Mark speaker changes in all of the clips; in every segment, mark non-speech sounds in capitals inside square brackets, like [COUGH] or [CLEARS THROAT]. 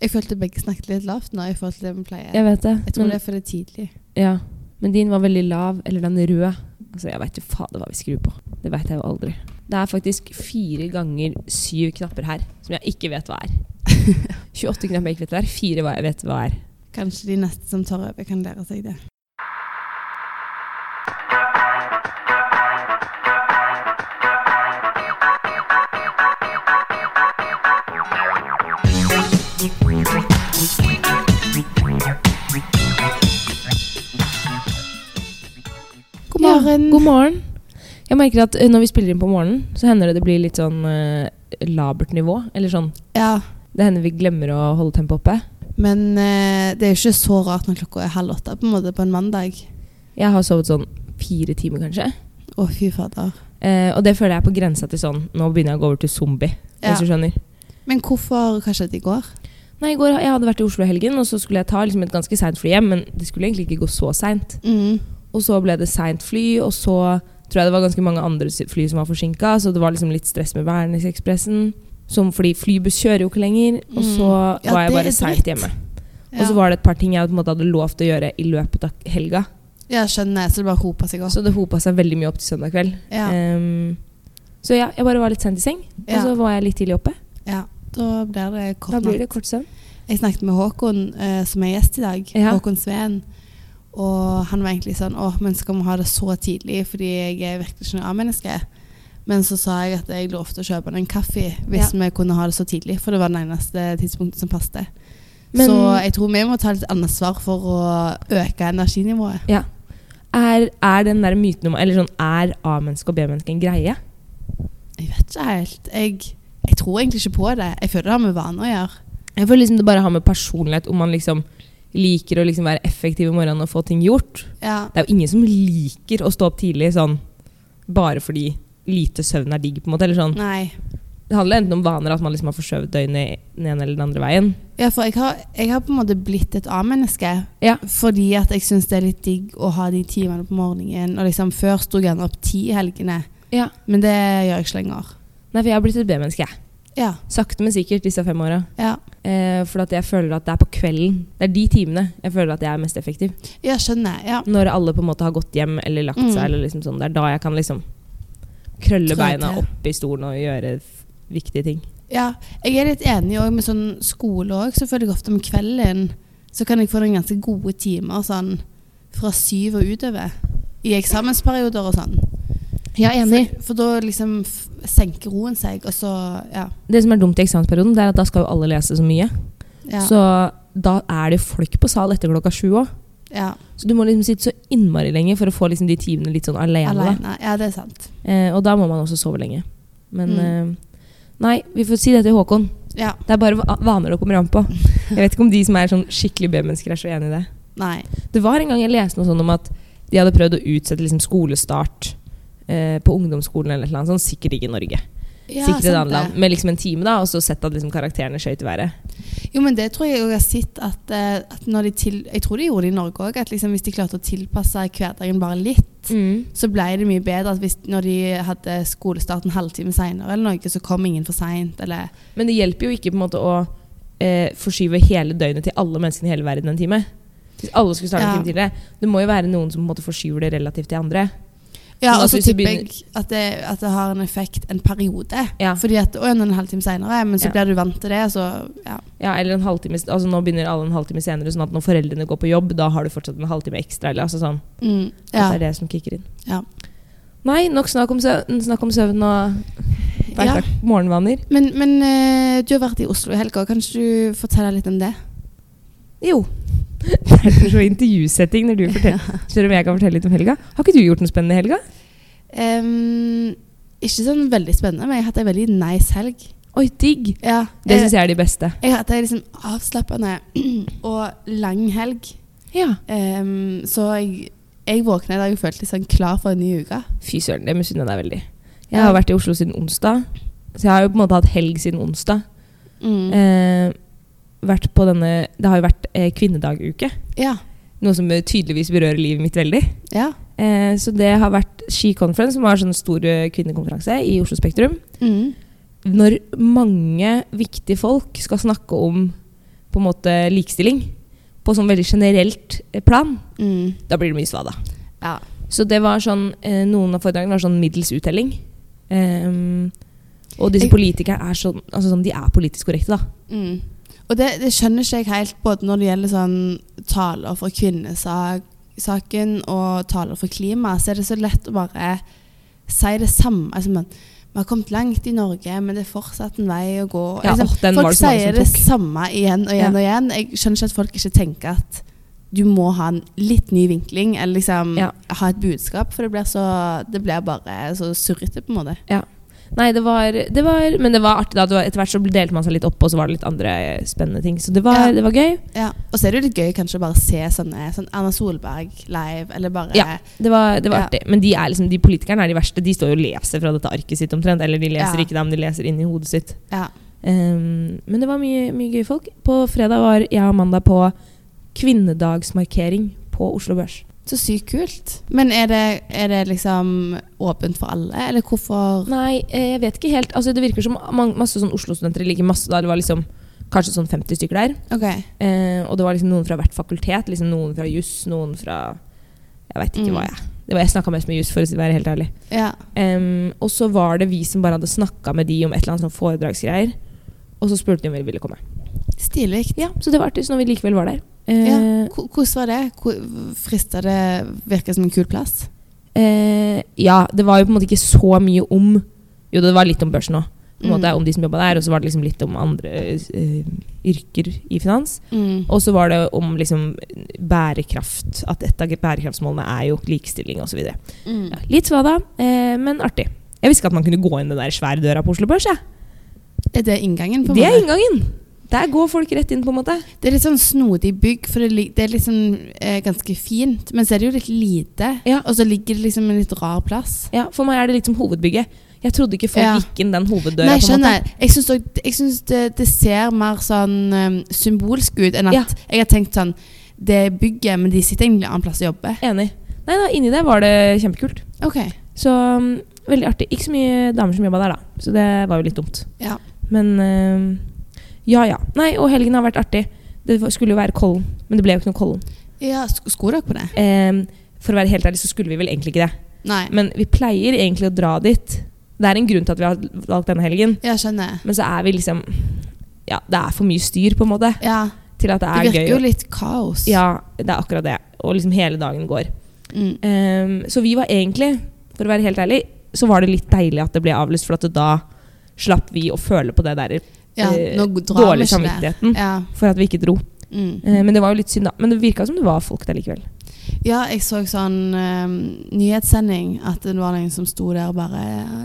Speaker 1: Jeg følte begge snakket litt lavt nå i forhold til det vi pleier.
Speaker 2: Jeg vet det.
Speaker 1: Jeg tror
Speaker 2: men,
Speaker 1: det er fordi det er tidlig.
Speaker 2: Ja. Men din var veldig lav, eller den røde. Altså, jeg veit jo fader hva vi skrur på. Det veit jeg jo aldri. Det er faktisk fire ganger syv knapper her som jeg ikke
Speaker 1: [LAUGHS]
Speaker 2: vet hva er. 28 knapper jeg ikke vet hva er, fire hva jeg vet hva er.
Speaker 1: Kanskje de neste som tar over, kan lære seg det. God morgen.
Speaker 2: God morgen. Jeg merker at eh, når vi spiller inn på morgenen, så hender det det blir litt sånn eh, labert nivå. Eller sånn.
Speaker 1: Ja,
Speaker 2: Det hender vi glemmer å holde tempoet oppe.
Speaker 1: men eh, det er jo ikke så rart når klokka er halv åtte på en måte på en mandag.
Speaker 2: Jeg har sovet sånn fire timer, kanskje.
Speaker 1: Å, fy fader.
Speaker 2: Eh, og det føler jeg er på grensa til sånn Nå begynner jeg å gå over til zombie.
Speaker 1: Ja.
Speaker 2: Hvis du skjønner.
Speaker 1: Men hvorfor Hva skjedde i går?
Speaker 2: Nei, i går Jeg hadde vært i Oslo i helgen, og så skulle jeg ta liksom, et ganske seint fly hjem. Men det skulle egentlig ikke gå så seint.
Speaker 1: Mm.
Speaker 2: Og så ble det seint fly, og så tror jeg det var ganske mange andre sy- fly som var forsinka. Så det var liksom litt stress med Værnesekspressen. Som fordi flybuss kjører jo ikke lenger. Og så
Speaker 1: Mm. Ja,
Speaker 2: var jeg
Speaker 1: det er
Speaker 2: bare seint
Speaker 1: dritt.
Speaker 2: hjemme.
Speaker 1: Ja.
Speaker 2: Og så var det et par ting jeg på en måte hadde lov til å gjøre i løpet av helga.
Speaker 1: ja, skjønner. Så det bare hopa seg opp.
Speaker 2: Så det hopa seg veldig mye opp til søndag kveld.
Speaker 1: Ja,
Speaker 2: Ehm, så ja, jeg bare var litt sent i seng,
Speaker 1: Ja.
Speaker 2: og så var jeg litt tidlig oppe.
Speaker 1: ja. Da blir det
Speaker 2: altså- Da
Speaker 1: kort
Speaker 2: blir
Speaker 1: natt.
Speaker 2: det kort søvn.
Speaker 1: Jeg snakket med Håkon, eh, som er gjest i dag.
Speaker 2: Ja.
Speaker 1: Håkon Sveen. Og han var egentlig sånn Å, men skal vi ha det så tidlig? Fordi jeg er virkelig ikke noe A-menneske. Men så sa jeg at jeg lovte å kjøpe han en kaffe hvis vi kunne ha det så tidlig. For det var det eneste tidspunktet som passet.
Speaker 2: Men
Speaker 1: Så jeg tror vi må ta litt ansvar for å øke energinivået.
Speaker 2: er, er den der myten om Eller sånn, er A-menneske og B-menneske en greie?
Speaker 1: Jeg vet ikke helt. Jeg, jeg tror egentlig ikke på det. Jeg føler det har med vaner å gjøre.
Speaker 2: Jeg føler liksom det bare har med personlighet om man liksom liker å liksom være effektiv i morgenen og få ting gjort.
Speaker 1: Ja.
Speaker 2: Det er jo ingen som liker å stå opp tidlig sånn bare fordi lite søvn er digg, på en måte. Eller sånn.
Speaker 1: Nei.
Speaker 2: Det handler enten om vaner, at man liksom har forskjøvet døgnet den ene eller den andre veien.
Speaker 1: Ja, for jeg har, jeg har på en måte blitt et A-menneske.
Speaker 2: Ja.
Speaker 1: Fordi at jeg syns det er litt digg å ha de timene på morgenen. Og liksom Før sto jeg gjerne opp ti i helgene,
Speaker 2: Ja.
Speaker 1: men det gjør jeg ikke lenger.
Speaker 2: Nei, for jeg har blitt et B-menneske, jeg.
Speaker 1: Ja,
Speaker 2: Sakte, men sikkert disse fem åra.
Speaker 1: ja.
Speaker 2: Eh, for at jeg føler at det er på kvelden. Det er de timene jeg føler at jeg er mest effektiv.
Speaker 1: Jeg skjønner. Ja.
Speaker 2: Når alle på en måte har gått hjem eller lagt
Speaker 1: Mm.
Speaker 2: seg. Eller liksom sånn, det er da jeg kan liksom krølle
Speaker 1: Trå
Speaker 2: beina
Speaker 1: til.
Speaker 2: opp i stolen og gjøre f- viktige ting.
Speaker 1: ja. Jeg er litt enig også med sånn skole òg. Så føler jeg ofte om kvelden så kan jeg få noen ganske gode timer sånn fra syv og utover. I eksamensperioder og sånn.
Speaker 2: Ja,
Speaker 1: For, for da liksom f senker roen seg, og så Ja.
Speaker 2: Det som er dumt i eksamensperioden, det er at da skal jo alle lese så mye.
Speaker 1: Ja.
Speaker 2: Så da er det jo folk på sal etter klokka sju òg.
Speaker 1: ja.
Speaker 2: Så du må liksom sitte så innmari lenge for å få liksom de timene litt sånn alene. da.
Speaker 1: Alene. Ja, det er sant.
Speaker 2: Eh, og da må man også sove lenge. Men
Speaker 1: Mm.
Speaker 2: eh, nei, vi får si det til Håkon.
Speaker 1: Ja.
Speaker 2: Det er bare va- vaner det kommer an på. Jeg vet ikke om de som er sånn skikkelig B-mennesker er så enig i det.
Speaker 1: Nei.
Speaker 2: Det var en gang jeg leste noe sånn om at de hadde prøvd å utsette liksom skolestart eh, på ungdomsskolen eller et eller annet sånn, sikkert ikke i Norge.
Speaker 1: Ja,
Speaker 2: sikkert i et
Speaker 1: sant
Speaker 2: annet land.
Speaker 1: det.
Speaker 2: Med liksom en time, da, og så sett at liksom karakterene skøyt i været.
Speaker 1: Jo, men det tror jeg jo jeg har sett at, eh, at når de til, Jeg tror de gjorde det i Norge òg, at liksom hvis de klarte å tilpasse hverdagen bare litt, så ble det mye bedre at hvis, når de hadde skolestart en halvtime seinere eller noe, så kom ingen for seint, eller
Speaker 2: Men det hjelper jo ikke på en måte å eh, forskyve hele døgnet til alle menneskene i hele verden en time. Hvis alle skulle starte
Speaker 1: Ja.
Speaker 2: en time tidligere. Det må jo være noen som på en måte forskyver det relativt til andre.
Speaker 1: Ja,
Speaker 2: Sånn at
Speaker 1: og så
Speaker 2: hvis du
Speaker 1: tipper jeg
Speaker 2: begynner-
Speaker 1: at det, at det har en effekt en periode.
Speaker 2: Ja.
Speaker 1: Fordi at Å, nå er det en halvtime seinere, men så
Speaker 2: Ja.
Speaker 1: blir du vant til det, og så Ja.
Speaker 2: Ja, eller en halvtime, altså Nå begynner alle en halvtime senere, sånn at når foreldrene går på jobb, da har du fortsatt en halvtime ekstra. Eller, altså sånn,
Speaker 1: Mm,
Speaker 2: At
Speaker 1: ja.
Speaker 2: det er det som kicker inn.
Speaker 1: Ja.
Speaker 2: Nei, nok snakk om søvn, snakk om søvn og
Speaker 1: ja.
Speaker 2: hverdag- morgenvaner.
Speaker 1: Men, men eh, du har vært i Oslo i helga, kan ikke du fortelle litt om det?
Speaker 2: Jo. [LAUGHS] Det er så intervjusetting når du forteller. Spør om jeg kan fortelle litt om helga. Har ikke du gjort noe spennende i helga?
Speaker 1: Ehm, ikke sånn veldig spennende, men jeg har hatt en veldig nice helg.
Speaker 2: Oi, digg! Eh,
Speaker 1: Ja,
Speaker 2: Det
Speaker 1: jeg,
Speaker 2: syns jeg er de beste.
Speaker 1: jeg har hatt en liksom avslappende [CLEARS THROAT] og lang helg.
Speaker 2: Ja.
Speaker 1: Ehm, så jeg, jeg våkna i dag og følte litt sånn klar for en ny uke.
Speaker 2: Fy søren, det misunner jeg deg veldig. Jeg
Speaker 1: Ja.
Speaker 2: har vært i Oslo siden onsdag, så jeg har jo på en måte hatt helg siden onsdag.
Speaker 1: Mm.
Speaker 2: Eh, vært på denne Det har jo vært eh, kvinnedaguke.
Speaker 1: Ja.
Speaker 2: Noe som eh, tydeligvis berører livet mitt veldig.
Speaker 1: ja.
Speaker 2: Eh, så det har vært Ski Conference, som var en sånn stor eh, kvinnekonferanse i Oslo Spektrum.
Speaker 1: Mm.
Speaker 2: Når mange viktige folk skal snakke om på en måte likestilling på sånn veldig generelt eh, plan,
Speaker 1: Mm.
Speaker 2: da blir det mye svada.
Speaker 1: Ja.
Speaker 2: Så det var sånn, eh, noen av foredragene var sånn middels uttelling. Ehm, og disse
Speaker 1: Jeg-
Speaker 2: politikerne er sånn, altså sånn, de er politisk korrekte, da.
Speaker 1: Mm. Og det, det skjønner ikke jeg helt, både når det gjelder sånn taler for kvinnesaken og taler for klima, så er det så lett å bare si det samme. Altså, man, vi har kommet langt i Norge, men det er fortsatt en vei å gå.
Speaker 2: Ja,
Speaker 1: Liksom,
Speaker 2: åh, den var
Speaker 1: folk
Speaker 2: det så mange
Speaker 1: sier
Speaker 2: som
Speaker 1: det
Speaker 2: tok.
Speaker 1: samme igjen og igjen og igjen. Jeg skjønner ikke at folk ikke tenker at du må ha en litt ny vinkling, eller liksom
Speaker 2: Ja.
Speaker 1: ha et budskap, for det blir, så, det blir bare så surrete på en måte.
Speaker 2: Nei, det var, det var, men det var artig da. Det var, etter hvert så delte man seg litt opp, og så var det litt andre eh, spennende ting. Så det var,
Speaker 1: Ja.
Speaker 2: det var gøy.
Speaker 1: Ja, Og så er det jo litt gøy kanskje å bare se sånne sånn Erna Solberg live, eller bare
Speaker 2: Ja. Det var, det var
Speaker 1: Ja.
Speaker 2: artig. Men de, er liksom, de politikerne er de verste. De står jo og leser fra dette arket sitt omtrent. Eller de leser
Speaker 1: Ja.
Speaker 2: ikke det, men de leser inn i hodet sitt.
Speaker 1: Ja.
Speaker 2: Ehm, men det var mye, mye gøy folk. På fredag var jeg og Amanda på kvinnedagsmarkering på Oslo Børs.
Speaker 1: Så sykt kult. Men er det, er det liksom åpent for alle, eller hvorfor
Speaker 2: Nei, eh, jeg vet ikke helt. Altså, det virker som man- masse sånn Oslo-studenter liker masse da. Det var liksom kanskje sånn 50 stykker der.
Speaker 1: Ok.
Speaker 2: Eh, og det var liksom noen fra hvert fakultet. Liksom noen fra juss, noen fra Jeg veit ikke
Speaker 1: Mm.
Speaker 2: hva jeg Det var Jeg snakka mest med juss, for å si- være helt ærlig.
Speaker 1: Ja.
Speaker 2: Em, og så var det vi som bare hadde snakka med de om et eller annet sånn foredragsgreier. Og så spurte de om vi ville komme.
Speaker 1: Stilig.
Speaker 2: Ja, Så det var artig. Så når vi likevel var der eh,
Speaker 1: Ja. Ko- Hvordan var det? Ko- Frista det virka som en kul plass?
Speaker 2: eh, ja, det var jo på en måte ikke så mye om Jo, det var litt om børsen òg.
Speaker 1: Mm.
Speaker 2: Om de som jobba der, og så var det liksom litt om andre eh, yrker i finans.
Speaker 1: Mm.
Speaker 2: Og så var det om liksom, bærekraft, at et av bærekraftsmålene er jo likestilling osv.
Speaker 1: Mm.
Speaker 2: Ja, litt svada, eh, men artig. Jeg visste ikke at man kunne gå inn den der svære døra på Oslo Børs. jeg.
Speaker 1: Er det inngangen? på en
Speaker 2: Det er
Speaker 1: måte?
Speaker 2: inngangen! Der går folk rett inn, på en måte.
Speaker 1: Det er litt sånn snodig bygg, for det, lig- det er liksom eh, ganske fint. Men så er det jo litt lite,
Speaker 2: Ja.
Speaker 1: og så ligger det liksom en litt rar plass.
Speaker 2: Ja, For meg er det litt som hovedbygget. Jeg trodde ikke folk
Speaker 1: Ja.
Speaker 2: gikk inn den hoveddøra.
Speaker 1: Nei, jeg
Speaker 2: på en måte.
Speaker 1: skjønner. Jeg syns, også, jeg syns det, det ser mer sånn um, symbolsk ut enn at
Speaker 2: Ja.
Speaker 1: jeg har tenkt sånn Det er bygget, men de sitter egentlig en annen plass og jobber.
Speaker 2: Enig. Nei da, inni der var det kjempekult.
Speaker 1: Ok.
Speaker 2: Så mm, veldig artig. Ikke så mye damer som jobba der, da. Så det var jo litt dumt.
Speaker 1: Ja.
Speaker 2: Men eh, ja ja. Nei, og helgen har vært artig. Det var- skulle jo være Kollen, men det ble jo ikke noe Kollen.
Speaker 1: Ja, sk sko dere på det?
Speaker 2: Ehm, for å være helt ærlig så skulle vi vel egentlig ikke det.
Speaker 1: Nei.
Speaker 2: Men vi pleier egentlig å dra dit. Det er en grunn til at vi har valgt denne helgen.
Speaker 1: Ja, skjønner.
Speaker 2: Men så er vi liksom Ja, det er for mye styr, på en måte,
Speaker 1: Ja,
Speaker 2: til at
Speaker 1: det
Speaker 2: det er
Speaker 1: virker
Speaker 2: gøy.
Speaker 1: jo litt kaos.
Speaker 2: Ja, det er akkurat det. Og liksom hele dagen går.
Speaker 1: Mm.
Speaker 2: Ehm, så vi var egentlig, for å være helt ærlig, så var det litt deilig at det ble avlyst, for at da slapp vi å føle på det der
Speaker 1: ja
Speaker 2: eh,
Speaker 1: nå drar vi
Speaker 2: dårlige
Speaker 1: ikke det.
Speaker 2: samvittigheten
Speaker 1: Ja.
Speaker 2: for at vi ikke dro.
Speaker 1: Mm.
Speaker 2: Eh, men det var jo litt synd, da. Men det virka som det var folk der likevel.
Speaker 1: ja, jeg så sånn um, nyhetssending at det var noen som sto der og bare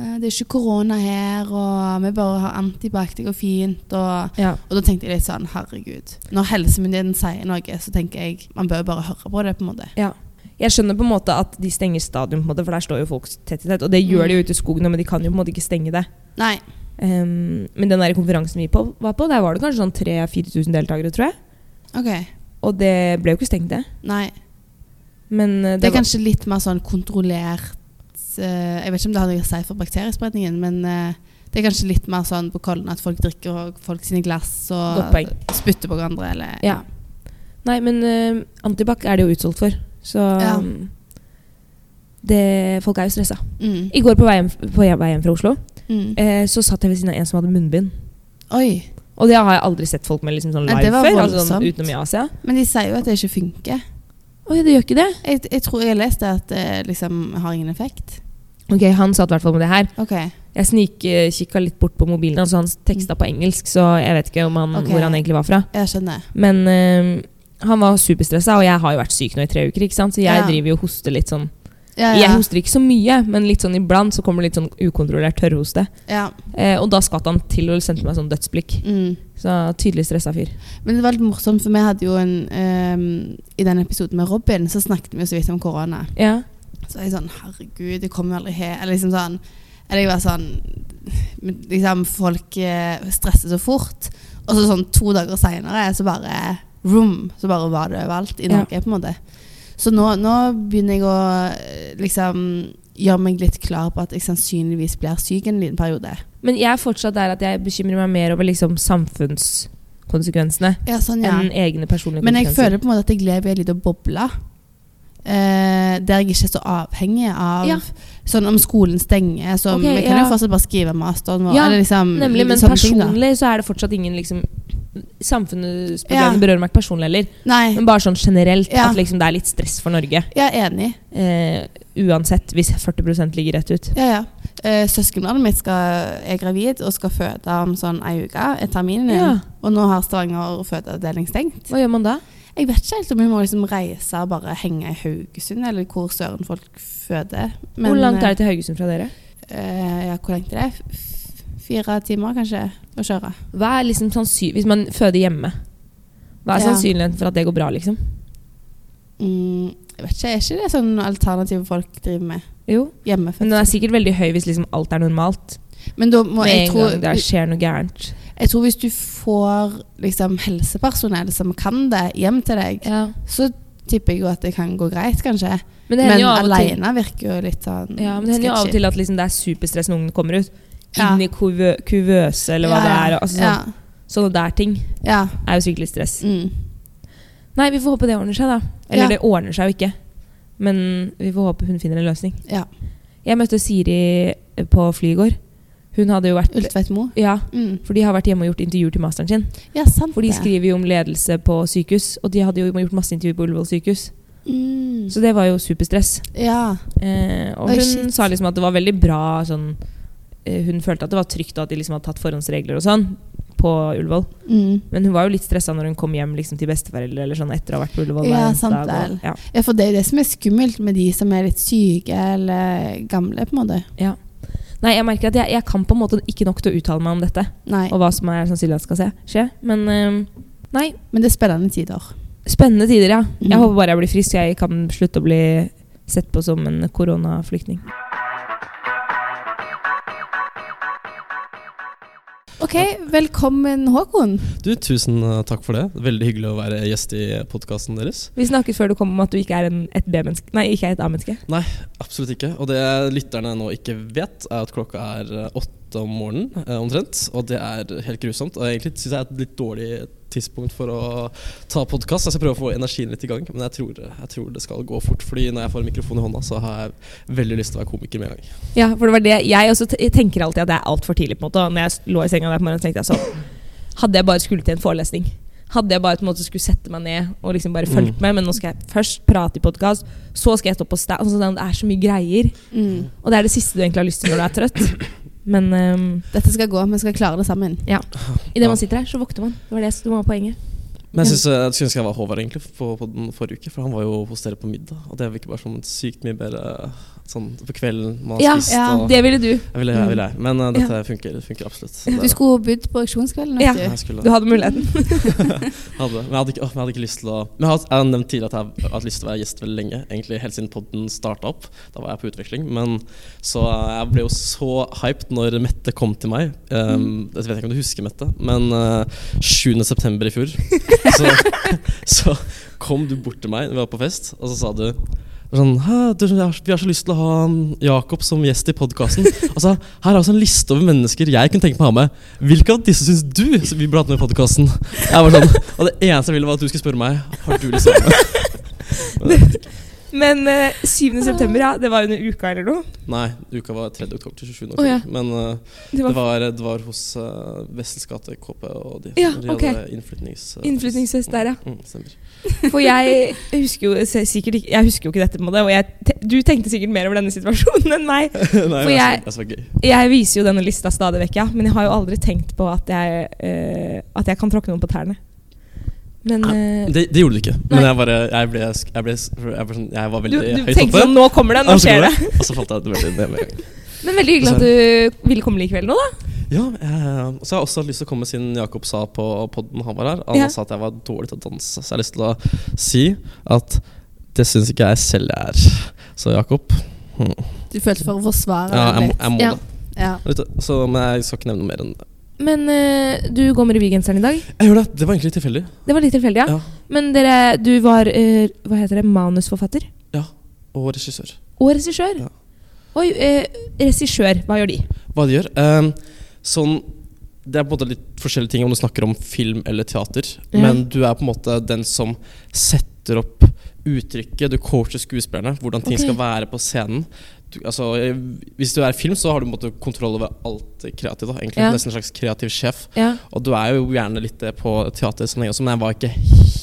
Speaker 1: «Ja, Det er ikke korona her, og vi bare har antibac, det går fint, og
Speaker 2: Ja.
Speaker 1: Og da tenkte jeg litt sånn, herregud. Når helsemyndigheten sier noe, så tenker jeg man bør bare høre på det. på en måte.
Speaker 2: Jeg skjønner på en måte at de stenger stadion, på en måte, for der står jo folk tett i tett. Og det gjør
Speaker 1: Mm.
Speaker 2: de jo ute i skogen, men de kan jo på en måte ikke stenge det.
Speaker 1: Nei.
Speaker 2: Ehm, men den der konferansen vi på, var på, der var det kanskje sånn 3000-4000 deltakere, tror jeg.
Speaker 1: ok.
Speaker 2: Og det ble jo ikke stengt, det.
Speaker 1: Nei.
Speaker 2: Men eh,
Speaker 1: Det,
Speaker 2: det,
Speaker 1: er kanskje litt mer sånn kontrollert eh, Jeg vet ikke om det har noe å si for bakteriespredningen, men eh, det er kanskje litt mer sånn på Kollen at folk drikker og folk sine glass
Speaker 2: Godt
Speaker 1: og
Speaker 2: poeng.
Speaker 1: spytter på hverandre. eller...
Speaker 2: Ja. var Nei, men eh, Antibac er det jo utsolgt for. Så
Speaker 1: Ja.
Speaker 2: um, det, folk er jo stressa.
Speaker 1: Mm.
Speaker 2: I går på vei hjem, på hjem- vei hjem fra Oslo
Speaker 1: Mm.
Speaker 2: eh, så satt jeg ved siden av en som hadde munnbind.
Speaker 1: Oi.
Speaker 2: Og det har jeg aldri sett folk med liksom sånn
Speaker 1: Nei,
Speaker 2: live
Speaker 1: det var
Speaker 2: før. Altså sånn,
Speaker 1: voldsomt.
Speaker 2: utenom i Asia.
Speaker 1: Men de sier jo at det ikke funker.
Speaker 2: Oi, det gjør ikke det.
Speaker 1: Jeg, jeg tror jeg har lest det at det liksom har ingen effekt.
Speaker 2: Ok, Han satt i hvert fall med det her.
Speaker 1: Ok.
Speaker 2: Jeg snikkikka litt bort på mobilen. Altså Han teksta på engelsk, så jeg vet ikke om han,
Speaker 1: Ok.
Speaker 2: hvor han egentlig var fra.
Speaker 1: Jeg skjønner.
Speaker 2: Men eh, han var superstressa, og jeg har jo vært syk nå i tre uker, ikke sant? så jeg
Speaker 1: Ja.
Speaker 2: driver jo og hoster litt sånn.
Speaker 1: Ja,
Speaker 2: Jeg
Speaker 1: ja.
Speaker 2: hoster ikke så mye, men litt sånn iblant så kommer det litt sånn ukontrollert tørrhoste.
Speaker 1: ja.
Speaker 2: Eh, og da skvatt han til og sendte meg sånn dødsblikk.
Speaker 1: Mm.
Speaker 2: Så tydelig stressa fyr.
Speaker 1: Men det var litt morsomt, for vi hadde jo en ehm, I den episoden med Robin så snakket vi jo så vidt om korona.
Speaker 2: Ja.
Speaker 1: Så var jeg sånn Herregud, det kommer jo aldri her. Eller liksom sånn Eller jeg var sånn men liksom, Folk eh, stresser så fort. Og så sånn to dager seinere så bare Room. Så bare var det overalt i
Speaker 2: Ja.
Speaker 1: Norge, på en måte. Så nå, nå begynner jeg å eh, liksom gjøre meg litt klar på at jeg sannsynligvis blir syk en liten periode.
Speaker 2: Men jeg er fortsatt der at jeg bekymrer meg mer over liksom samfunnskonsekvensene konsekvensene
Speaker 1: Ja, sånn, ja.
Speaker 2: enn egne personlige
Speaker 1: Men jeg
Speaker 2: konsekvenser.
Speaker 1: føler på en måte at jeg lever i en liten boble. eh, der jeg ikke er så avhengig av
Speaker 2: Ja.
Speaker 1: Sånn om skolen stenger så
Speaker 2: Ok,
Speaker 1: Vi kan
Speaker 2: ja.
Speaker 1: jo fortsatt bare skrive masteren vår.
Speaker 2: Ja,
Speaker 1: eller liksom,
Speaker 2: Nemlig, men
Speaker 1: sånne ting, da.
Speaker 2: personlig så er det fortsatt ingen liksom Samfunnets
Speaker 1: Ja.
Speaker 2: problemer berører meg ikke personlig heller,
Speaker 1: Nei,
Speaker 2: men bare sånn generelt.
Speaker 1: Ja.
Speaker 2: At liksom det er litt stress for Norge.
Speaker 1: jeg er enig.
Speaker 2: Eh, uansett, hvis 40 ligger rett ut.
Speaker 1: Ja, ja. Eh, Søskenbarnet mitt skal, er gravid og skal føde om sånn ei uke. Er terminen din.
Speaker 2: Ja.
Speaker 1: Og nå har Stavanger fødeavdeling stengt.
Speaker 2: Hva gjør man da?
Speaker 1: Jeg vet ikke helt om vi må liksom reise og bare henge i Haugesund, eller hvor søren folk føder.
Speaker 2: Hvor langt er det til Haugesund fra dere?
Speaker 1: Eh, ja, hvor langt er det? F- Fire timer, kanskje, å kjøre.
Speaker 2: Hva er liksom sannsyn- Hvis man føder hjemme, hva er
Speaker 1: Ja.
Speaker 2: sannsynligheten for at det går bra? liksom?
Speaker 1: Mm, jeg vet ikke, Er ikke det sånn alternativ folk driver med?
Speaker 2: Jo. Men den
Speaker 1: Hjemmefødsel?
Speaker 2: er sikkert veldig høy hvis liksom alt er normalt.
Speaker 1: Men da må
Speaker 2: Med
Speaker 1: jeg
Speaker 2: en
Speaker 1: tro,
Speaker 2: gang det skjer noe gærent.
Speaker 1: jeg tror hvis du får liksom, helsepersonell som kan det, hjem til deg, så tipper jeg jo at det kan gå greit, kanskje.
Speaker 2: Men det
Speaker 1: Men
Speaker 2: hender jo av og til
Speaker 1: aleine virker jo litt sånn
Speaker 2: Ja, men det hender jo av og
Speaker 1: sketchy.
Speaker 2: til at liksom det er superstress når ungen kommer ut.
Speaker 1: Ja.
Speaker 2: Inn i kuvø kuvøse, eller hva
Speaker 1: Ja,
Speaker 2: det
Speaker 1: ja.
Speaker 2: er. og Altså, sånn, Sånne der ting
Speaker 1: Ja. ja.
Speaker 2: er jo skikkelig stress.
Speaker 1: Mm.
Speaker 2: Nei, vi får håpe det ordner seg, da. Eller
Speaker 1: Ja.
Speaker 2: det ordner seg jo ikke. Men vi får håpe hun finner en løsning.
Speaker 1: Ja.
Speaker 2: Jeg møtte Siri på fly i går. Hun hadde jo vært
Speaker 1: Ulltveitmo.
Speaker 2: Ja,
Speaker 1: Mm.
Speaker 2: for de har vært hjemme og gjort intervjuer til masteren sin.
Speaker 1: Ja, sant
Speaker 2: For de
Speaker 1: det.
Speaker 2: skriver jo om ledelse på sykehus, og de hadde jo gjort masse intervjuer på Ullevål sykehus.
Speaker 1: Mm.
Speaker 2: Så det var jo superstress.
Speaker 1: Ja.
Speaker 2: Eh, og
Speaker 1: Oi,
Speaker 2: hun
Speaker 1: shit.
Speaker 2: sa liksom at det var veldig bra sånn eh, Hun følte at det var trygt og at de liksom hadde tatt forhåndsregler og sånn på Ullevål.
Speaker 1: Mm.
Speaker 2: Men hun var jo litt stressa når hun kom hjem liksom, til besteforeldre eller sånn etter å ha vært på Ullevål.
Speaker 1: Ja,
Speaker 2: hver
Speaker 1: sant
Speaker 2: dag, og-
Speaker 1: vel.
Speaker 2: ja.
Speaker 1: ja, for det er jo det som er skummelt med de som er litt syke eller gamle, på en måte.
Speaker 2: Nei, jeg merker at jeg, jeg kan på en måte ikke nok til å uttale meg om dette
Speaker 1: Nei,
Speaker 2: og hva som er sannsynlig at skal se- skje. Men eh, nei,
Speaker 1: men det er spennende tider.
Speaker 2: spennende tider, ja. Jeg
Speaker 1: Mhm.
Speaker 2: håper bare jeg blir frisk, så jeg kan slutte å bli sett på som en koronaflyktning.
Speaker 1: Ok, velkommen Håkon.
Speaker 3: Du, Tusen eh, takk for det. Veldig hyggelig å være gjest i podkasten deres.
Speaker 2: Vi snakket før du kom om at du ikke er en, et B-menneske. Nei, ikke er et A-menneske.
Speaker 3: Absolutt ikke. Og det lytterne nå ikke vet, er at klokka er eh, åtte om morgenen eh, omtrent. Og det er helt grusomt. Og egentlig syns jeg er et litt dårlig tidspunkt for å ta podkast. Jeg skal prøve å få energien litt i gang, men jeg tror, jeg tror det skal gå fort. Fordi når jeg får en mikrofon i hånda, så har jeg veldig lyst til å være komiker med en gang.
Speaker 2: Ja, for det var det Jeg også te- tenker alltid at det er altfor tidlig. på en måte Og når jeg s- lå i senga der på morgenen, tenkte jeg sånn Hadde jeg bare skulle til en forelesning. Hadde jeg bare på en måte skulle sette meg ned og liksom bare fulgt
Speaker 3: Mm.
Speaker 2: med, men nå skal jeg først prate i podkast, så skal jeg stå på stand altså, sånn, Det er så mye greier.
Speaker 1: Mm.
Speaker 2: Og det er det siste du egentlig har lyst til når du er trøtt. Men um,
Speaker 1: Dette skal gå, vi skal klare det sammen.
Speaker 2: idet man sitter her, så våkner man. Det var det som var poenget.
Speaker 3: Men jeg syns eh, jeg skulle ønske jeg var Håvard egentlig på podden forrige uke, for han var jo hos dere på middag. Og det virker bare som sykt mye bedre sånn på kvelden. Man
Speaker 2: Ja,
Speaker 3: har spist
Speaker 1: ja,
Speaker 3: og
Speaker 2: Det ville du.
Speaker 3: Jeg vil, jeg vil, jeg. Men eh, dette funker, funker absolutt.
Speaker 1: Mm. Du skulle budd på auksjonskvelden,
Speaker 2: Ja.
Speaker 1: vet
Speaker 3: jeg
Speaker 1: du.
Speaker 3: skulle,
Speaker 2: Du hadde muligheten.
Speaker 3: hadde, men jeg hadde, ikke, åh, men jeg hadde ikke lyst til å Men jeg har, jeg har nevnt tidligere at jeg har hatt lyst til å være gjest veldig lenge. Egentlig Helt siden podden starta opp. Da var jeg på utveksling. Men så eh, jeg ble jo så hyped når Mette kom til meg. Um, Jeg vet ikke om du husker Mette, men eh, 7. 7.9. i fjor så, så kom du bort til meg når vi var på fest, og så sa du sånn, «Hæ, du, jeg har- Vi har så lyst til å ha um, Jakob som gjest i podkasten. Altså, her er altså en liste over mennesker jeg kunne tenke meg å ha med. Hvilke av disse syns du vi burde hatt med i podkasten? Sånn, og det eneste jeg ville, var at du skulle spørre meg Har du liksom- lyst til å
Speaker 2: [LAUGHS]
Speaker 3: være med.
Speaker 2: Men eh, 7. september, ja. Det var under uka eller noe.
Speaker 3: Nei, uka var 3. oktober til 27. oktober.
Speaker 2: Å, ja.
Speaker 3: Men eh,
Speaker 2: Det
Speaker 3: det,
Speaker 2: var
Speaker 3: var, det var hos uh, Wessels gate KP, og de,
Speaker 2: Ja,
Speaker 3: de
Speaker 2: ok.
Speaker 3: hadde innflytnings... eh,
Speaker 2: Innflytningsfest der, ja.
Speaker 3: Mm, stemmer.
Speaker 2: For jeg husker jo s- sikkert ikke, jeg husker jo ikke dette på det, og jeg, te- du tenkte sikkert mer over denne situasjonen enn meg.
Speaker 3: [LAUGHS] Nei, det
Speaker 2: jeg-
Speaker 3: er så- det er så gøy.
Speaker 2: Jeg viser jo denne lista stadig vekk, ja, men jeg har jo aldri tenkt på at jeg, eh, at jeg kan tråkke noen på tærne. Men eh,
Speaker 3: Ah, Det, det gjorde du ikke. Men
Speaker 2: Nei.
Speaker 3: jeg bare Jeg ble, jeg ble, jeg ble sånn Jeg var
Speaker 2: du,
Speaker 3: veldig
Speaker 2: du
Speaker 3: høyt
Speaker 2: tenkte
Speaker 3: oppe.
Speaker 2: sånn Nå kommer det,
Speaker 3: Ja,
Speaker 2: nå
Speaker 3: så
Speaker 2: skjer
Speaker 3: kommer
Speaker 2: det.
Speaker 3: Og så falt jeg veldig ned med en gang.
Speaker 2: Men veldig hyggelig at du ville komme likevel nå, da.
Speaker 3: Ja, eh, og så har jeg også hatt lyst til å komme siden Jakob sa på podden han var her. Han
Speaker 2: Ja.
Speaker 3: sa at jeg var dårlig til å danse, så jeg har lyst til å si at det syns ikke jeg selv jeg er. Så Jakob hm.
Speaker 1: Du følte for å forsvare
Speaker 3: Ja,
Speaker 1: deg
Speaker 3: jeg, må-
Speaker 1: litt.
Speaker 3: jeg må
Speaker 2: Ja.
Speaker 3: det.
Speaker 1: Ja.
Speaker 3: Vet du, Så, men jeg skal ikke nevne noe mer enn det.
Speaker 2: Men eh, du går med revygenseren i dag.
Speaker 3: Jeg gjorde det, det var egentlig tilfeldig.
Speaker 2: Det var litt tilfeldig, ja.
Speaker 3: Ja.
Speaker 2: Men dere, du var eh, hva heter det, manusforfatter
Speaker 3: Og regissør.
Speaker 2: og regissør.
Speaker 3: Ja.
Speaker 2: Oi, eh, regissør, hva gjør de?
Speaker 3: Hva de gjør? Eh, Ehm, sånn Det er på en måte litt forskjellige ting om du snakker om film eller teater.
Speaker 2: Ja.
Speaker 3: Men du er på en måte den som setter opp uttrykket. Du coacher skuespillerne, hvordan ting
Speaker 2: Ok.
Speaker 3: skal være på scenen. Du, altså, eh, hvis du er film, så har du på en måte kontroll over alt kreativt. Da, egentlig
Speaker 2: Ja.
Speaker 3: Nesten en slags kreativ sjef.
Speaker 2: Ja.
Speaker 3: Og du er jo gjerne litt det på teater så lenge også, men jeg var ikke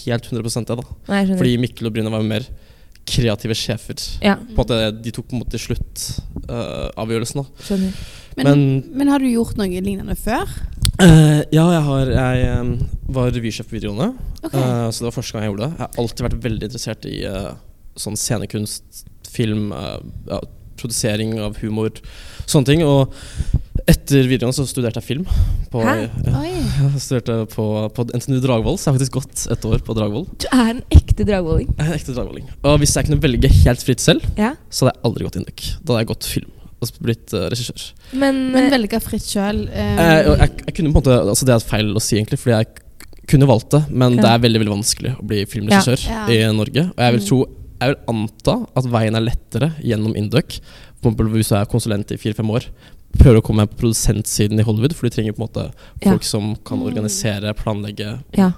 Speaker 3: helt 100 det. da
Speaker 2: Nei, jeg skjønner.
Speaker 3: Fordi Mikkel og Bryne var jo mer kreative sjefer.
Speaker 2: ja,
Speaker 3: På en måte, De tok på en måte sluttavgjørelsen. da
Speaker 2: skjønner.
Speaker 1: Men, men,
Speaker 3: men
Speaker 1: har du gjort noe lignende før?
Speaker 3: Eh, ja, jeg, har, jeg eh, var revysjef på videregående,
Speaker 1: Ok.
Speaker 3: eh, så det var første gang jeg gjorde det. Jeg har alltid vært veldig interessert i eh, sånn scenekunst, film, eh, ja, produsering av humor, sånne ting. Og etter videregående så studerte jeg film. På,
Speaker 2: Hæ?
Speaker 3: Ja,
Speaker 1: Oi.
Speaker 3: [LAUGHS] jeg studerte på, på NTNU Dragvoll, så jeg har faktisk gått et år på Dragvoll.
Speaker 2: Du er en ekte dragvolling.
Speaker 3: Jeg er ekte dragvolling. Og hvis jeg kunne velge helt fritt selv,
Speaker 2: Ja.
Speaker 3: så hadde jeg aldri gått Induk. Da hadde jeg gått film og blitt eh, regissør.
Speaker 2: Men,
Speaker 1: Men velge fritt um, sjøl.
Speaker 3: Eh, og jeg, jeg kunne på en måte, altså Det er feil å si, egentlig, fordi jeg k- kunne valgt det. Men
Speaker 2: Ja.
Speaker 3: det er veldig veldig vanskelig å bli filmregissør
Speaker 1: Ja.
Speaker 3: i
Speaker 1: Ja.
Speaker 3: Norge. Og jeg vil
Speaker 1: Mm.
Speaker 3: tro, jeg vil anta at veien er lettere gjennom Induc. For eksempel Hvis du er konsulent i fire-fem år, prøver å komme meg på produsentsiden i Hollywood. For du trenger på en måte
Speaker 2: Ja.
Speaker 3: folk som kan
Speaker 1: Mm.
Speaker 3: organisere, planlegge,
Speaker 2: ja.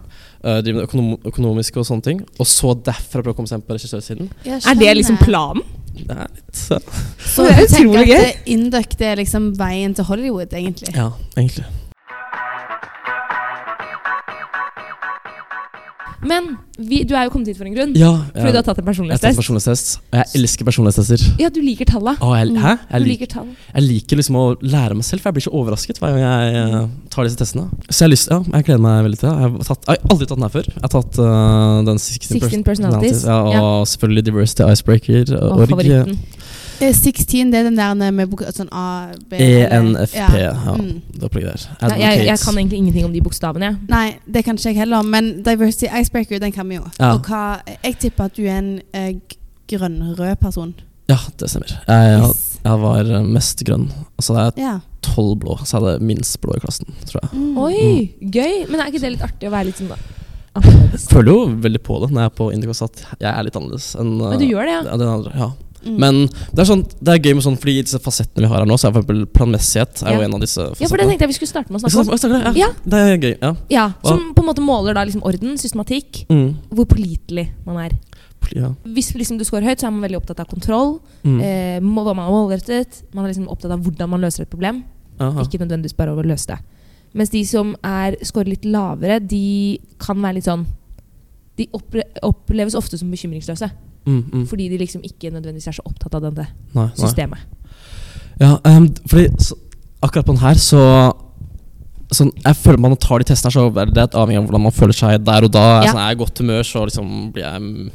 Speaker 3: eh, drive med økonom økonomiske og sånne ting. Og så derfra prøve å komme seg inn på regissørsiden.
Speaker 2: Er det liksom planen?
Speaker 3: Det er litt eh,
Speaker 1: Så
Speaker 2: Det er
Speaker 1: du tenker
Speaker 2: utrolig
Speaker 1: at eh, Induc det er liksom veien til Hollywood, egentlig?
Speaker 3: Ja, egentlig.
Speaker 2: Men vi, du er jo kommet hit for en grunn.
Speaker 3: Ja,
Speaker 2: Fordi du har
Speaker 3: jeg,
Speaker 2: tatt en
Speaker 3: jeg tar
Speaker 2: personlighetstest. Mm.
Speaker 3: personlighetstest, og jeg elsker personlighetstester.
Speaker 2: Ja, du liker talla.
Speaker 3: Å, jeg, hæ? Ah, Jeg
Speaker 2: Du
Speaker 3: liker
Speaker 2: liker tall.
Speaker 3: Jeg liker liksom å lære meg selv, for jeg blir så overrasket hver gang jeg eh, tar disse testene. Så jeg, har lyst, ja, jeg gleder meg veldig til det. Jeg har, tatt, jeg har aldri tatt den her før. Jeg har tatt eh, den 16,
Speaker 2: 16 personalities.
Speaker 3: Ja, og selvfølgelig Diversity Icebreaker.
Speaker 2: Å,
Speaker 3: Og org.
Speaker 2: favoritten.
Speaker 1: Eh, 16, det er den der med bok- sånn A, B
Speaker 3: E ENFP.
Speaker 1: Ja.
Speaker 3: Ja,
Speaker 1: Mm.
Speaker 3: det opplegget der.
Speaker 2: Nei, jeg, jeg
Speaker 3: Advocate.
Speaker 2: kan egentlig ingenting om de bokstavene. jeg.
Speaker 1: Nei, det kan ikke jeg heller, men Diversity Icebreaker, den kan vi jo.
Speaker 3: Ja.
Speaker 1: Og hva, jeg tipper at du er en eh, g- grønn-rød person.
Speaker 3: Ja, det stemmer. Jeg, jeg,
Speaker 1: Yes.
Speaker 3: jeg var eh, mest grønn. Så det er
Speaker 1: Ja.
Speaker 3: tolv blå. Så jeg hadde minst blå i klassen, tror jeg.
Speaker 1: Mm.
Speaker 2: Oi, gøy! Men er ikke det litt artig å være litt sånn da? annerledes?
Speaker 3: Føler jo veldig på det når jeg er på Indigo at jeg er litt annerledes enn eh,
Speaker 2: Men du gjør det, ja?
Speaker 3: ja, den andre. Ja.
Speaker 1: Mm.
Speaker 3: Men det er, sånn, det er gøy med sånn Fordi disse fasettene vi har her nå, så er for eksempel planmessighet er jo
Speaker 2: Ja.
Speaker 3: en av disse
Speaker 2: Ja, for det
Speaker 3: fasettene.
Speaker 2: tenkte jeg vi skulle starte med å
Speaker 3: Skal
Speaker 2: snakke om.
Speaker 3: vi snakke om det? ja.
Speaker 2: Ja.
Speaker 3: Det er gøy. Ja.
Speaker 2: Ja, Som på en måte måler da liksom orden, systematikk,
Speaker 3: Mm.
Speaker 2: hvor pålitelig man er.
Speaker 3: Poli- ja.
Speaker 2: Hvis liksom du scorer høyt, så er man veldig opptatt av kontroll.
Speaker 3: Mm.
Speaker 2: Eh, må, hva man er målrettet. Man er liksom opptatt av hvordan man løser et problem.
Speaker 3: Aha.
Speaker 2: Ikke nødvendigvis bare over å løse det. Mens de som er scorer litt lavere, de kan være litt sånn De oppre, oppleves ofte som bekymringsløse.
Speaker 3: Mm, mm.
Speaker 2: Fordi de liksom ikke nødvendigvis er så opptatt av dette
Speaker 3: Nei, nei.
Speaker 2: systemet.
Speaker 3: Ja, ehm, fordi så, akkurat på den her så Sånn, jeg føler Man tar de testene, her, så er det litt avhengig av hvordan man føler seg der og da. Er jeg
Speaker 2: Ja.
Speaker 3: Sånn, er jeg i godt humør, så liksom blir jeg, mm,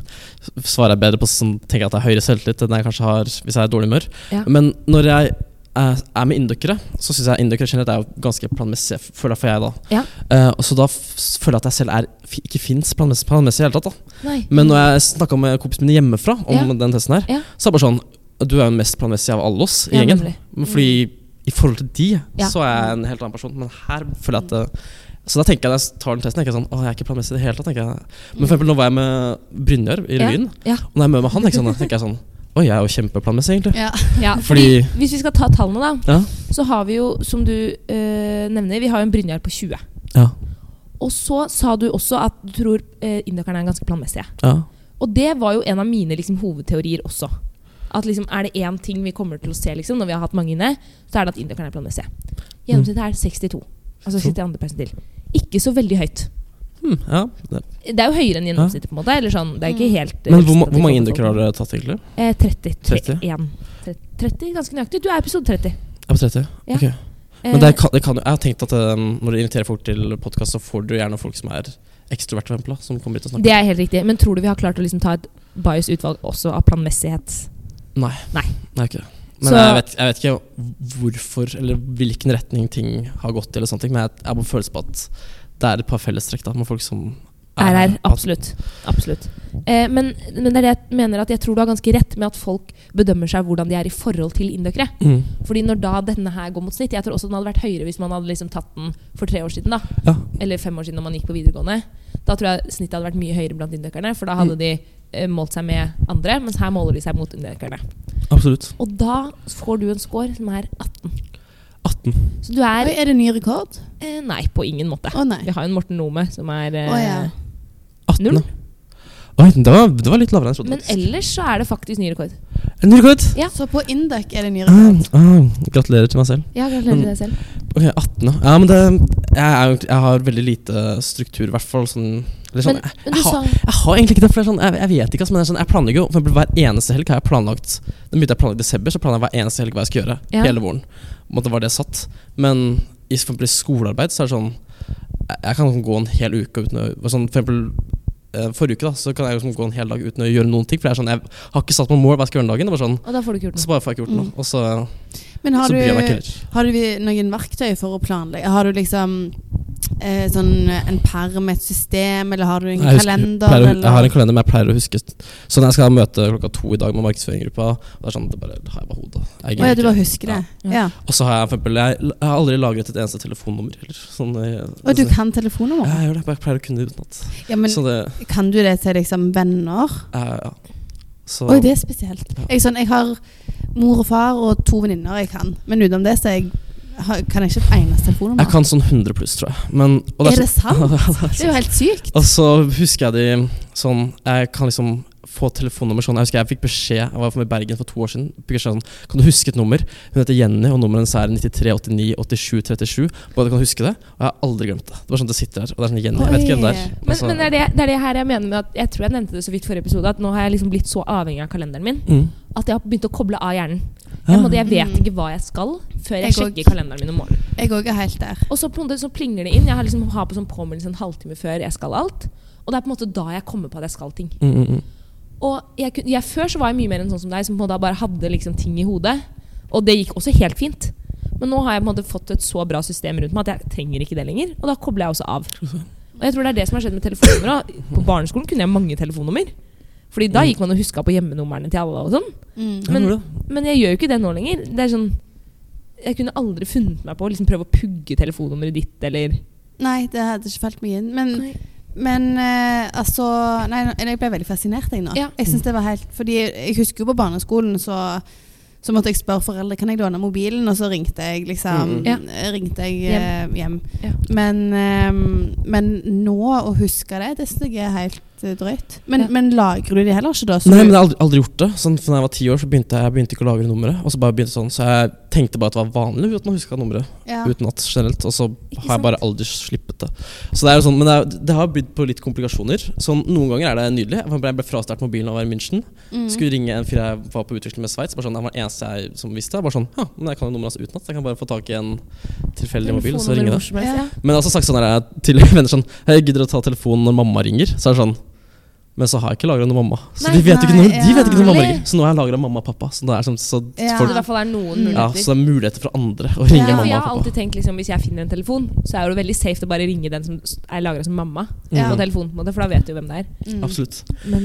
Speaker 3: svarer jeg bedre på sånn, tenker jeg at jeg har høyere selvtillit enn jeg kanskje har hvis jeg er i dårlig humør.
Speaker 2: Ja.
Speaker 3: Men når jeg er, er med inndøkkere, så syns jeg inndøkkere generelt er jo ganske planmessige, f- føler jeg for jeg, da.
Speaker 2: Ja.
Speaker 3: Eh, og så da f- føler jeg at jeg selv er, f- ikke fins planmessig, planmessig i det hele tatt. da
Speaker 2: Nei.
Speaker 3: men når jeg snakka med kompisene mine hjemmefra om
Speaker 2: Ja.
Speaker 3: den testen her,
Speaker 2: Ja.
Speaker 3: så er det bare sånn Du er jo mest planmessig av alle oss i
Speaker 2: Ja,
Speaker 3: gjengen.
Speaker 2: nemlig.
Speaker 3: Men Fordi i forhold til de,
Speaker 2: Ja.
Speaker 3: så er jeg en helt annen person. Men her føler jeg at det, Så da tenker jeg når jeg tar den testen, tenker jeg sånn Å, jeg er ikke planmessig i det hele tatt. tenker jeg Men for eksempel nå var jeg med Brynjar i
Speaker 2: Ja.
Speaker 3: revyen,
Speaker 2: Ja.
Speaker 3: og når jeg er med, med han, tenker jeg sånn, tenker jeg sånn Oi, jeg er jo kjempeplanmessig, egentlig.
Speaker 1: Ja.
Speaker 3: [LAUGHS]
Speaker 2: Ja,
Speaker 3: Fordi-
Speaker 2: fordi, hvis vi skal ta tallene, da,
Speaker 3: Ja.
Speaker 2: så har vi jo, som du eh, nevner, vi har jo en Brynjar på 20.
Speaker 3: Ja.
Speaker 2: Og så sa du også at du tror uh, indokerne er ganske planmessige.
Speaker 3: ja.
Speaker 2: Og det var jo en av mine liksom, hovedteorier også. At liksom, Er det én ting vi kommer til å se liksom, når vi har hatt mange inne, så er det at indokerne er planmessige. Gjennomsnittet er 62. Altså 62 persentil. Ikke så veldig høyt.
Speaker 3: Hm, ja. Det.
Speaker 2: Det er jo høyere enn gjennomsnittet. på en måte Eller sånn, det er ikke helt eh,
Speaker 3: Men hvor, ma-
Speaker 2: representativt
Speaker 3: hvor
Speaker 2: overfor
Speaker 3: mange indikere har dere tatt, egentlig?
Speaker 2: folk. Eh, 30.
Speaker 3: 30?
Speaker 2: 31. 30, 30, ganske nøyaktig. Du er episode 30.
Speaker 3: Jeg er på 30.
Speaker 2: Ja. Eh,
Speaker 3: Ok. Men det kan, det kan, jo- jeg har tenkt at eh, når du inviterer folk til podkast, så får du gjerne folk som er ekstroverte, for eksempel, da, som kommer hit og snakker.
Speaker 2: Det er helt riktig. Men tror du vi har klart å liksom ta et bias utvalg også av planmessighet?
Speaker 3: Nei.
Speaker 2: Nei.
Speaker 3: Nei, ikke det. Men
Speaker 2: Så-
Speaker 3: jeg, vet, jeg vet ikke hvorfor eller hvilken retning ting har gått i. eller sånne ting Men jeg jeg har bare følelse på at det er et par fellestrekk da med folk som
Speaker 2: er her.
Speaker 3: at-
Speaker 2: Absolutt. absolutt. Eh, men, men det er det jeg mener at jeg tror du har ganske rett med at folk bedømmer seg hvordan de er i forhold til indokere.
Speaker 3: Mm.
Speaker 2: Fordi når da denne her går mot snitt Jeg tror også den hadde vært høyere hvis man hadde liksom tatt den for tre år siden. da
Speaker 3: Ja.
Speaker 2: Eller fem år siden når man gikk på videregående. Da tror jeg snittet hadde vært mye høyere blant indokerne, for da hadde de eh, målt seg med andre, mens her måler de seg mot indokerne.
Speaker 3: Absolutt.
Speaker 2: Og da får du en score som er 18.
Speaker 3: 18.
Speaker 2: Så du er
Speaker 1: Oi, er det ny rekord?
Speaker 2: eh, Nei, på ingen måte.
Speaker 1: Å nei.
Speaker 2: Vi har jo en Morten Nome som er eh,
Speaker 1: Å, ja.
Speaker 3: 18
Speaker 2: Null.
Speaker 3: ja. Oi, det var, det var litt lavere enn jeg trodde.
Speaker 2: Men
Speaker 3: faktisk.
Speaker 2: ellers så er det faktisk ny rekord.
Speaker 3: En ny rekord!
Speaker 2: Ja.
Speaker 1: Så på Induc er det ny
Speaker 3: Ah,
Speaker 1: rekord.
Speaker 3: ah, gratulerer til meg selv.
Speaker 2: Ja,
Speaker 3: til
Speaker 2: gratulerer
Speaker 3: deg
Speaker 2: selv.
Speaker 3: Ok, 18, ja. ja men det, jeg, er, jo- jeg har veldig lite struktur, i hvert fall. Sånn, eller sånn,
Speaker 2: Men,
Speaker 3: jeg,
Speaker 2: men du
Speaker 3: jeg, har,
Speaker 2: sa
Speaker 3: jeg har egentlig ikke det. For det er sånn, jeg, jeg vet ikke, altså, men det er sånn, jeg planlegger jo for eksempel, hver eneste helg. har jeg planlagt Den begynte jeg å planlegge i desember, så planla jeg hver eneste helg hva jeg skulle gjøre.
Speaker 2: Ja.
Speaker 3: Hele våren. På en måte var det satt. Men i for eksempel, i skolearbeid så er det sånn Jeg, jeg kan gå en hel uke uten å sånn, For eksempel eh, forrige uke da, så kan jeg liksom gå en hel dag uten å gjøre noen ting. For det er sånn, jeg har ikke satt meg mål hva jeg skal gjøre den dagen. Det var sånn,
Speaker 2: Og da får du ikke gjort
Speaker 3: så
Speaker 2: noe.
Speaker 3: bare får jeg ikke gjort noe.
Speaker 1: Mm.
Speaker 3: Og så,
Speaker 1: Men har
Speaker 3: så bryr jeg meg ikke
Speaker 1: du,
Speaker 3: heller.
Speaker 1: har du vi- noen verktøy for å planlegge? Har du liksom eh, sånn eh, en perm, et system, eller har du en
Speaker 3: Jeg husker-
Speaker 1: kalender?
Speaker 3: pleier å-
Speaker 1: eller?
Speaker 3: Jeg har en kalender, men jeg pleier å huske Så når jeg skal møte klokka to i dag med markedsføringsgruppa, og det er sånn, det bare har jeg bare hodet. Jeg
Speaker 1: Å ja, du
Speaker 3: gidder
Speaker 1: bare
Speaker 3: ikke.
Speaker 1: husker det.
Speaker 2: Ja.
Speaker 1: Ja.
Speaker 3: Og så har jeg for eksempel Jeg, jeg har aldri lagret et eneste telefonnummer heller. Sånn, jeg,
Speaker 1: Og du kan telefonnummer?
Speaker 3: Ja, jeg gjør det. Jeg pleier å kunne det utenat.
Speaker 1: Ja, men
Speaker 3: Så det
Speaker 1: kan du det til liksom venner?
Speaker 3: er, ja. Så
Speaker 1: Oi, det er spesielt.
Speaker 3: Ja.
Speaker 1: Jeg, er sånn, jeg har mor og far og to venninner jeg kan, men utenom det så er jeg, har, kan jeg ikke et eneste telefonnummer.
Speaker 3: Jeg kan sånn 100 pluss, tror jeg. Men, og
Speaker 1: Er det
Speaker 3: sånn-
Speaker 1: sant?
Speaker 3: [LAUGHS] Ja, det er
Speaker 1: Det er jo helt sykt.
Speaker 3: Og så husker jeg de sånn Jeg kan liksom få telefonnummer sånn. Jeg husker jeg fikk beskjed Jeg var i Bergen for to år siden. Fikk beskjed sånn Kan du huske et nummer? Hun heter Jenny, og nummeret hennes er 93 89 87 37. Bare kan du huske det. Og jeg har aldri glemt det. Det var sånn det sitter her. Og det er sånn Jenny, jeg vet ikke hvem det er.
Speaker 1: Oi.
Speaker 2: Men,
Speaker 3: Altså,
Speaker 2: men det, er det, det er det her jeg mener med at Jeg tror jeg nevnte det så vidt forrige episode, at nå har jeg liksom blitt så avhengig av kalenderen min
Speaker 3: mm.
Speaker 2: at jeg har begynt å koble av hjernen.
Speaker 3: Ja.
Speaker 2: Jeg, måtte, jeg vet
Speaker 1: Mm.
Speaker 2: ikke hva jeg skal før jeg,
Speaker 1: Jeg
Speaker 2: sjekker
Speaker 1: òg.
Speaker 2: kalenderen min om morgenen.
Speaker 1: Jeg òg er helt der.
Speaker 2: Og så på en måte så plinger det inn. Jeg har liksom har på sånn påminnelse en halvtime før jeg skal alt. Og det er på en måte da jeg kommer på at jeg skal ting.
Speaker 3: Mm, mm, mm.
Speaker 2: Og jeg, kun- jeg, før så var jeg mye mer enn sånn som deg, som på en måte da bare hadde liksom ting i hodet. Og det gikk også helt fint. Men nå har jeg på en måte fått et så bra system rundt meg at jeg trenger ikke det lenger. Og da kobler jeg også av. Og jeg tror det er det som har skjedd med telefonnummer. også. På barneskolen kunne jeg mange telefonnummer. Fordi da gikk man og huska på hjemmenumrene til alle og sånn.
Speaker 1: Mm.
Speaker 3: Ja,
Speaker 2: Men-
Speaker 3: hvor da?
Speaker 2: Men jeg gjør jo ikke det nå lenger. Det er sånn Jeg kunne aldri funnet meg på å liksom prøve å pugge telefonnummeret ditt eller
Speaker 1: Nei, det hadde ikke falt meg inn. Men, men eh, altså Nei, nå- jeg ble veldig fascinert, jeg nå.
Speaker 2: Ja.
Speaker 1: Jeg synes det var helt Fordi jeg husker jo på barneskolen, så så måtte jeg spørre foreldre kan jeg låne mobilen, og så ringte jeg liksom
Speaker 3: Mm, mm.
Speaker 2: Ja.
Speaker 1: Ringte jeg eh,
Speaker 2: Hjem.
Speaker 1: hjem.
Speaker 2: Ja.
Speaker 1: Men, eh, men nå å huske det, det synes jeg er helt eh, drøyt. Men,
Speaker 2: Ja.
Speaker 1: men lagrer du de heller ikke, da? Så
Speaker 3: Nei,
Speaker 1: du-
Speaker 3: men jeg har aldri, aldri gjort det. Sånn, for da jeg var ti år, så begynte jeg, jeg begynte ikke å lagre nummeret. Og så bare begynte sånn Så jeg tenkte bare at det var vanlig at man huska nummeret.
Speaker 1: ja.
Speaker 3: uten at generelt. Og så
Speaker 2: Ikke
Speaker 3: har jeg bare aldri slippet det. Så det er jo sånn, Men det, er, det har bydd på litt komplikasjoner. Sånn, Noen ganger er det nydelig. Jeg ble- jeg ble frastjålet mobilen av å være i München.
Speaker 1: Mm.
Speaker 3: Skulle ringe en fyr jeg var på utveksling med i Sveits. bare Sånn, han var den eneste jeg som visste. Jeg bare sånn, ja, men jeg kan jo nummeret hans utenat. så Jeg kan bare få tak i en tilfeldig mobil og så ringe det.
Speaker 2: Telefonnummer hvor som helst,
Speaker 1: Ja.
Speaker 2: ja.
Speaker 3: Men jeg har også sagt sånn her, til [LAUGHS] venner sånn Jeg gidder å ta telefonen når mamma ringer. Så er det sånn men så har jeg ikke lagra noe mamma. Så
Speaker 2: Nei,
Speaker 3: de vet ikke
Speaker 1: nei,
Speaker 3: noe, de vet ikke noe mamma
Speaker 2: ja.
Speaker 3: ringer. Så nå har jeg lagra mamma og pappa. Så, det er sånn, så,
Speaker 1: Ja.
Speaker 2: Så
Speaker 3: folk,
Speaker 2: det i hvert fall er noen
Speaker 1: Mm.
Speaker 3: ja,
Speaker 2: muligheter.
Speaker 3: så det er muligheter for andre å ringe
Speaker 1: Ja,
Speaker 2: for
Speaker 3: mamma
Speaker 2: jeg har
Speaker 3: og pappa.
Speaker 2: alltid tenkt liksom, Hvis jeg finner en telefon, så er det veldig safe å bare ringe den som s- er lagra som mamma.
Speaker 1: Ja.
Speaker 2: På telefonen, på en måte, For da vet du hvem det er.
Speaker 1: Mm.
Speaker 3: Mm. Absolutt.
Speaker 2: Men,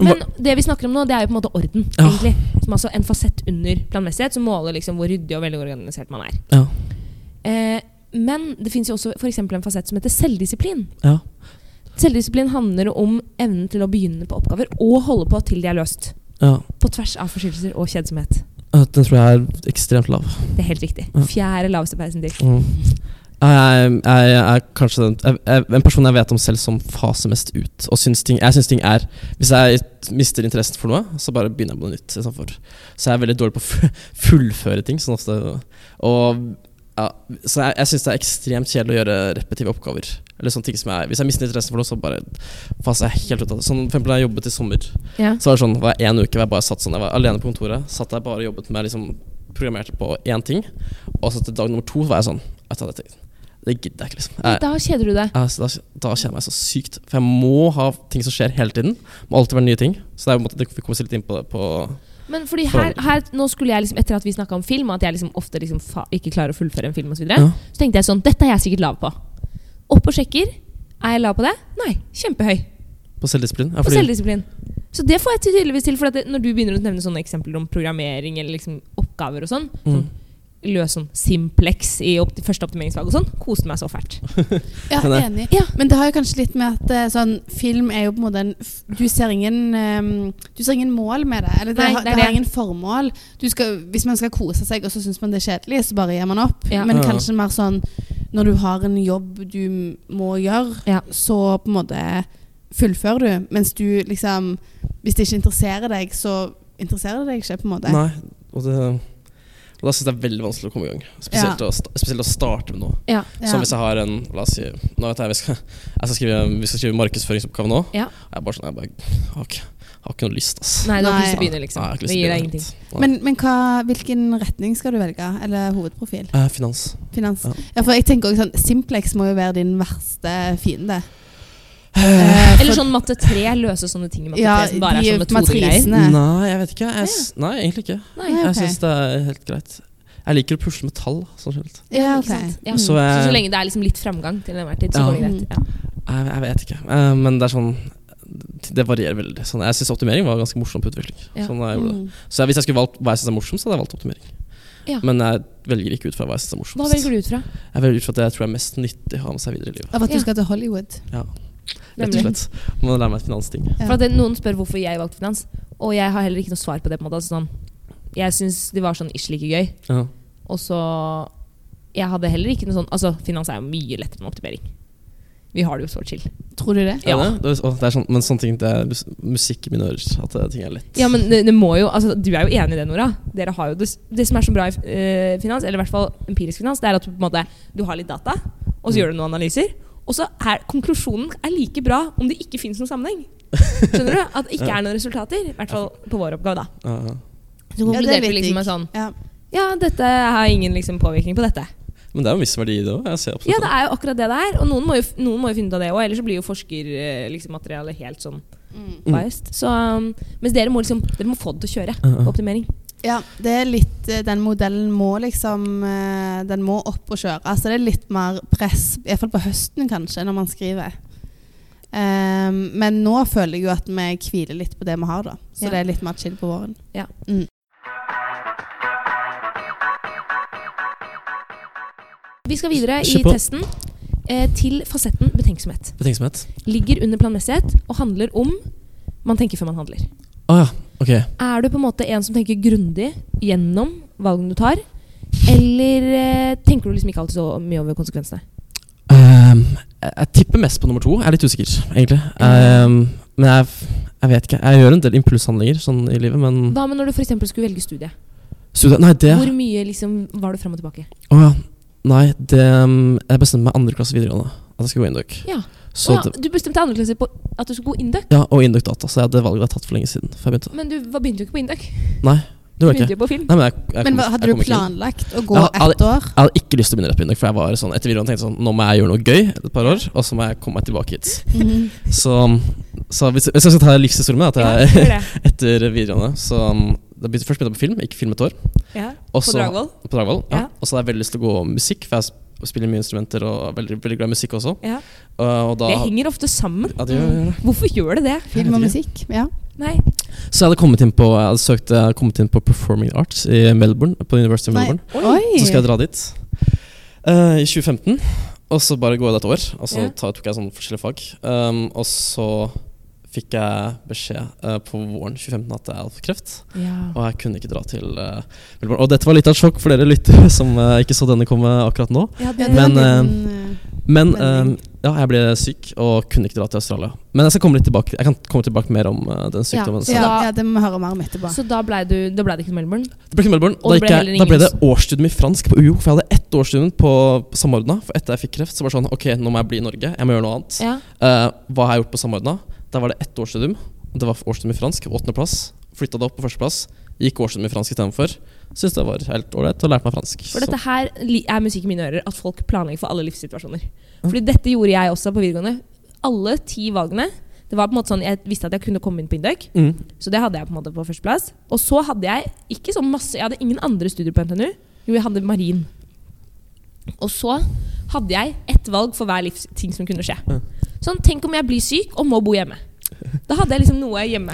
Speaker 3: Men
Speaker 2: det vi snakker om nå, det er jo på en måte orden.
Speaker 3: Ja.
Speaker 2: egentlig Som altså en fasett under planmessighet, som måler liksom hvor ryddig og veldig organisert man er.
Speaker 3: Ja.
Speaker 2: Eh, men det fins jo også for eksempel en fasett som heter selvdisiplin.
Speaker 3: Ja.
Speaker 2: Selvdisiplin handler om evnen til å begynne på oppgaver og holde på til de er løst.
Speaker 3: ja.
Speaker 2: På tvers av forstyrrelser og kjedsomhet.
Speaker 3: Ja, Den tror jeg er ekstremt lav.
Speaker 2: Det er helt riktig.
Speaker 3: Ja.
Speaker 2: Fjerde laveste persentil.
Speaker 3: Mm. Jeg, jeg, jeg er kanskje den, jeg, jeg, en person jeg vet om selv som faser mest ut. Og syns ting, jeg syns ting er Hvis jeg mister interessen for noe, så bare begynner jeg på noe nytt. istedenfor. Så jeg er veldig dårlig på å fu- fullføre ting. Sånn ofte, og, ja, så jeg, jeg syns det er ekstremt kjedelig å gjøre repetitive oppgaver. Eller sånne ting som jeg, Hvis jeg mister interessen for noe, så bare faser jeg helt ut av det. Sånn, for eksempel da jeg jobbet i sommer,
Speaker 2: Ja.
Speaker 3: så var det sånn, det var en uke hvor jeg bare satt sånn, jeg var alene på kontoret, satt der bare og jobbet med, liksom, programmerte på én ting, og så til dag nummer to var jeg sånn, jeg tar dette, det gidder jeg ikke, liksom. Jeg,
Speaker 2: Da kjeder du deg.
Speaker 3: jeg, så da, da kjenner jeg meg så sykt, for jeg må ha ting som skjer hele tiden, må alltid være nye ting, så det er jo på en måte, det- vi kommer oss litt inn på det, på,
Speaker 2: Men fordi her, her nå skulle jeg liksom, Etter at vi snakka om film, og at jeg liksom ofte liksom fa ikke klarer å fullføre en film, og så, videre,
Speaker 3: Ja.
Speaker 2: så tenkte jeg sånn Dette er jeg sikkert lav på. Opp og sjekker. Er jeg lav på det? Nei. Kjempehøy.
Speaker 3: på selvdisiplin. Ja,
Speaker 2: På
Speaker 3: fordi-
Speaker 2: selvdisiplin. Så det får jeg tydeligvis til. For at det, når du begynner å nevne sånne eksempler om programmering eller liksom oppgaver og sånn,
Speaker 3: Mm.
Speaker 2: løs sånn Simplex i opp, første optimeringsfag og sånn. Koste meg så fælt.
Speaker 1: Ja,
Speaker 3: Kan jeg-
Speaker 1: enig. Men det har jo kanskje litt med at eh, sånn, film er jo på en måte en f- Du ser ingen, ehm, du ser ingen mål med det. Eller det,
Speaker 2: Nei,
Speaker 1: har- det,
Speaker 2: det er
Speaker 1: har
Speaker 2: det.
Speaker 1: ingen formål. Du skal, hvis man skal kose seg, og så syns man det er kjedelig, så bare gir man opp.
Speaker 2: Ja.
Speaker 1: Men
Speaker 3: Ja.
Speaker 1: kanskje mer sånn når du har en jobb du m- må gjøre,
Speaker 2: Ja.
Speaker 1: så på en måte fullfører du. Mens du liksom Hvis det ikke interesserer deg, så interesserer det deg ikke, på en måte.
Speaker 3: Nei, og det og da syns jeg det er veldig vanskelig å komme i gang. Spesielt, å, sta- spesielt å starte med noe.
Speaker 2: Ja.
Speaker 1: Ja.
Speaker 3: Som hvis jeg har en La oss si Nå vet jeg vi skal, jeg skal skrive, vi skal skrive markedsføringsoppgave nå.
Speaker 2: Ja.
Speaker 3: Og jeg er bare sånn Jeg bare, har, ikke, har ikke noe lyst, ass.
Speaker 2: Nei, du har ikke lyst til å
Speaker 1: Nei.
Speaker 2: begynne, liksom.
Speaker 3: Nei, jeg har ikke lyst
Speaker 2: det
Speaker 3: til å
Speaker 2: gir deg
Speaker 3: begynne.
Speaker 2: ingenting.
Speaker 3: Nei.
Speaker 1: Men, men hva, hvilken retning skal du velge? Eller hovedprofil?
Speaker 3: Eh, finans.
Speaker 1: Finans.
Speaker 3: Ja.
Speaker 1: Ja. for jeg tenker også sånn, Simplex må jo være din verste fiende.
Speaker 3: Eh,
Speaker 1: Eh,
Speaker 2: Eller sånn matte 3, løse sånne ting i matte 3
Speaker 1: Ja,
Speaker 2: som bare er
Speaker 1: de
Speaker 2: sånn metodegreier.
Speaker 1: matrisene. Nei.
Speaker 3: Nei, jeg vet ikke. Jeg, s- nei, egentlig ikke.
Speaker 2: Nei,
Speaker 1: Nei,
Speaker 3: Jeg
Speaker 1: ok.
Speaker 3: syns det er helt greit. Jeg liker å pusle med tall. Sånn generelt.
Speaker 1: Ja,
Speaker 2: ikke sant? Ja.
Speaker 3: Mm. Så
Speaker 2: Så, så,
Speaker 3: jeg-
Speaker 2: lenge det er liksom litt framgang til enhver tid, så
Speaker 3: Ja.
Speaker 2: går det greit. Ja.
Speaker 3: Jeg, jeg vet ikke. Eh, men det er sånn Det varierer veldig. Sånn, jeg syns optimering var ganske morsom på utvikling.
Speaker 2: Ja.
Speaker 3: Sånn jeg gjorde det.
Speaker 1: Mm.
Speaker 3: Så hvis jeg skulle valgt hva jeg syns er morsom, så hadde jeg valgt optimering.
Speaker 2: Ja.
Speaker 3: Men jeg velger ikke ut fra hva jeg syns er
Speaker 2: Hva
Speaker 3: morsomst.
Speaker 2: velger du ut fra?
Speaker 3: Jeg velger ut fra det jeg tror er mest nyttig å ha med seg videre i livet.
Speaker 1: Av at
Speaker 2: Ja.
Speaker 1: du skal til Hollywood.
Speaker 3: Rett og slett. Må lære meg et finansting.
Speaker 1: Ja.
Speaker 2: For at det, Noen spør hvorfor jeg valgte finans, og jeg har heller ikke noe svar på det. på en måte altså, sånn, Jeg syns det var sånn ikke like gøy.
Speaker 3: Ja.
Speaker 2: Og så Jeg hadde heller ikke noe sånn Altså, finans er jo mye lettere enn optimering. Vi har det jo så chill.
Speaker 1: Tror du det?
Speaker 2: Ja.
Speaker 3: Er det? Det er- å, det er sånn, men sånne ting Det er mus- musikk i mine ører. At det- ting er lett.
Speaker 2: Ja, men det, det må jo, altså, Du er jo enig i det, Nora. Dere har jo det, det som er så bra i eh, finans, eller i hvert fall empirisk finans, det er at du, på en måte, du har litt data, og
Speaker 1: Mm.
Speaker 2: så gjør du noen analyser. Og så er konklusjonen er like bra om det ikke fins noen sammenheng. Skjønner du? At
Speaker 1: [LAUGHS]
Speaker 2: det ikke er noen resultater. I hvert fall på vår oppgave, da.
Speaker 3: Ja, ja.
Speaker 1: Ja,
Speaker 2: Så
Speaker 1: det er
Speaker 2: konkluderte vi
Speaker 1: litt
Speaker 2: liksom med
Speaker 1: digg.
Speaker 2: sånn
Speaker 1: Ja.
Speaker 2: Ja, dette har ingen liksom, påvirkning på dette.
Speaker 3: Men det er jo en viss verdi i det òg. Jeg ser absolutt
Speaker 1: sånn.
Speaker 2: Ja, det er jo akkurat det det er. Og noen må jo, noen må jo finne ut av det òg, ellers så blir jo forskermaterialet liksom, materialet helt sånn
Speaker 3: Mm.
Speaker 2: biased. Så, um, mens dere må, liksom, dere må få det til å kjøre på optimering.
Speaker 1: ja, det er litt eh, Den modellen må liksom eh, Den må opp og kjøre. Altså det er litt mer press, iallfall på høsten kanskje, når man skriver. Ehm, men nå føler jeg jo at vi hviler litt på det vi har, da. Så
Speaker 2: Ja.
Speaker 1: det er litt mer chill på våren.
Speaker 2: Ja.
Speaker 1: Mm.
Speaker 2: Vi skal videre i
Speaker 3: Kjør på.
Speaker 2: testen eh, til fasetten betenksomhet.
Speaker 3: Betenksomhet.
Speaker 2: Ligger under planmessighet og handler om man tenker før man handler.
Speaker 3: Å ja. Ok.
Speaker 2: Er du på en måte en som tenker grundig gjennom valgene du tar, eller eh, tenker du liksom ikke alltid så mye over konsekvensene?
Speaker 3: Ehm, jeg, jeg tipper mest på nummer to. Jeg er litt usikker, egentlig.
Speaker 2: Mm.
Speaker 3: Ehm, men jeg, jeg vet ikke. Jeg gjør en del impulshandlinger sånn i livet, men
Speaker 2: Hva med når du for eksempel skulle velge studie?
Speaker 3: Studie- Nei, det
Speaker 2: Hvor mye liksom var du fram og tilbake?
Speaker 3: Å ja. Nei, det um, Jeg bestemte meg andre klasse videregående at jeg skulle gå induc.
Speaker 2: Ja.
Speaker 3: Så
Speaker 2: Å ja,
Speaker 3: det,
Speaker 2: du bestemte i andre klasse på at du skulle gå induc,
Speaker 3: ja, og induc data, så jeg hadde valget jeg hadde tatt for lenge siden. Før jeg begynte.
Speaker 2: men du var, begynte jo ikke på induc. Du
Speaker 3: Det gjorde jeg
Speaker 2: begynte
Speaker 3: ikke.
Speaker 2: jo på film.
Speaker 3: Nei, men jeg, jeg,
Speaker 1: Men
Speaker 3: kom-
Speaker 1: hva, hadde
Speaker 3: jeg
Speaker 1: du
Speaker 3: kom ikke dit.
Speaker 1: planlagt å gå
Speaker 3: Ja, hadde-
Speaker 1: ett år?
Speaker 2: [LAUGHS]
Speaker 3: Jeg hadde ikke lyst til å begynne rett på induc, for jeg var sånn etter videregående tenkte sånn Nå må jeg gjøre noe gøy et par år, og så må jeg komme meg tilbake hit.
Speaker 1: Mhm.
Speaker 3: Så, så hvis, hvis jeg skal ta livshistorien min, at
Speaker 2: Ja,
Speaker 3: jeg
Speaker 2: [LAUGHS] gjør
Speaker 3: [LAUGHS]
Speaker 2: det.
Speaker 3: etter videregående Så um, da begynte, Først begynte jeg på film, gikk film et år.
Speaker 2: Ja.
Speaker 3: Og
Speaker 2: På
Speaker 3: så-
Speaker 2: Dragvoll.
Speaker 3: På Dragvoll. Ja.
Speaker 2: Ja.
Speaker 3: Og så hadde jeg veldig lyst til å gå musikk, for jeg sp- spiller mye instrumenter og er veldig, veldig glad i musikk også.
Speaker 2: Ja.
Speaker 3: Uh, og da
Speaker 2: Det henger ofte sammen.
Speaker 3: ja, det gjør, gjør det.
Speaker 2: Hvorfor gjør det det?
Speaker 1: Film og musikk? Ja.
Speaker 2: Nei.
Speaker 3: Så jeg hadde kommet inn på, jeg hadde søkt, jeg hadde kommet inn på Performing Arts i Melbourne, på University of
Speaker 1: Nei,
Speaker 3: Melbourne.
Speaker 1: Oi!
Speaker 3: Så skal jeg dra dit eh, i 2015, og så bare går jeg det et år. Og så
Speaker 2: Ja.
Speaker 3: ta- tok jeg sånn forskjellige fag. Um, og så fikk jeg beskjed eh, på våren 2015 at jeg hadde kreft.
Speaker 2: Ja.
Speaker 3: Og jeg kunne ikke dra til eh, Melbourne. Og dette var litt av et sjokk for dere lyttere [LAUGHS] som eh, ikke så denne komme akkurat nå.
Speaker 2: Ja,
Speaker 1: Ja,
Speaker 2: det,
Speaker 1: det var
Speaker 3: Men,
Speaker 1: en liten, eh,
Speaker 3: Men eh,
Speaker 1: Melding.
Speaker 3: ja, jeg ble syk og kunne ikke dra til Australia. Men jeg skal komme litt tilbake Jeg kan komme tilbake mer om eh, den sykdommen.
Speaker 1: Ja,
Speaker 3: senere.
Speaker 1: ja, det må vi høre mer om etterpå.
Speaker 2: så da ble, du, da ble det ikke til Melbourne?
Speaker 3: Det ble ikke Melbourne.
Speaker 2: Og
Speaker 3: Da,
Speaker 2: det
Speaker 3: gikk
Speaker 2: ble
Speaker 3: jeg,
Speaker 2: heller
Speaker 3: da ble det
Speaker 2: ingen-
Speaker 3: årsstudium i fransk på UiO. For jeg hadde ett årsstudium på på Samordna. For etter jeg fikk kreft, så var det sånn Ok, nå må jeg bli i Norge. Jeg må gjøre noe annet.
Speaker 2: Ja.
Speaker 3: Eh, hva har jeg gjort på Samordna? Der var det ett årsstudium. Det var årsstudium i fransk. Åttendeplass. Flytta det opp på førsteplass. Gikk årsstudium i fransk istedenfor. Syns det var helt ålreit og lærte meg fransk.
Speaker 2: For dette her li- er musikk i mine ører, at folk planlegger for alle livssituasjoner. Fordi dette gjorde jeg også på videregående. Alle ti valgene. Det var på en måte sånn, Jeg visste at jeg kunne komme inn på Induc,
Speaker 3: Så, mm.
Speaker 2: så det hadde jeg på en måte på førsteplass. Og så hadde jeg ikke så masse, jeg hadde ingen andre studier på NTNU. Jo, jeg hadde marin. Og så hadde jeg ett valg for hver livs ting som kunne skje. Sånn, Tenk om jeg blir syk og må bo hjemme. Da hadde jeg liksom noe hjemme.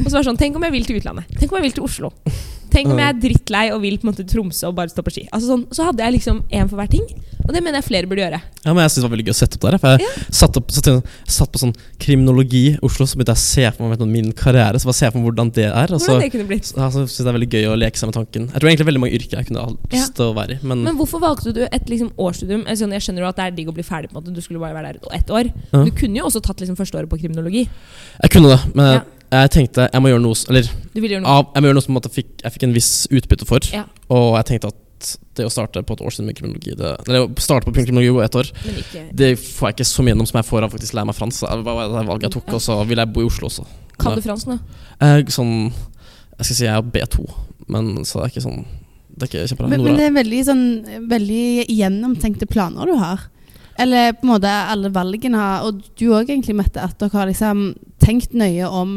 Speaker 2: Og så var det sånn, Tenk om jeg vil til utlandet. Tenk om jeg vil til Oslo. Tenk om jeg er drittlei og vil på en måte til Tromsø og bare stå på ski. Altså sånn, Så hadde jeg liksom én for hver ting. Og det mener jeg flere burde gjøre.
Speaker 3: Ja, men jeg synes det var veldig gøy å sette opp der. For jeg satt, opp, satt, satt på sånn kriminologi i Oslo, så begynte jeg å se for meg vet du, min karriere. Så bare se for meg hvordan det er. Og så,
Speaker 2: Hvordan det kunne blitt.
Speaker 3: så, ja, så synes jeg det er veldig gøy å leke seg med tanken. Jeg tror egentlig veldig mange yrker jeg kunne hatt
Speaker 2: Ja.
Speaker 3: lyst til å være i. Men,
Speaker 2: Men hvorfor valgte du et liksom, årsstudium? Altså, jeg skjønner jo at det er digg å bli ferdig. på en måte Du skulle bare være der ett år.
Speaker 3: Ja.
Speaker 2: Du kunne jo også tatt liksom, første året på kriminologi.
Speaker 3: jeg kunne det. Men
Speaker 2: Ja.
Speaker 3: jeg tenkte jeg må gjøre noe s- Eller
Speaker 2: Du ville gjøre noe.
Speaker 3: av, jeg må gjøre noe som på en måte fikk, jeg fikk en viss utbytte for.
Speaker 2: Ja.
Speaker 3: Og jeg tenkte at det å starte på et år siden med kriminologi det, Eller å starte på kriminologi og ett år
Speaker 2: Men ikke.
Speaker 3: Det får jeg ikke så mye gjennom som jeg får av faktisk lære meg fransk. Det var det valget jeg tok, og så vil jeg bo i Oslo også.
Speaker 2: Kan du fransk nå?
Speaker 3: Jeg, sånn, jeg skal si jeg er B2, men så det er ikke sånn Det er ikke kjempebra.
Speaker 1: Men, men
Speaker 3: Nora,
Speaker 1: det er veldig, sånn, veldig gjennomtenkte planer du har. Eller på en måte alle valgene har Og du òg egentlig, Mette, at dere har liksom tenkt nøye om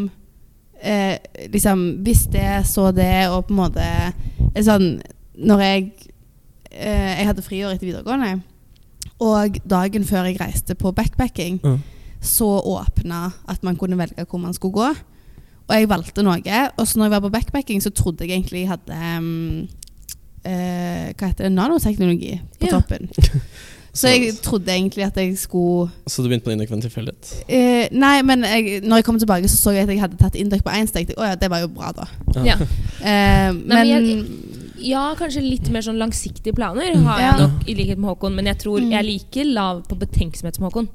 Speaker 1: eh, liksom, Hvis det, så det, og på en måte eh, sånn, Når jeg eh, Jeg hadde friår etter videregående, og dagen før jeg reiste på backpacking,
Speaker 3: Mhm.
Speaker 1: så åpna at man kunne velge hvor man skulle gå. Og jeg valgte noe. Og så når jeg var på backpacking, så trodde jeg egentlig jeg hadde mm, eh, Hva heter det? Nanoteknologi på
Speaker 2: Ja.
Speaker 1: toppen. Så jeg trodde egentlig at jeg skulle
Speaker 3: så du begynte på Induk ved en tilfeldighet?
Speaker 1: eh, Nei, men jeg, når jeg kom tilbake, så så jeg at jeg hadde tatt Induc på én, så tenkte jeg å ja, det var jo bra, da.
Speaker 2: Ja.
Speaker 1: Eh,
Speaker 2: men
Speaker 1: men
Speaker 2: Ja, kanskje litt mer sånn langsiktige planer har
Speaker 1: Ja.
Speaker 2: jeg nok, i likhet med Håkon. Men jeg tror
Speaker 1: Mm.
Speaker 2: jeg er like lav på betenksomhet som Håkon.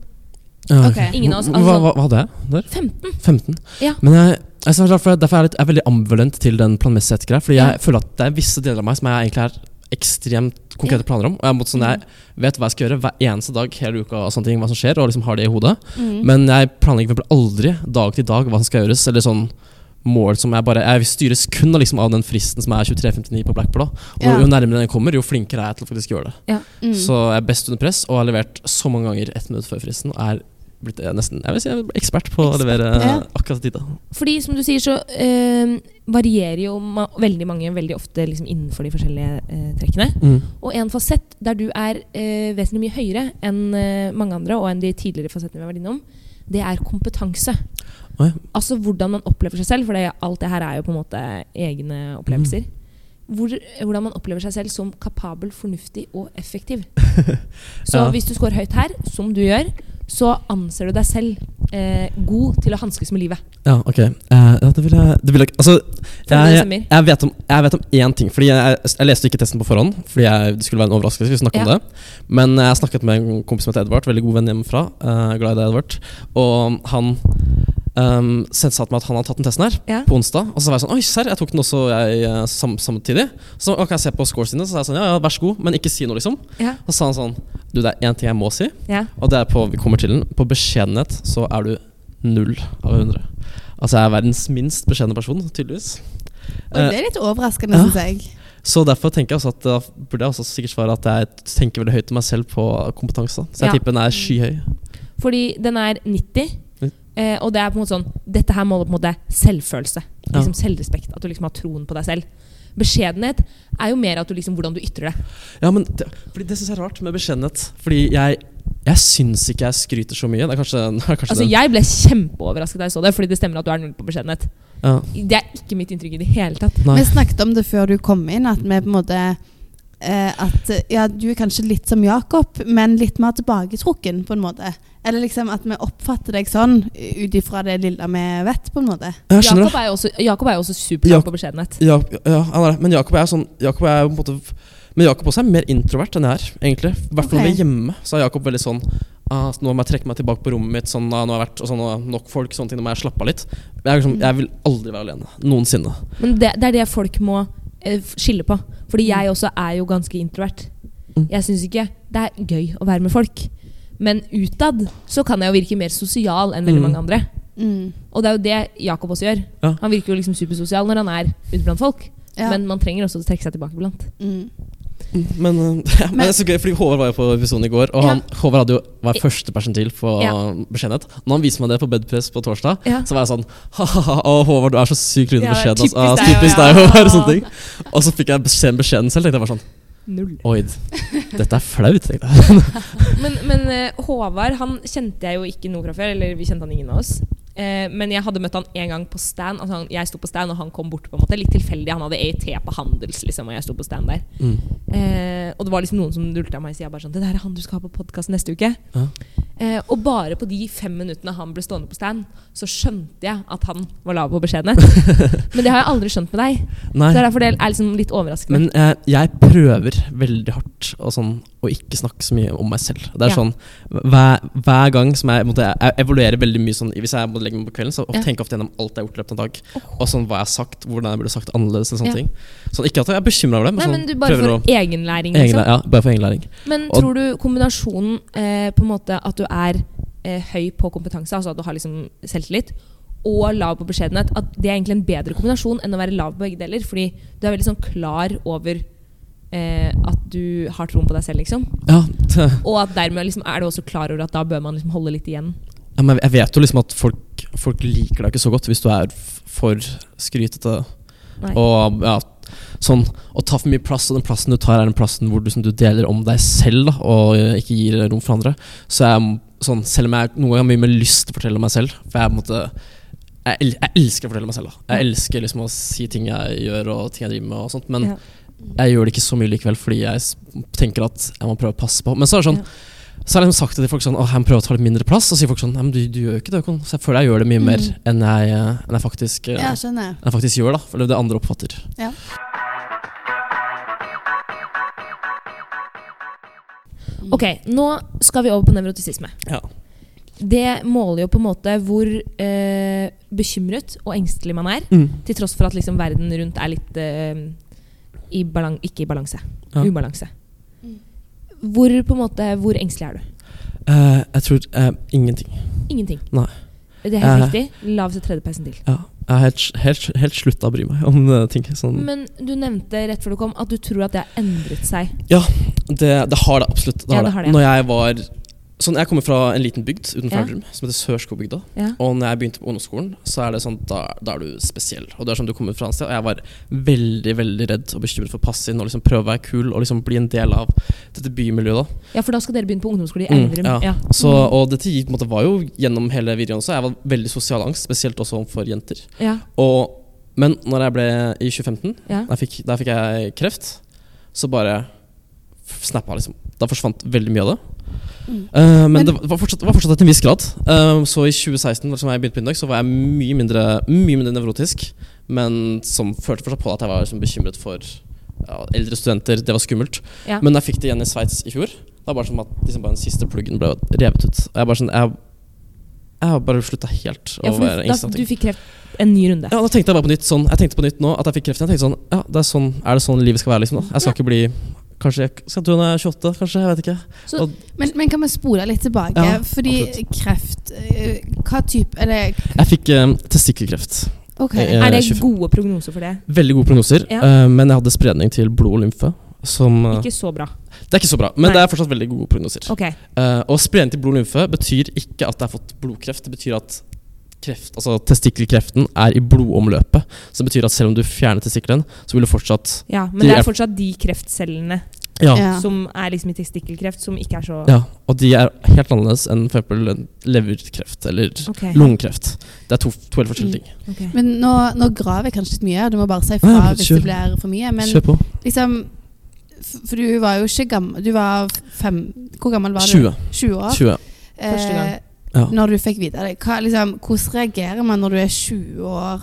Speaker 1: ok.
Speaker 2: Ingen av oss-
Speaker 3: Hva, hva, hva hadde jeg der?
Speaker 2: 15.
Speaker 3: 15?
Speaker 2: Ja.
Speaker 3: Men jeg, jeg, synes derfor, derfor er jeg, litt, jeg er veldig ambivalent til den planmessighetsgreia. Fordi jeg
Speaker 2: Ja.
Speaker 3: føler at det er visse deler av meg som jeg egentlig har ekstremt konkrete planer om. Og jeg, må, sånn,
Speaker 2: Mm.
Speaker 3: jeg vet hva jeg skal gjøre hver eneste dag hele uka, og sånne ting, hva som skjer, og liksom har det i hodet.
Speaker 1: mm,
Speaker 3: Men jeg planlegger vel aldri dag til dag hva som skal gjøres, eller sånn mål som jeg bare Jeg styres kun av, liksom, av den fristen som er 23.59 på Blackboard. da.
Speaker 1: Ja.
Speaker 3: Og jo nærmere den kommer, jo flinkere er jeg til å faktisk gjøre det.
Speaker 1: mm.
Speaker 3: Så jeg er best under press, og har levert så mange ganger ett minutt før fristen. Og er blitt eh, nesten jeg vil si, jeg er ekspert på å levere eh,
Speaker 1: Ja.
Speaker 3: akkurat i tide.
Speaker 2: Fordi som du sier, så eh, varierer jo ma veldig mange veldig ofte liksom, innenfor de forskjellige eh, trekkene. Og en fasett der du er eh, vesentlig mye høyere enn eh, mange andre, og enn de tidligere fasettene vi har vært innom, det er kompetanse.
Speaker 3: Oi.
Speaker 2: Altså hvordan man opplever seg selv, for det, alt det her er jo på en måte egne opplevelser. Hvor, hvordan man opplever seg selv som kapabel, fornuftig og effektiv. Så
Speaker 3: Ja.
Speaker 2: hvis du scorer høyt her, som du gjør, så anser du deg selv eh, god til å hanskes med livet.
Speaker 3: Ja, ok. Eh, ja, det vil jeg, det vil jeg Altså,
Speaker 2: Tror du det
Speaker 3: jeg,
Speaker 2: stemmer?
Speaker 3: jeg, jeg, vet om, jeg vet om én ting. Fordi jeg, jeg leste ikke testen på forhånd, Fordi jeg, det skulle være en overraskelse. Vi snakket
Speaker 2: Ja.
Speaker 3: om det Men jeg snakket med en kompis som heter Edvard, veldig god venn hjemmefra. eh, glad i deg, Edvard. Og han um, sendte seg til meg at han hadde tatt den testen her
Speaker 2: Ja.
Speaker 3: på onsdag. Og så var jeg sånn Oi, serr, jeg tok den også jeg, eh, sam, samtidig. Så kan jeg se på scores dine. Så sa jeg sånn Ja, ja, vær så god, men ikke si noe, liksom.
Speaker 2: Ja.
Speaker 3: Og så sa han sånn Du, det er én ting jeg må si.
Speaker 2: Ja.
Speaker 3: Og det er på, vi kommer til den På beskjedenhet så er du null av 100 Altså jeg er verdens minst beskjedne person, tydeligvis
Speaker 1: Og det er litt overraskende,
Speaker 3: eh, Ja.
Speaker 1: synes syns jeg.
Speaker 3: Så derfor tenker jeg også at Da burde jeg også sikkert svare at jeg tenker veldig høyt til meg selv på kompetanse Så jeg
Speaker 2: Ja.
Speaker 3: tipper den er skyhøy
Speaker 2: Fordi den er 90,
Speaker 3: Mm.
Speaker 2: eh, og det er på en måte sånn Dette her måler på en måte selvfølelse.
Speaker 3: Ja.
Speaker 2: Liksom Selvrespekt. At du liksom har troen på deg selv. Beskjedenhet er jo mer at du liksom, hvordan du ytrer det.
Speaker 3: Ja, men det, fordi det synes jeg er rart med beskjedenhet Fordi jeg, jeg synes ikke jeg skryter så mye Det er kanskje, det er kanskje
Speaker 2: Altså
Speaker 3: den-
Speaker 2: Jeg ble kjempeoverrasket da jeg så det, fordi det stemmer at du er null på beskjedenhet.
Speaker 3: ja.
Speaker 2: Det er ikke mitt inntrykk i det hele tatt.
Speaker 3: Nei.
Speaker 1: Vi snakket om det før du kom inn, at vi på en måte eh, At ja, du er kanskje litt som Jakob, men litt mer tilbaketrukken, på en måte. Eller liksom at vi oppfatter deg sånn ut ifra det lille vi vet, på en måte.
Speaker 3: Jeg skjønner
Speaker 2: Jakob er jo også, Jakob er jo også superklar
Speaker 3: Ja.
Speaker 2: på beskjedenhet.
Speaker 3: Ja, ja han er det. Men Jakob er sånn Jakob er jo på en måte Men Jakob også er mer introvert enn jeg er, egentlig. I hvert fall når vi
Speaker 1: Ok.
Speaker 3: er hjemme, så er Jakob veldig sånn ah, så Nå må jeg trekke meg tilbake på rommet mitt, sånn, ah, nå har jeg vært og sånn, ah, nok folk, sånne ting, nå må jeg slappe av litt. Jeg, er liksom, jeg vil aldri være alene. Noensinne.
Speaker 2: Men det, det er det folk må eh, f- skille på. Fordi jeg også er jo ganske introvert.
Speaker 3: Mm.
Speaker 2: Jeg syns ikke det er gøy å være med folk. Men utad så kan jeg jo virke mer sosial enn veldig
Speaker 3: Mm.
Speaker 2: mange andre.
Speaker 1: Mm.
Speaker 2: Og det er jo det Jakob også gjør.
Speaker 3: Ja.
Speaker 2: Han virker jo liksom supersosial når han er ute blant folk.
Speaker 1: Ja.
Speaker 2: Men man trenger også å trekke seg tilbake iblant.
Speaker 1: mm.
Speaker 3: Men, eh, [LAUGHS] ja, men det er så gøy, fordi Håvard var jo på episoden i går, og han, Håvard hadde jo, var første person til på ja.
Speaker 2: Ja.
Speaker 3: beskjedenhet. Når han viste meg det på bedpress på torsdag,
Speaker 2: Ja.
Speaker 3: så var jeg sånn [LAUGHS] Ha-ha, å Håvard, du er så sykt lite
Speaker 2: Ja, det er
Speaker 3: beskjeden. altså.
Speaker 2: typisk
Speaker 3: Ah,
Speaker 2: deg,
Speaker 3: Typisk
Speaker 2: ja.
Speaker 3: deg, [LAUGHS] Håvard. og Sånne ting. Og så fikk jeg beskjeden, beskjeden selv, tenkte jeg bare sånn
Speaker 2: Null. [LAUGHS]
Speaker 3: Oi, dette er flaut, tenkte jeg.
Speaker 2: Men, men eh, Håvard han kjente jeg jo ikke noe fra før. Eller vi kjente han ingen av oss. Eh, men jeg hadde møtt han en gang på stand. Altså han, jeg sto på stand, og han kom bort. på en måte Litt tilfeldig. Han hadde EIT på Handels, liksom, og jeg sto på stand der.
Speaker 3: Mm.
Speaker 2: Eh, og det var liksom noen som dulta meg i sida bare sånn 'Det der er han du skal ha på podkast neste uke'.
Speaker 3: Ja.
Speaker 2: Eh, og bare på de fem minuttene han ble stående på stand, så skjønte jeg at han var lav på
Speaker 3: [LAUGHS]
Speaker 2: beskjedenhet. men det har jeg aldri skjønt med deg.
Speaker 3: Nei,
Speaker 2: Så det er derfor det er liksom litt overraskende.
Speaker 3: men eh, jeg prøver veldig hardt og sånn, å ikke snakke så mye om meg selv. Det er
Speaker 2: Ja.
Speaker 3: sånn, hver, hver gang som jeg, på en måte, jeg evaluerer veldig mye sånn, Hvis jeg må legge meg på kvelden, så
Speaker 2: Ja.
Speaker 3: tenker jeg ofte gjennom alt jeg har gjort i løpet av en dag. Og sånn hva jeg har sagt, hvordan jeg burde sagt annerledes.
Speaker 2: Ja.
Speaker 3: eller sånne ting. Sånn, ikke at jeg er bekymra over det, men,
Speaker 2: Nei,
Speaker 3: sånn,
Speaker 2: men du bare
Speaker 3: prøver å
Speaker 2: får egenlæring,
Speaker 3: Egen,
Speaker 2: liksom.
Speaker 3: ja, bare for egenlæring.
Speaker 2: Men
Speaker 3: Og-
Speaker 2: tror du kombinasjonen eh, på en måte at du er eh, høy på kompetanse, altså at du har liksom selvtillit, og lav på beskjedenhet, at det er egentlig en bedre kombinasjon enn å være lav på begge deler? Fordi du er veldig sånn klar over eh, at du har troen på deg selv, liksom.
Speaker 3: Ja, det,
Speaker 2: Og at dermed liksom, er du også klar over at da bør man liksom holde litt igjen.
Speaker 3: ja, men jeg vet jo liksom at folk, folk liker deg ikke så godt hvis du er f- for skrytete.
Speaker 2: Nei.
Speaker 3: Og ja, sånn Å ta for mye plass, og den plassen du tar, er den plassen hvor du, som du deler om deg selv da, og eh, ikke gir rom for andre. Så jeg, m- sånn, selv om jeg noen ganger har mye mer lyst til å fortelle om meg selv For jeg, på en måte, jeg, el- jeg elsker å fortelle meg selv. Da. Jeg elsker liksom å si ting jeg gjør og ting jeg driver med. og sånt Men
Speaker 2: Ja.
Speaker 3: jeg gjør det ikke så mye likevel fordi jeg s- tenker at jeg må prøve å passe på. Men så er det sånn
Speaker 2: Ja.
Speaker 3: Så har jeg liksom sagt det til folk sånn Åh, jeg må prøve å ta litt mindre plass. Og så sier folk sånn Nei, men du, du gjør jo ikke det, Håkon. Så jeg føler jeg gjør det mye
Speaker 2: Mm.
Speaker 3: mer enn jeg, eh, enn jeg faktisk eh,
Speaker 1: Ja, skjønner.
Speaker 3: enn jeg faktisk gjør, da. Eller det andre oppfatter.
Speaker 1: Ja. Mm.
Speaker 2: Ok, nå skal vi over på nevrotisisme.
Speaker 3: Ja.
Speaker 2: Det måler jo på en måte hvor eh, bekymret og engstelig man er. Til tross for at liksom verden rundt er litt eh, i balan ikke i balanse.
Speaker 3: Ja.
Speaker 2: Ubalanse.
Speaker 1: Mm.
Speaker 2: Hvor, på en måte, hvor engstelig er du?
Speaker 3: Eh, jeg tror eh, ingenting.
Speaker 2: Ingenting.
Speaker 3: Nei.
Speaker 2: Det er helt
Speaker 3: Eh.
Speaker 2: riktig. Lav seg tredje persentil.
Speaker 3: Ja. Jeg har helt, helt, helt slutta å bry meg om eh, ting. Sånn.
Speaker 2: Men du nevnte rett før du kom at du tror at det har endret seg.
Speaker 3: Det, det har det absolutt. Det
Speaker 2: Ja, det
Speaker 3: har det
Speaker 2: har det.
Speaker 3: Når jeg var Sånn, Jeg kommer fra en liten bygd utenfor
Speaker 2: Ja.
Speaker 3: Elverum som heter Sørskogbygda.
Speaker 2: Ja.
Speaker 3: Og når jeg begynte på ungdomsskolen, så er det sånn, da, da er du spesiell. Og det er sånn du kommer fra et sted, og jeg var veldig veldig redd og bekymret for å passe inn og liksom prøve å være kul og liksom bli en del av dette bymiljøet. da.
Speaker 2: ja, for da skal dere begynne på ungdomsskole i
Speaker 3: Mm,
Speaker 2: Elverum.
Speaker 3: ja.
Speaker 2: ja.
Speaker 3: Så, og dette gikk- på en måte, var jo gjennom hele videregående også. Jeg var veldig sosial angst, spesielt også overfor jenter.
Speaker 2: Ja.
Speaker 3: Og, men når jeg ble i 2015,
Speaker 2: Ja.
Speaker 3: da fikk, da fikk jeg kreft, så bare f- snappa liksom. Da forsvant veldig mye av det.
Speaker 1: Mm.
Speaker 3: Eh, men,
Speaker 1: Men-
Speaker 3: det var fortsatt, var fortsatt til en viss grad. Eh, så i 2016 som jeg begynte på Indøk, så var jeg mye mindre, mye mindre nevrotisk. Men som følte fortsatt på at jeg var liksom, bekymret for ja, eldre studenter. Det var skummelt.
Speaker 2: Ja.
Speaker 3: Men da jeg fikk det igjen i Sveits i fjor, da var det som at liksom, bare den siste pluggen ble revet ut. Og jeg bare sånn, jeg, jeg har bare slutta helt å
Speaker 2: Ja, for
Speaker 3: være
Speaker 2: du,
Speaker 3: engstelig.
Speaker 2: da, du fikk kreft en ny runde.
Speaker 3: Ja, da tenkte jeg bare på nytt sånn, Jeg tenkte på nytt nå at jeg fikk kreft igjen. Jeg tenkte sånn, ja, det er, sånn, er det sånn livet skal være? liksom da? Jeg skal ikke bli Kanskje jeg skal dø når jeg er 28? kanskje, Jeg vet ikke.
Speaker 1: Men, men kan vi spole litt tilbake?
Speaker 3: Ja,
Speaker 1: Fordi kreft eh, Hva type Eller
Speaker 3: Jeg fikk eh, testikkelkreft.
Speaker 1: OK.
Speaker 3: Eh,
Speaker 2: Er det
Speaker 3: 25.
Speaker 2: gode prognoser for det?
Speaker 3: Veldig gode prognoser,
Speaker 2: Ja.
Speaker 3: eh, men jeg hadde spredning til blod og lymfe. Som, eh,
Speaker 2: Ikke så bra.
Speaker 3: det er ikke så bra, men
Speaker 2: Nei.
Speaker 3: det er fortsatt veldig gode prognoser.
Speaker 2: Ok.
Speaker 3: Eh, og spredning til blod og lymfe betyr ikke at jeg har fått blodkreft. Det betyr at kreft, altså testikkelkreften er i blodomløpet. Så det betyr at selv om du fjerner testikkelen, så vil du fortsatt
Speaker 2: Ja, men
Speaker 3: De
Speaker 2: det er
Speaker 3: er-
Speaker 2: fortsatt de kreftcellene
Speaker 3: Ja.
Speaker 1: Ja.
Speaker 2: som er liksom i testikkelkreft, som ikke er så
Speaker 3: ja. Og de er helt annerledes enn for eksempel leverkreft eller
Speaker 2: Ok. Mm,
Speaker 3: Lungekreft. Det er to, to helt forskjellige ting.
Speaker 2: Ok.
Speaker 1: Men nå, nå graver jeg kanskje litt mye, og du må bare si
Speaker 3: Nei,
Speaker 1: fra
Speaker 3: men
Speaker 1: hvis
Speaker 3: kjør.
Speaker 1: det blir for mye. Men
Speaker 3: Kjør på.
Speaker 1: liksom f- For du var jo ikke gammel Du var fem Hvor gammel var du?
Speaker 3: 20.
Speaker 1: 20 år. Eh,
Speaker 3: 20.
Speaker 2: Første gang.
Speaker 3: Ja.
Speaker 1: Når du fikk vite det. Hva, liksom, hvordan reagerer man når du er 20 år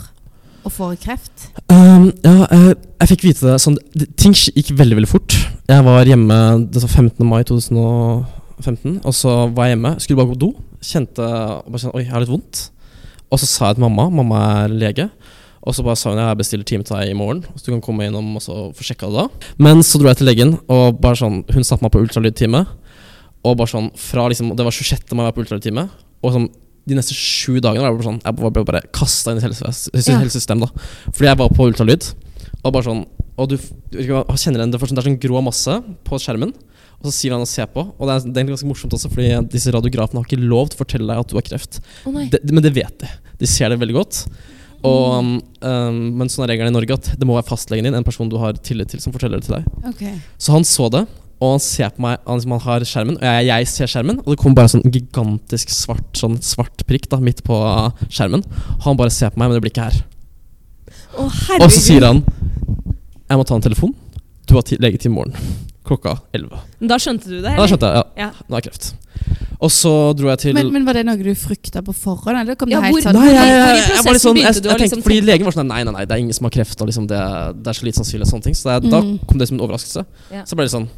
Speaker 1: og får kreft?
Speaker 3: Um, ja, eh, jeg fikk vite det sånn det, Ting sk- gikk veldig, veldig fort. Jeg var hjemme det var 15. mai 2015, og så var jeg hjemme. Skulle bare gå på do. Kjente og bare kjente, Oi, jeg har litt vondt. Og så sa jeg til mamma. Mamma er lege. Og så bare sa hun jeg bestiller time til deg i morgen, så du kan komme innom og så få sjekka det da. Men så dro jeg til legen, og bare sånn, hun satte meg på ultralydtime. Og bare sånn, fra liksom, Det var 26. mai jeg var på ultralydtime. Og sånn, de neste sju dagene var jeg bare sånn, jeg bare- ble bare kasta inn i helsesystemet.
Speaker 1: Ja.
Speaker 3: Helsesystem, da. Fordi jeg var på ultralyd. Og bare sånn, og du, f- du vet ikke hva- kjenner igjen det, for sånn, det er sånn grå masse på skjermen. Og så sier han å se på. Og det er, det er egentlig ganske morsomt også, fordi disse radiografene har ikke lov til å fortelle deg at du har kreft.
Speaker 2: Å nei.
Speaker 3: Det- men det vet de. De ser det veldig godt. Og, um, men sånn er reglene i Norge at det må være fastlegen din, en person du har tillit til, som forteller det til deg.
Speaker 1: Ok.
Speaker 3: Så han så det, Og han ser på meg, han, liksom, han har skjermen, og jeg, jeg ser skjermen. Og det kommer bare sånn gigantisk svart sånn svart prikk da, midt på skjermen. Og han bare ser på meg med det blikket her.
Speaker 2: Å,
Speaker 3: Og så sier han Jeg må ta en telefon. Du har ti- legetid i morgen. Klokka 11.
Speaker 2: Men Da skjønte du det?
Speaker 3: Ja, da skjønte jeg.
Speaker 2: Ja.
Speaker 3: Ja, nå er det kreft. Og så dro jeg til
Speaker 1: Men, men var det noe du frykta på forhånd, eller kom
Speaker 2: Ja,
Speaker 1: det
Speaker 2: hvor-
Speaker 1: helt sånn?
Speaker 3: Nei, jeg,
Speaker 2: Hvor i
Speaker 3: jeg, jeg, jeg, var litt
Speaker 2: prosessen
Speaker 3: sånn, jeg,
Speaker 2: begynte du å
Speaker 3: jeg tenkte,
Speaker 2: liksom
Speaker 3: fordi
Speaker 2: tenke-
Speaker 3: Legen var sånn Nei, nei, nei, det er ingen som har kreft. Og liksom det, det er så lite sannsynlig. og Sånne ting Så det, er- Da
Speaker 1: Mm.
Speaker 3: kom det som en overraskelse.
Speaker 2: Ja.
Speaker 3: Så ble det litt sånn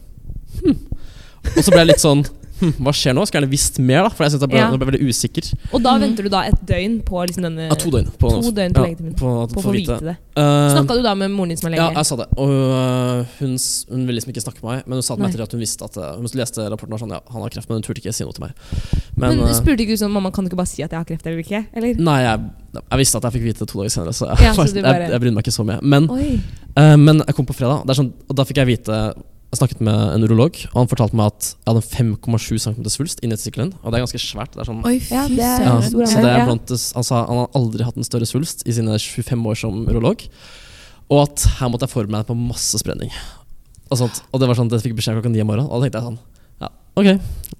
Speaker 3: hm. Og så ble jeg litt sånn hm, Hva skjer nå? Skulle gjerne visst mer, da. For jeg synes jeg ble,
Speaker 2: Ja.
Speaker 3: jeg ble veldig usikker.
Speaker 2: Og da
Speaker 1: Mhm.
Speaker 2: venter du da et døgn på liksom denne
Speaker 3: Ja, to døgn. På,
Speaker 2: To døgn på legetimen.
Speaker 3: på,
Speaker 2: På å få vite det.
Speaker 3: Eh,
Speaker 2: Snakka du da med moren din som er
Speaker 3: Ja, altså,
Speaker 2: lege?
Speaker 3: jeg sa det. Og øh, hun, s- hun ville liksom ikke snakke med meg, men hun sa til meg
Speaker 2: Nei.
Speaker 3: etter at hun visste at øh, Hun leste rapporten og var sånn Ja, han har kreft, men hun turte ikke si noe til meg. Men,
Speaker 2: men
Speaker 3: øh,
Speaker 2: spurte ikke du sånn Mamma, kan du ikke bare si at jeg har kreft eller ikke? Eller?
Speaker 3: Nei, jeg, jeg visste at jeg fikk vite det to dager senere, så jeg, [LAUGHS]
Speaker 2: Ja, så du
Speaker 3: jeg,
Speaker 2: bare-
Speaker 3: jeg brydde meg ikke så mye. Men,
Speaker 2: Oi.
Speaker 3: øh, men jeg kom på fredag, det er sånn, og da fikk jeg vite Jeg snakket med en urolog, og han fortalte meg at jeg hadde en 5,7 cm svulst inni testikkelen, og det er ganske svært. Det er sånn
Speaker 1: Oi,
Speaker 2: Ja,
Speaker 1: fy
Speaker 2: det er-
Speaker 3: ja,
Speaker 1: søren.
Speaker 2: stor
Speaker 3: så
Speaker 2: andel,
Speaker 3: det er
Speaker 2: ja.
Speaker 3: blant, det s- han sa han har aldri hatt en større svulst i sine 25 år som urolog. Og at her måtte jeg forberede meg på masse spredning. Og, sånt. og det var sånn, det fikk jeg beskjed klokka ni om morgenen. Og da tenkte jeg sånn Ja, ok,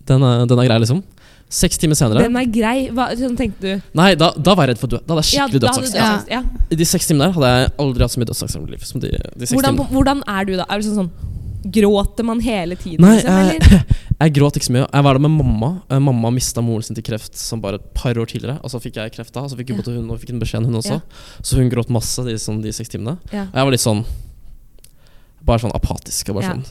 Speaker 3: den er, den er grei, liksom. Seks timer senere
Speaker 2: Den er grei. Hva sånn tenkte du?
Speaker 3: Nei, da, da var jeg redd for død. Da hadde jeg
Speaker 2: Ja,
Speaker 3: skikkelig
Speaker 2: da hadde du
Speaker 3: dødsangst.
Speaker 1: Ja.
Speaker 2: dødsangst, ja.
Speaker 3: I de seks timene der hadde jeg aldri hatt så mye dødsangst i mitt liv. Som de, de seks
Speaker 2: Hvordan,
Speaker 3: timene.
Speaker 2: hvordan er du da? Er du sånn sånn Gråter man hele tiden?
Speaker 3: Nei, eh,
Speaker 2: liksom, eller?
Speaker 3: jeg, jeg gråt ikke så mye. Jeg var der med mamma. Eh, Mamma mista moren sin til kreft som bare et par år tidligere. Og så fikk jeg kreft da, og så fikk hun, både hun og fikk en beskjed, hun også.
Speaker 2: Ja.
Speaker 3: Så hun gråt masse de, sånn, de seks timene.
Speaker 2: Ja.
Speaker 3: Og jeg var litt sånn Bare sånn apatisk. Og bare
Speaker 2: Ja.
Speaker 3: sånn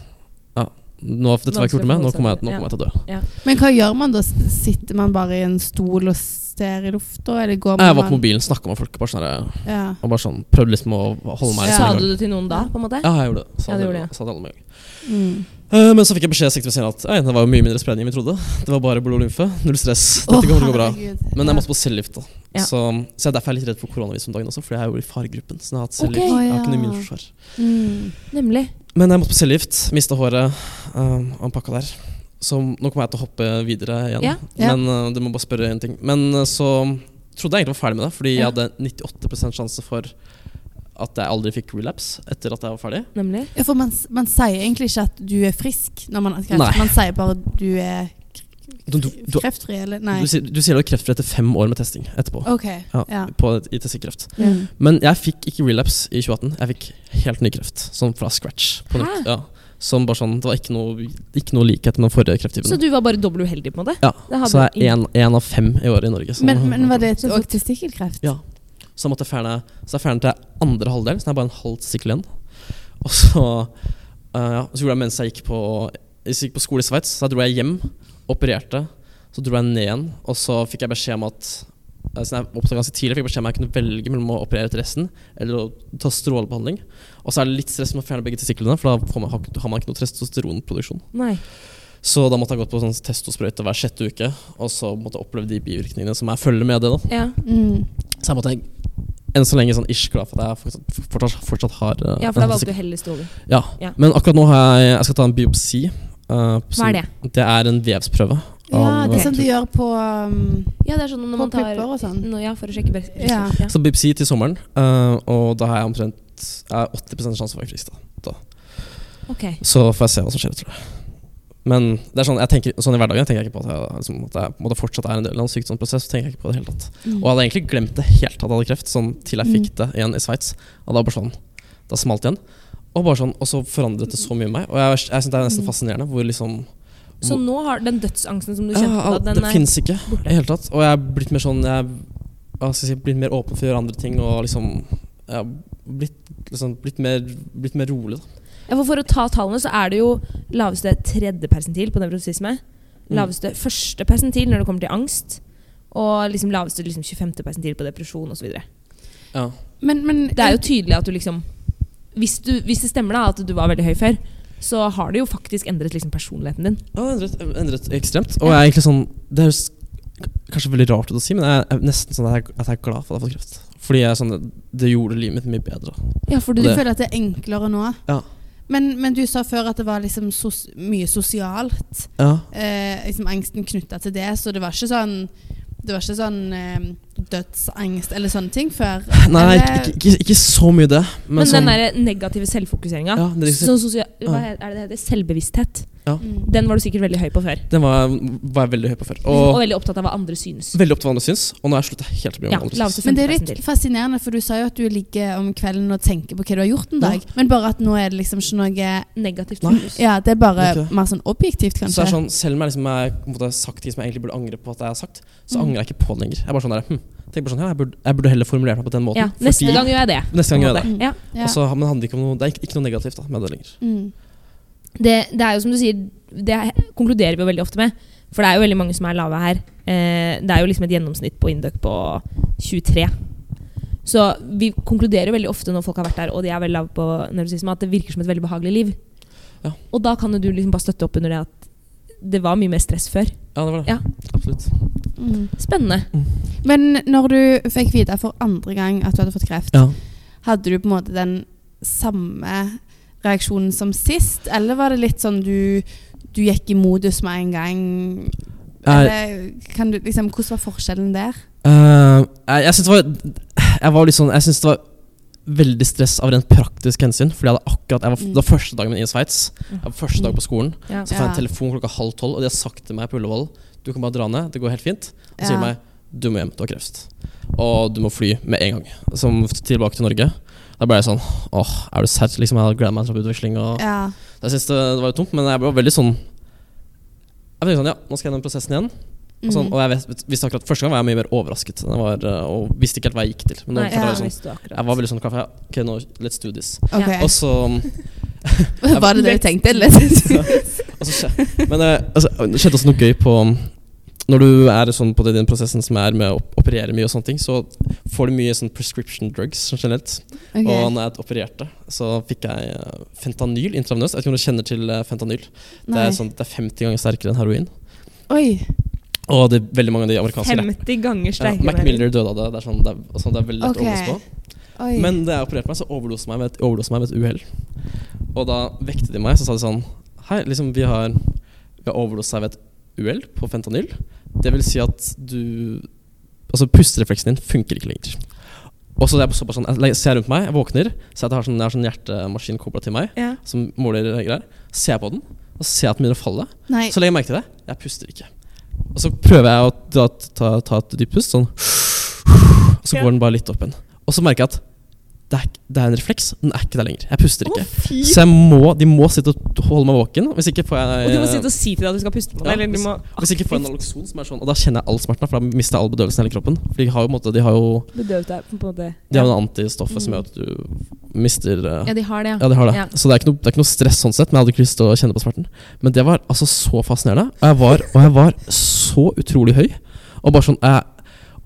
Speaker 3: ja. nå, Dette var jeg kult med. Nå kommer jeg, nå kommer jeg til å dø.
Speaker 1: Men hva gjør man da? S- Sitter man bare i en stol og ser i lufta, eller går man
Speaker 3: Jeg var på
Speaker 1: an-
Speaker 3: mobilen, snakka med folk bare sånn, her,
Speaker 1: Ja.
Speaker 3: og bare sånn prøvde liksom å holde meg
Speaker 2: Sa
Speaker 3: liksom, i
Speaker 2: du
Speaker 3: gang.
Speaker 2: det til noen da, på en måte?
Speaker 3: Ja, jeg gjorde det. Sa
Speaker 2: Ja, du
Speaker 3: det,
Speaker 2: gjorde det, ja.
Speaker 3: sa det alle med en gang.
Speaker 1: Mm.
Speaker 3: Eh, men så fikk jeg beskjed seks timer senere at «Ei, det var jo mye mindre spredning enn vi trodde. Det var bare blod og lymfe. Null stress. Dette kommer til å gå bra.
Speaker 1: Herregud.
Speaker 3: Men
Speaker 1: Ja.
Speaker 3: jeg måtte på cellegift, da.
Speaker 2: Ja.
Speaker 3: Så, så jeg- derfor er jeg litt redd for koronavirus om dagen også, fordi jeg er jo i faregruppen. Så jeg har
Speaker 2: Ok.
Speaker 3: hatt cellegift. Jeg har
Speaker 1: Å,
Speaker 3: ikke noe
Speaker 1: ja.
Speaker 3: immunforsvar.
Speaker 1: Mm.
Speaker 2: Nemlig.
Speaker 3: Men jeg måtte på cellegift, mista håret um, og en pakka der. Så nå kommer jeg til å hoppe videre igjen.
Speaker 2: Ja.
Speaker 1: Ja.
Speaker 3: Men uh, du må bare spørre en ting. Men uh, så trodde jeg egentlig var ferdig med det, fordi
Speaker 2: Ja.
Speaker 3: jeg hadde 98 sjanse for at jeg aldri fikk relapse etter at jeg var ferdig.
Speaker 2: Nemlig.
Speaker 1: Ja, for man, s- man sier egentlig ikke at du er frisk når man har kreft.
Speaker 3: Nei.
Speaker 1: Man sier bare at du er
Speaker 3: Du, du, du,
Speaker 1: kreftfri, eller Nei.
Speaker 3: du, sier- du sier du har kreftfri etter fem år med testing etterpå.
Speaker 1: OK.
Speaker 3: Ja.
Speaker 1: Ja.
Speaker 3: På, I testikkreft.
Speaker 1: Mm.
Speaker 3: Men jeg fikk ikke relapse i 2018. Jeg fikk helt ny kreft, sånn fra scratch. På nytt.
Speaker 2: Hæ?
Speaker 3: Ja. Som bare sånn, Det var ikke noe, ikke noe likhet med den forrige krefttypen.
Speaker 2: Så du var bare dobbelt uheldig, på en måte?
Speaker 3: ja.
Speaker 2: Det hadde
Speaker 3: så jeg
Speaker 2: ingen-
Speaker 3: er én av fem i året i Norge. Så,
Speaker 1: Men, men var det
Speaker 2: Så
Speaker 1: òg testikkelkreft?
Speaker 3: Ja. så måtte jeg fjerne Så jeg fjernet til andre halvdel, så det er bare en halv testikkel igjen. Og så, eh, ja, så gjorde jeg mens jeg gikk på, jeg gikk på skole i Sveits, så da dro jeg hjem, opererte. Så dro jeg ned igjen, og så fikk jeg beskjed om at eh, siden jeg oppdaget ganske tidlig, fikk jeg beskjed om at jeg kunne velge mellom å operere ut resten eller å ta strålebehandling. Og så er det litt stress med å fjerne begge testiklene, for da får man, har man ikke noe testosteronproduksjon.
Speaker 2: Nei.
Speaker 3: Så da måtte jeg gått på sånn testosprøyte hver sjette uke, og så måtte jeg oppleve de bivirkningene som jeg følger med det. da
Speaker 2: Ja.
Speaker 1: Mm.
Speaker 3: så jeg måtte enn så lenge sånn ish glad for at jeg fortsatt, fortsatt, fortsatt har eh,
Speaker 2: ja, for da
Speaker 3: en
Speaker 2: valgte
Speaker 3: sikk-
Speaker 2: du heller stole.
Speaker 3: ja.
Speaker 2: ja.
Speaker 3: Men akkurat nå har jeg, jeg skal ta en biopsi. eh,
Speaker 2: Hva
Speaker 3: som-
Speaker 2: er det?
Speaker 3: Det er en vevsprøve.
Speaker 1: Ja,
Speaker 3: av-
Speaker 1: det er sånn de gjør på um,
Speaker 2: Ja, det er sånn når
Speaker 1: På
Speaker 2: man tar
Speaker 1: pupper og sånn.
Speaker 2: Nå, ja, for å sjekke brest.
Speaker 1: Ja.
Speaker 2: Ja.
Speaker 3: Så biopsi til sommeren, eh, og da har jeg omtrent jeg har 80 sjanse for å være frisk. Da. da.
Speaker 2: Ok.
Speaker 3: Så får jeg se hva som skjer, tror jeg. Men det er sånn, jeg tenker, sånn i hverdagen tenker jeg ikke på at jeg, liksom, at jeg på en måte fortsatt er en del av en sykdomsprosess. Så tenker jeg ikke på det i det hele tatt.
Speaker 1: Mm.
Speaker 3: Og jeg hadde egentlig glemt det helt at jeg hadde kreft, sånn til jeg
Speaker 2: Mm.
Speaker 3: fikk det igjen i Sveits. Og da bare sånn, da smalt det igjen. Og bare sånn, og så forandret det så mye meg. Og jeg, jeg synes det er
Speaker 2: Mm.
Speaker 3: nesten fascinerende hvor liksom
Speaker 2: Så nå har den dødsangsten som du
Speaker 3: ja,
Speaker 2: kjente på, da,
Speaker 3: all- Ah, Det
Speaker 2: den er
Speaker 3: finnes ikke i
Speaker 2: borte.
Speaker 3: det hele tatt. Og jeg er blitt mer sånn Jeg hva skal jeg si, blitt mer åpen for å gjøre andre ting og liksom jeg har blitt, liksom, blitt, mer, blitt mer rolig, da.
Speaker 2: Ja, for, for å ta tallene, så er det jo laveste tredje persentil på nevrosisme.
Speaker 3: Mm.
Speaker 2: Laveste første persentil når det kommer til angst. Og liksom laveste liksom 25. persentil på depresjon osv.
Speaker 3: Ja.
Speaker 1: Men, men
Speaker 2: Det er jo tydelig at du liksom hvis, du, hvis det stemmer da at du var veldig høy før, så har det jo faktisk endret liksom personligheten din.
Speaker 3: Ja, det endret, endret ekstremt. Og jeg er egentlig sånn Det høres k- kanskje veldig rart ut å si, men jeg er nesten sånn at jeg, at jeg er glad for at jeg har fått kreft. Fordi jeg, er sånn, det gjorde livet mitt mye bedre.
Speaker 2: Ja, for
Speaker 1: du
Speaker 3: det-
Speaker 1: føler at det er enklere nå?
Speaker 3: Ja.
Speaker 1: Men, men du sa før at det var liksom sos mye sosialt.
Speaker 3: Ja.
Speaker 1: eh, liksom angsten knytta til det. Så det var ikke sånn Det var ikke sånn eh, dødsangst eller sånne ting før?
Speaker 3: [LAUGHS] Nei,
Speaker 1: Eller-
Speaker 3: ikke, ikke, ikke så mye det. Men,
Speaker 2: Men,
Speaker 3: sånn,
Speaker 2: den der negative selvfokuseringa,
Speaker 3: Ja, det er liksom- riktig.
Speaker 2: sånn sosia- hva er det det heter? Selvbevissthet,
Speaker 1: Mm.
Speaker 2: den var du sikkert veldig høy på før.
Speaker 3: den var, var jeg veldig høy på før.
Speaker 2: Mm, Og,
Speaker 3: Og
Speaker 2: veldig opptatt av hva andre synes.
Speaker 3: veldig opptatt av hva andre syns, og nå har jeg slutta helt å bry
Speaker 2: Ja,
Speaker 3: meg om
Speaker 2: la
Speaker 3: hva andre
Speaker 2: oss
Speaker 3: syns.
Speaker 1: Men det er jo
Speaker 2: 50%
Speaker 1: litt
Speaker 2: til.
Speaker 1: fascinerende, for du sa jo at du ligger om kvelden og tenker på hva du har gjort en dag. Men bare at nå er det liksom ikke noe
Speaker 2: Negativt
Speaker 3: Nei.
Speaker 2: fokus.
Speaker 1: Ja, det er bare
Speaker 3: Det er ikke det.
Speaker 1: mer sånn objektivt,
Speaker 3: Så det
Speaker 1: kanskje.
Speaker 3: er sånn, selv om jeg liksom er, på en måte, har sagt ting som jeg egentlig burde angre på at jeg har sagt, så
Speaker 1: Mm.
Speaker 3: angrer jeg ikke på det lenger. Jeg er bare sånn der, hm, tenker bare sånn, ja, jeg burde, jeg burde heller formulert meg på den måten.
Speaker 2: Ja, neste
Speaker 3: fordi-
Speaker 2: gang gjør jeg det.
Speaker 3: Neste gang gjør jeg det.
Speaker 1: Mm.
Speaker 2: Ja.
Speaker 1: Ja.
Speaker 3: Og så, men det handler ikke om noe, det er ikke, ikke noe negativt da, med det lenger.
Speaker 1: Mm.
Speaker 2: det. Det er jo som du sier, det er- konkluderer vi jo veldig ofte med. For det er jo veldig mange som er lave her. Eh, det er jo liksom et gjennomsnitt på Induc på 23. Så vi konkluderer jo veldig ofte når folk har vært der og de er veldig lave på nervosisme, at det virker som et veldig behagelig liv.
Speaker 3: Ja.
Speaker 2: Og da kan jo du liksom bare støtte opp under det at det var mye mer stress før.
Speaker 3: Ja, det var det.
Speaker 2: Ja.
Speaker 3: Absolutt.
Speaker 1: Mm.
Speaker 2: Spennende.
Speaker 1: Men når du fikk vite for andre gang at du hadde fått kreft,
Speaker 3: Ja.
Speaker 1: hadde du på en måte den samme reaksjonen som sist? Eller var det litt sånn du, du gikk i modus med en gang? Eller, kan du, liksom, hvordan var forskjellen der?
Speaker 3: Eh, jeg jeg syns det var Jeg var litt sånn Jeg synes det var veldig stress av rent praktisk hensyn. Fordi jeg hadde akkurat Jeg var,
Speaker 1: Mm.
Speaker 3: Det var første dagen min i Sveits. Jeg var Første dag på skolen.
Speaker 2: Ja.
Speaker 3: Så får
Speaker 1: Ja.
Speaker 3: jeg en telefon klokka halv tolv, og de har sagt til meg på Ullevål Du kan bare dra ned, det går helt fint. Og så sier de
Speaker 1: Ja.
Speaker 3: meg du må hjem, du har kreft. Og du må fly med en gang. Som tilbake til Norge. Da ble jeg sånn åh, er du serr? Liksom, jeg hadde gleda meg til å dra på utveksling. Og
Speaker 1: Ja.
Speaker 3: Jeg synes det, det var jo tungt, men jeg ble veldig sånn Jeg tenkte sånn, ja, nå skal jeg gjennom prosessen igjen. Og, sånn,
Speaker 1: Mm.
Speaker 3: og jeg vet, visste akkurat Første gang var jeg mye mer overrasket enn jeg var, eh, og visste ikke helt hva jeg gikk til. Men nå
Speaker 2: Nei,
Speaker 3: følte jeg
Speaker 2: ja.
Speaker 3: var sånn,
Speaker 2: visste du akkurat.
Speaker 3: jeg var veldig sånn klar for jeg- Ok, nå, let's do this.
Speaker 1: Ok.
Speaker 3: Og så,
Speaker 1: [LAUGHS] Var det det du tenkte?
Speaker 3: [LAUGHS]
Speaker 1: Litt?
Speaker 3: og så skje- Men eh, altså, det skjedde også noe gøy på Når du er sånn på den prosessen som er med å op- operere mye, og sånne ting så får du mye sånn prescription drugs sånn generelt.
Speaker 1: Ok.
Speaker 3: Og når jeg opererte, så fikk jeg eh, fentanyl intravenøst. Jeg vet ikke om du kjenner til eh, fentanyl. Det
Speaker 1: Nei.
Speaker 3: er, sånn, det er 50 ganger sterkere enn heroin.
Speaker 1: Oi.
Speaker 3: Og det er veldig mange av de amerikanske rapp-
Speaker 2: 50 ganger
Speaker 3: ja,
Speaker 2: sterkere.
Speaker 3: Mac Miller døde av det. Det er, sånn, det er, altså, det er veldig lett
Speaker 1: Ok.
Speaker 3: å overraske på.
Speaker 1: Oi.
Speaker 3: Men da jeg opererte meg, så overdoset meg med et, overdoset meg med et uhell. Og da vekte de meg, så sa de sånn Hei, liksom, vi har, vi har overdoset deg ved et uhell på fentanyl. Det vil si at du Altså, pusterefleksen din funker ikke lenger. Og så er jeg såpass sånn, jeg ser rundt meg, jeg våkner, ser at jeg har sånn, jeg har sånn hjertemaskin kobla til meg,
Speaker 2: Ja.
Speaker 3: som måler greier. Ser jeg på den, og ser jeg at den begynner å falle.
Speaker 1: Nei.
Speaker 3: Så legger jeg merke til det. Jeg puster ikke. Og så prøver jeg å ta, ta, ta et dypt pust, sånn. Og så
Speaker 2: Ja.
Speaker 3: går den bare litt opp igjen. Og så merker jeg at det er, det er en refleks. Den er ikke der lenger. Jeg puster ikke.
Speaker 2: fy.
Speaker 3: så jeg må, de må sitte og holde meg våken. Hvis ikke får jeg
Speaker 2: Og du må sitte og si til deg at du skal puste på deg.
Speaker 3: Ja,
Speaker 2: eller du må
Speaker 3: hvis ikke får jeg naloxon, som er sånn, og da kjenner jeg all smerten. For da mister jeg all bedøvelsen i hele kroppen. For de har jo, på en måte- de har jo
Speaker 2: bedøvd deg på en måte.
Speaker 3: de har jo det antistoffet som
Speaker 1: Mm.
Speaker 3: gjør at du mister eh,
Speaker 2: Ja, de har det, ja.
Speaker 3: Ja, de har det.
Speaker 2: Ja.
Speaker 3: Så det er, ikke noe, det er ikke noe stress sånn sett, men jeg hadde ikke lyst til å kjenne på smerten. Men det var altså så fascinerende. Og jeg var, og jeg var så utrolig høy. Og bare sånn jeg,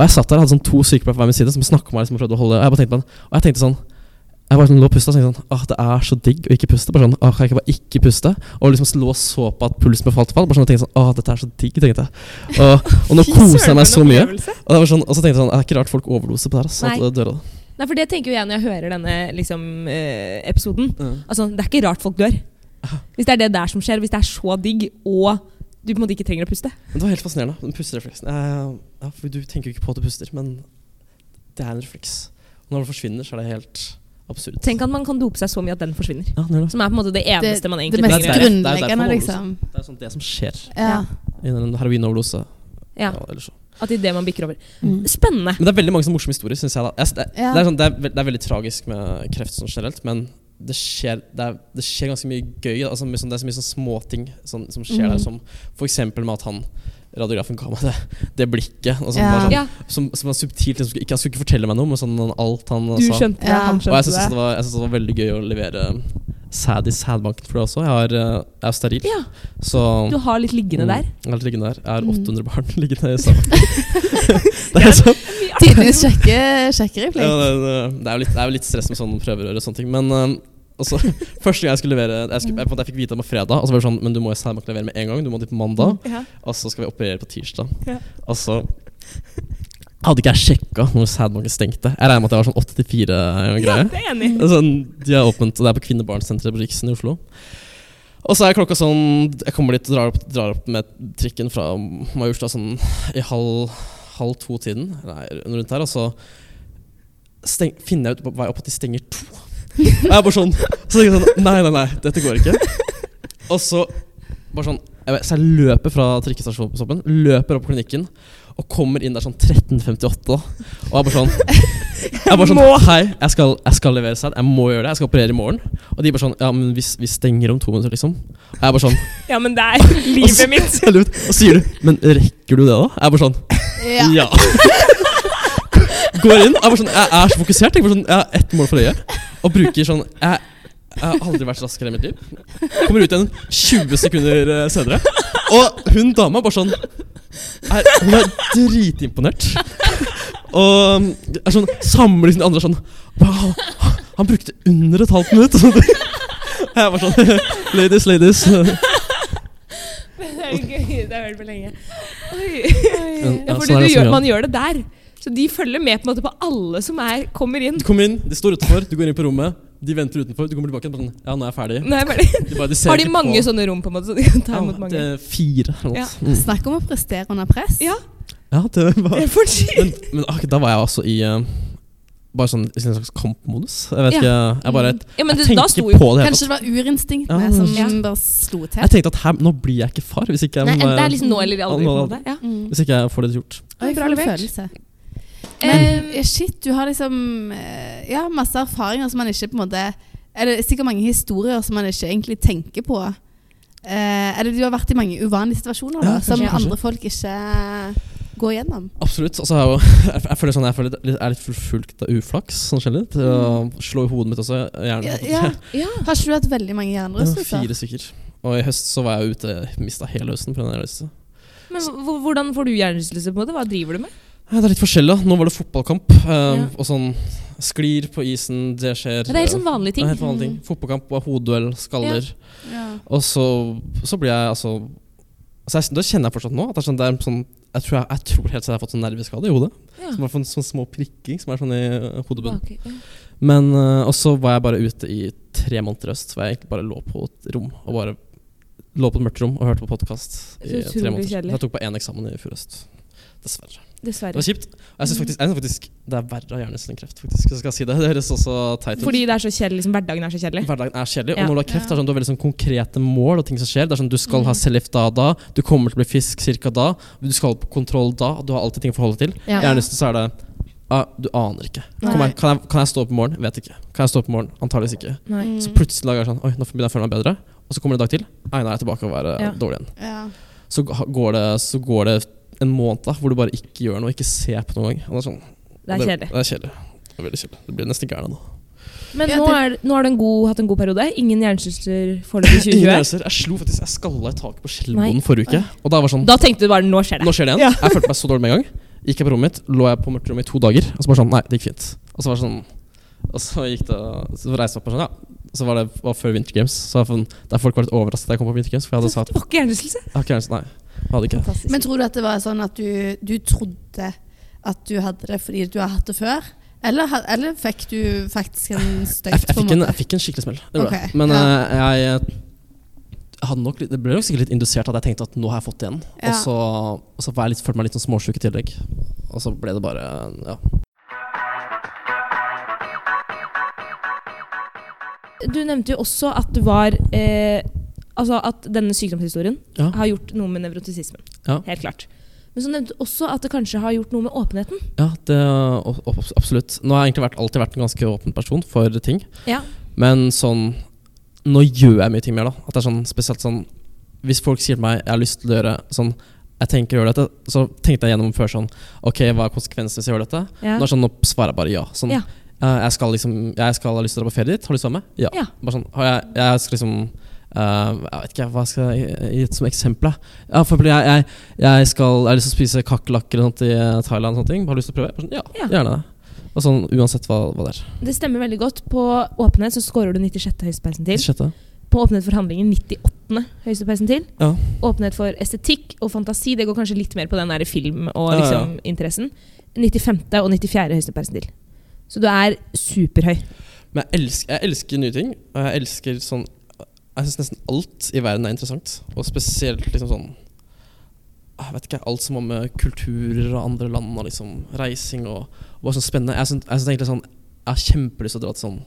Speaker 3: Og jeg satt der og hadde sånn to sykepleiere på hver min side som snakka meg liksom, og prøvde å holde Og jeg bare tenkte på den. Og jeg tenkte sånn jeg bare sånn, lå og pusta og tenkte sånn Åh, det er så digg å ikke puste. Bare sånn, åh, kan jeg ikke bare ikke puste? Og liksom lå og så på at pulsen min falt og falt. Bare sånn, og tenkte sånn, åh, dette er så digg, tenkte jeg. Og, og nå
Speaker 2: [LAUGHS] Fy
Speaker 3: koser
Speaker 2: søren,
Speaker 3: jeg meg
Speaker 2: for
Speaker 3: så
Speaker 2: en
Speaker 3: mye.
Speaker 2: opplevelse.
Speaker 3: Og, det var sånn, og så tenkte jeg sånn, det er ikke rart folk overdoser på det her. ass,
Speaker 2: Nei.
Speaker 3: at det dør av det.
Speaker 2: Nei, for det tenker jo jeg når jeg hører denne liksom, eh, episoden. Altså, Det er ikke rart folk dør. Hvis det er det der som skjer, hvis det er så digg, og du på en måte ikke trenger å puste.
Speaker 3: Men det var helt fascinerende, den pusterefleksen. Eh, ja, for du tenker jo ikke på at du puster, men det er en refleks. Og når det forsvinner, så er det helt absurd.
Speaker 2: Tenk at man kan dope seg så mye at den forsvinner.
Speaker 3: ja, det, er det.
Speaker 2: Som er på en måte det
Speaker 1: det,
Speaker 2: eneste man
Speaker 1: det
Speaker 2: egentlig
Speaker 3: er
Speaker 1: mest
Speaker 2: trenger å gjøre.
Speaker 3: grunn- Det er derfor
Speaker 1: grunnleggende,
Speaker 3: man
Speaker 1: liksom.
Speaker 3: det er sånn det som skjer
Speaker 1: Ja.
Speaker 3: i en heroinoverdose.
Speaker 2: Ja,
Speaker 3: Ja, eller så.
Speaker 2: at idet man bikker over.
Speaker 1: Mm.
Speaker 2: Spennende.
Speaker 3: men det er veldig mange sånne morsomme historier, syns jeg. da. Jeg, s- det,
Speaker 1: Ja.
Speaker 3: det, er sånn, det, er, ve- det er veldig tragisk med kreft sånn generelt, men det skjer, det, er, det skjer ganske mye gøy. da. Altså, mye sånn, det er så mye sånn småting sånn, som skjer
Speaker 1: Mhm.
Speaker 3: der, som f.eks. med at han radiografen ga meg det, det blikket. Og sånn,
Speaker 1: Ja.
Speaker 3: bare sånn,
Speaker 2: Ja,
Speaker 3: som, som var subtilt. Liksom, ikke, han skulle ikke fortelle meg noe, men sånn alt han
Speaker 2: Du
Speaker 3: sa.
Speaker 2: skjønte det,
Speaker 1: Ja.
Speaker 2: han
Speaker 3: Og jeg syns
Speaker 2: skjønte
Speaker 3: det,
Speaker 2: det.
Speaker 3: var- jeg synes det var veldig gøy å levere sæd i sædbanken for det også. Jeg, har, eh, jeg er steril,
Speaker 2: Ja,
Speaker 3: så
Speaker 2: Du har litt liggende der.
Speaker 3: Mm, jeg har litt liggende der. Jeg har
Speaker 1: Mm.
Speaker 3: 800 barn [LAUGHS] liggende i sædbanken. det er sånn.
Speaker 1: Tidenes kjekke, kjekke
Speaker 3: Ja,
Speaker 1: replikk.
Speaker 3: det, det, det, er jo litt, det er jo litt stress med sånne prøverør og sånne ting. Men eh, også, [LAUGHS] første gang jeg skulle levere Jeg, skulle, jeg, på en måte, jeg fikk vite om det fredag, og så var det sånn Men du må i sædbanken levere med en gang. Du må dit på mandag.
Speaker 2: Mm, Ja.
Speaker 3: Og så skal vi operere på tirsdag.
Speaker 2: Ja.
Speaker 3: Og så hadde ikke jeg sjekka når sædbanken stengte. Jeg regner med at det var sånn 8-4-greie.
Speaker 2: Ja, det er jeg enig. i.
Speaker 3: Det er sånn, de er åpent, og det er på Kvinnebarnsenteret på Riksen i Oslo. Og så er klokka sånn Jeg kommer dit og drar opp, drar opp med trikken fra Majorstad sånn i halv, halv to-tiden, Nei, rundt her, og så steng, finner jeg ut på vei opp at de stenger to. Og jeg bare sånn, så tenker jeg sånn Nei, nei, nei, dette går ikke. Og så bare sånn jeg vet, Så jeg løper fra trikkestasjonen, løper opp klinikken, og kommer inn der sånn 13.58. da. Og jeg bare sånn
Speaker 2: [LAUGHS]
Speaker 3: jeg bare sånn, Hei, jeg skal, jeg skal levere sæd. Jeg må gjøre det. Jeg skal operere i morgen. Og de bare sånn Ja, men vi, vi stenger om to minutter, liksom. Og jeg bare sånn
Speaker 2: Ja, men
Speaker 3: [LAUGHS]
Speaker 2: det er livet mitt!
Speaker 3: så lurt. Og så sier du Men rekker du det, da? Jeg er bare sånn
Speaker 1: Ja.
Speaker 3: Ja. Går inn. Jeg, er bare sånn, jeg er så fokusert. Jeg, er bare sånn, jeg har ett mål for øyet. Og bruker sånn Jeg, jeg har aldri vært raskere i mitt liv. Kommer ut igjen 20 sekunder eh, senere. Og hun dama bare sånn er, Hun er dritimponert. Og er sånn, samler sine andre er sånn «Wow, Han brukte under et halvt minutt. Og jeg var sånn Ladies, ladies.
Speaker 2: [LAUGHS] Det er gøy. Det har jeg hørt på lenge.
Speaker 3: Ja,
Speaker 2: Ja, fordi du
Speaker 3: sånn er det også,
Speaker 2: gjør,
Speaker 3: ja.
Speaker 2: man gjør det der. Så de følger med på, en måte på alle som er, kommer inn.
Speaker 3: Du kommer inn, de står utenfor, du går inn på rommet, de venter utenfor, du kommer tilbake igjen bare sånn Ja, nå er jeg ferdig.
Speaker 2: Nå er jeg ferdig.
Speaker 3: De bare, de [LAUGHS] ser
Speaker 2: Har de
Speaker 3: ikke
Speaker 2: mange
Speaker 3: på.
Speaker 2: sånne rom, på en måte? Så de kan ta imot
Speaker 3: Ja,
Speaker 2: mange?
Speaker 3: det er fire eller noe.
Speaker 2: Ja.
Speaker 3: Mm.
Speaker 1: Snakk om å prestere under press.
Speaker 2: Ja,
Speaker 3: Ja, det
Speaker 2: det
Speaker 3: var
Speaker 2: er for sykt.
Speaker 3: Men, men akkurat da var jeg også i eh, bare sånn i en slags kampmodus. Jeg vet
Speaker 2: Ja.
Speaker 3: ikke Jeg bare
Speaker 2: [LAUGHS] Ja, men
Speaker 3: jeg
Speaker 2: det,
Speaker 3: tenker
Speaker 2: da
Speaker 3: ikke
Speaker 2: sto
Speaker 3: på
Speaker 2: jo
Speaker 3: det hele
Speaker 1: Kanskje
Speaker 3: tatt.
Speaker 1: det var
Speaker 3: Ja,
Speaker 1: urinstinkene som
Speaker 2: ja.
Speaker 1: bare slo til.
Speaker 3: Jeg tenkte at her, nå blir jeg ikke far hvis ikke jeg,
Speaker 2: Nei,
Speaker 3: må,
Speaker 2: enten det er liksom nå eller aldri. på en
Speaker 3: Nå-
Speaker 2: måte. Ja.
Speaker 1: Mm.
Speaker 3: hvis ikke jeg får det gjort.
Speaker 1: Oi,
Speaker 2: Bra
Speaker 1: for en
Speaker 2: levert.
Speaker 1: følelse.
Speaker 2: Men,
Speaker 1: Eh, Shit, du har liksom eh, Ja, masse erfaringer som man ikke på en måte Er det sikkert mange historier som man ikke egentlig tenker på? Eh, eller du har vært i mange uvanlige situasjoner da,
Speaker 3: Ja, kanskje,
Speaker 1: som
Speaker 3: kanskje.
Speaker 1: andre folk ikke går gjennom.
Speaker 3: Absolutt. Altså, jeg, er jo- [LAUGHS] jeg, jeg føler sånn jeg føler litt- er litt forfulgt av uflaks sånn generelt. Til å slå i hodet mitt også. Gjerne.
Speaker 1: Ja, ja.
Speaker 2: Mm.
Speaker 3: [LAUGHS]
Speaker 2: ja.
Speaker 1: Har ikke du hatt veldig mange hjernerystelser?
Speaker 3: fire stykker. Og i høst så var jeg ute, mista hele høsten pga. reise.
Speaker 2: men hvor- hvordan får du hjernerystelse? på en måte? Hva driver du med?
Speaker 3: Ja, Det er litt forskjellig. da. Nå var det fotballkamp. eh,
Speaker 2: Ja.
Speaker 3: Og sånn sklir på isen, det skjer.
Speaker 2: Det er helt sånn vanlige
Speaker 3: Det er
Speaker 2: ting.
Speaker 3: helt vanlige ting. Fotballkamp, og hodeduell, skaller.
Speaker 1: Ja.
Speaker 3: Og så, så blir jeg altså altså, jeg, Det kjenner jeg fortsatt nå. At det er sånn, det er sånn, jeg, tror jeg, jeg tror helt siden jeg har fått sånn nerveskade i hodet.
Speaker 2: Ja.
Speaker 3: Som er sånn, sånn små prikking som er sånn i eh, hodebunnen.
Speaker 2: Ok, ja.
Speaker 3: Men eh, Og så var jeg bare ute i tre måneder i øst, hvor jeg egentlig bare lå på et rom. Og bare lå på et mørkt rom og hørte på podkast
Speaker 2: Så
Speaker 3: i tre
Speaker 2: utrolig
Speaker 3: måneder.
Speaker 2: kjedelig.
Speaker 3: Jeg tok bare én eksamen i fjor høst. Dessverre. Det
Speaker 2: Dessverre.
Speaker 3: var kjipt. Og jeg syns
Speaker 2: Mm.
Speaker 3: faktisk, jeg synes faktisk det er verre å ha hjernerystelse enn kreft. faktisk, hvis jeg skal si Det Det høres også teit ut.
Speaker 2: Fordi det er så kjedelig, liksom, hverdagen er så kjedelig.
Speaker 3: Hverdagen er kjedelig.
Speaker 2: Ja. Mm.
Speaker 3: Og når du har kreft, er det sånn, du har veldig sånn konkrete mål og ting som skjer. Det er sånn, Du skal ha cellegift da og da, du kommer til å bli fisk cirka da, du skal på kontroll da. Du har alltid ting å forholde deg til.
Speaker 2: Ja.
Speaker 3: Hjernerystelse så er det ah, Du aner ikke.
Speaker 1: Nei.
Speaker 3: Kommer jeg- kan, jeg, kan jeg stå opp i morgen? Vet ikke. Kan jeg stå opp i morgen? Antakeligvis ikke.
Speaker 1: Mm,
Speaker 2: Nei.
Speaker 3: Så plutselig lager jeg sånn Oi, nå begynner jeg å føle meg bedre. Og så kommer det en dag til. Nei, nå er jeg tilbake og være
Speaker 2: Ja.
Speaker 3: dårlig igjen.
Speaker 1: Ja.
Speaker 3: Så ga- går det, så går det en måned da, hvor du bare ikke gjør noe, ikke ser på noe engang. Og det er sånn,
Speaker 2: Det er kjedelig.
Speaker 3: Det er kjedelig. Det er veldig kjedelig. Det blir nesten gæren nå.
Speaker 2: Men
Speaker 1: Ja,
Speaker 2: nå, er, nå har du en god, hatt en god periode. Ingen hjernerystelser foreløpig i
Speaker 3: [LAUGHS] Ingen
Speaker 2: 2020.
Speaker 3: reiser. Jeg slo faktisk, jeg skalla i taket på
Speaker 2: Nei.
Speaker 3: skjellboden forrige uke. Og da var det sånn,
Speaker 2: Da tenkte du bare 'nå skjer det'.
Speaker 3: nå skjer det igjen. Jeg følte meg så dårlig med en gang. Gikk jeg på rommet mitt, lå jeg på mørkt rom i to dager. Og så bare sånn, nei, det gikk fint. Og så var det sånn, og så gikk det, så reiste jeg opp og sånn, ja. Så var det var før Winter Games. Så jeg fann- der folk var litt overrasket da jeg kom på Winter Games. For jeg hadde sagt,
Speaker 2: Det var ikke hjernerystelse.
Speaker 3: jeg har ikke hjernerystelse, nei. Jeg hadde ikke.
Speaker 2: Fantastisk.
Speaker 1: Men tror du at det var sånn at du, du trodde at du hadde det fordi du har hatt det før? Eller, ha- eller fikk du faktisk en
Speaker 3: Jeg,
Speaker 1: støyt?
Speaker 3: jeg, fikk en, jeg fikk en skikkelig smell. Det gjorde
Speaker 1: Ok,
Speaker 3: jeg. Men
Speaker 1: ja.
Speaker 3: eh, jeg, jeg hadde nok, litt- det ble nok sikkert litt indusert at jeg tenkte at nå har jeg fått det igjen.
Speaker 1: Ja.
Speaker 3: Og så, og så var jeg litt, følte jeg meg litt sånn småsjuk i tillegg. Og så ble det bare ja.
Speaker 2: Du nevnte jo også at du var eh, Altså at denne sykdomshistorien
Speaker 3: Ja.
Speaker 2: har gjort noe med nevrotisismen.
Speaker 3: Ja.
Speaker 2: Helt klart. Men så nevnte du også at det kanskje har gjort noe med åpenheten.
Speaker 3: ja det, og, og, absolutt. Nå har jeg egentlig vært, alltid vært en ganske åpen person for ting.
Speaker 2: Ja.
Speaker 3: Men sånn Nå gjør jeg mye ting mer, da. At det er sånn spesielt sånn Hvis folk sier til meg jeg har lyst til å gjøre sånn jeg tenker å gjøre dette, Så tenkte jeg gjennom før sånn Ok, hva er konsekvensene hvis jeg gjør dette?
Speaker 2: Ja.
Speaker 3: Nå, er det sånn, nå svarer jeg bare ja. Sånn,
Speaker 2: Ja.
Speaker 3: eh, jeg, skal liksom, jeg skal ha lyst til å dra på ferie dit. Har du lyst til å være med? Ja.
Speaker 2: Ja.
Speaker 3: Bare sånn, har jeg, jeg skal liksom eh, Jeg vet ikke, hva skal jeg gi som eksempel? da? Ja, for eksempel, jeg, jeg, jeg, skal, jeg har lyst til å spise kakerlakker eller noe sånt i eh, Thailand. og Sånne ting. Har du lyst til å prøve? Bare Sånn, ja,
Speaker 2: Ja.
Speaker 3: gjerne det. Og sånn, uansett hva, hva det er.
Speaker 2: Det stemmer veldig godt. På åpenhet så scorer du 96. høyeste persentil.
Speaker 3: Sjette.
Speaker 2: På åpenhet for handlingen 98. høyeste persentil.
Speaker 3: Ja.
Speaker 2: Åpenhet for estetikk og fantasi, det går kanskje litt mer på den der film- og
Speaker 3: Ja, ja.
Speaker 2: liksom, interessen. 95. og 94. høyeste persentil. Så du er superhøy.
Speaker 3: Men jeg elsker, jeg elsker nye ting. Og jeg elsker sånn Jeg syns nesten alt i verden er interessant. Og spesielt liksom sånn jeg vet ikke, alt som har med kulturer og andre land og liksom reising og, og bare sånn spennende. Jeg syns jeg syns egentlig sånn Jeg har kjempelyst til å dra til sånn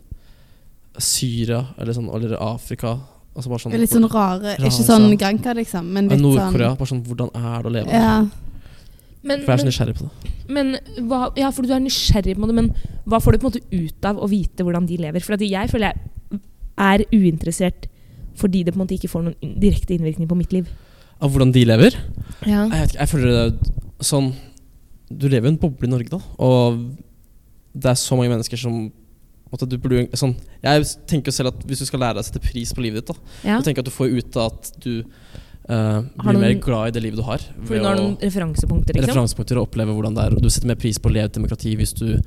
Speaker 3: Syria eller sånn eller Afrika. Altså bare sånn
Speaker 1: Litt sånn rare,
Speaker 3: Rare,
Speaker 1: Ikke sånn
Speaker 3: ja.
Speaker 1: Granca, liksom, men
Speaker 3: Ja,
Speaker 1: litt sånn
Speaker 3: Nord-Korea. Bare sånn Hvordan er det å leve der?
Speaker 1: Ja.
Speaker 2: Men,
Speaker 3: For jeg er så
Speaker 2: men,
Speaker 3: nysgjerrig på det.
Speaker 2: men hva, ja, for du er nysgjerrig på det, men hva får du på en måte ut av å vite hvordan de lever? For at jeg føler jeg er uinteressert fordi det på en måte ikke får noen in- direkte innvirkning på mitt liv.
Speaker 3: Av hvordan de lever?
Speaker 2: Ja.
Speaker 3: Jeg vet ikke, jeg føler det er sånn Du lever i en boble i Norge, da. Og det er så mange mennesker som at du burde, jo- sånn, Jeg tenker jo selv at hvis du skal lære deg å sette pris på livet ditt, da,
Speaker 2: Ja.
Speaker 3: Du tenker at du får ut av at du eh,
Speaker 2: Har
Speaker 3: blir
Speaker 2: noen-
Speaker 3: mer glad i det livet du har.
Speaker 2: For du har noen referansepunkter, liksom.
Speaker 3: referansepunkter og opplever hvordan det er. Du setter mer pris på å leve i et demokrati hvis du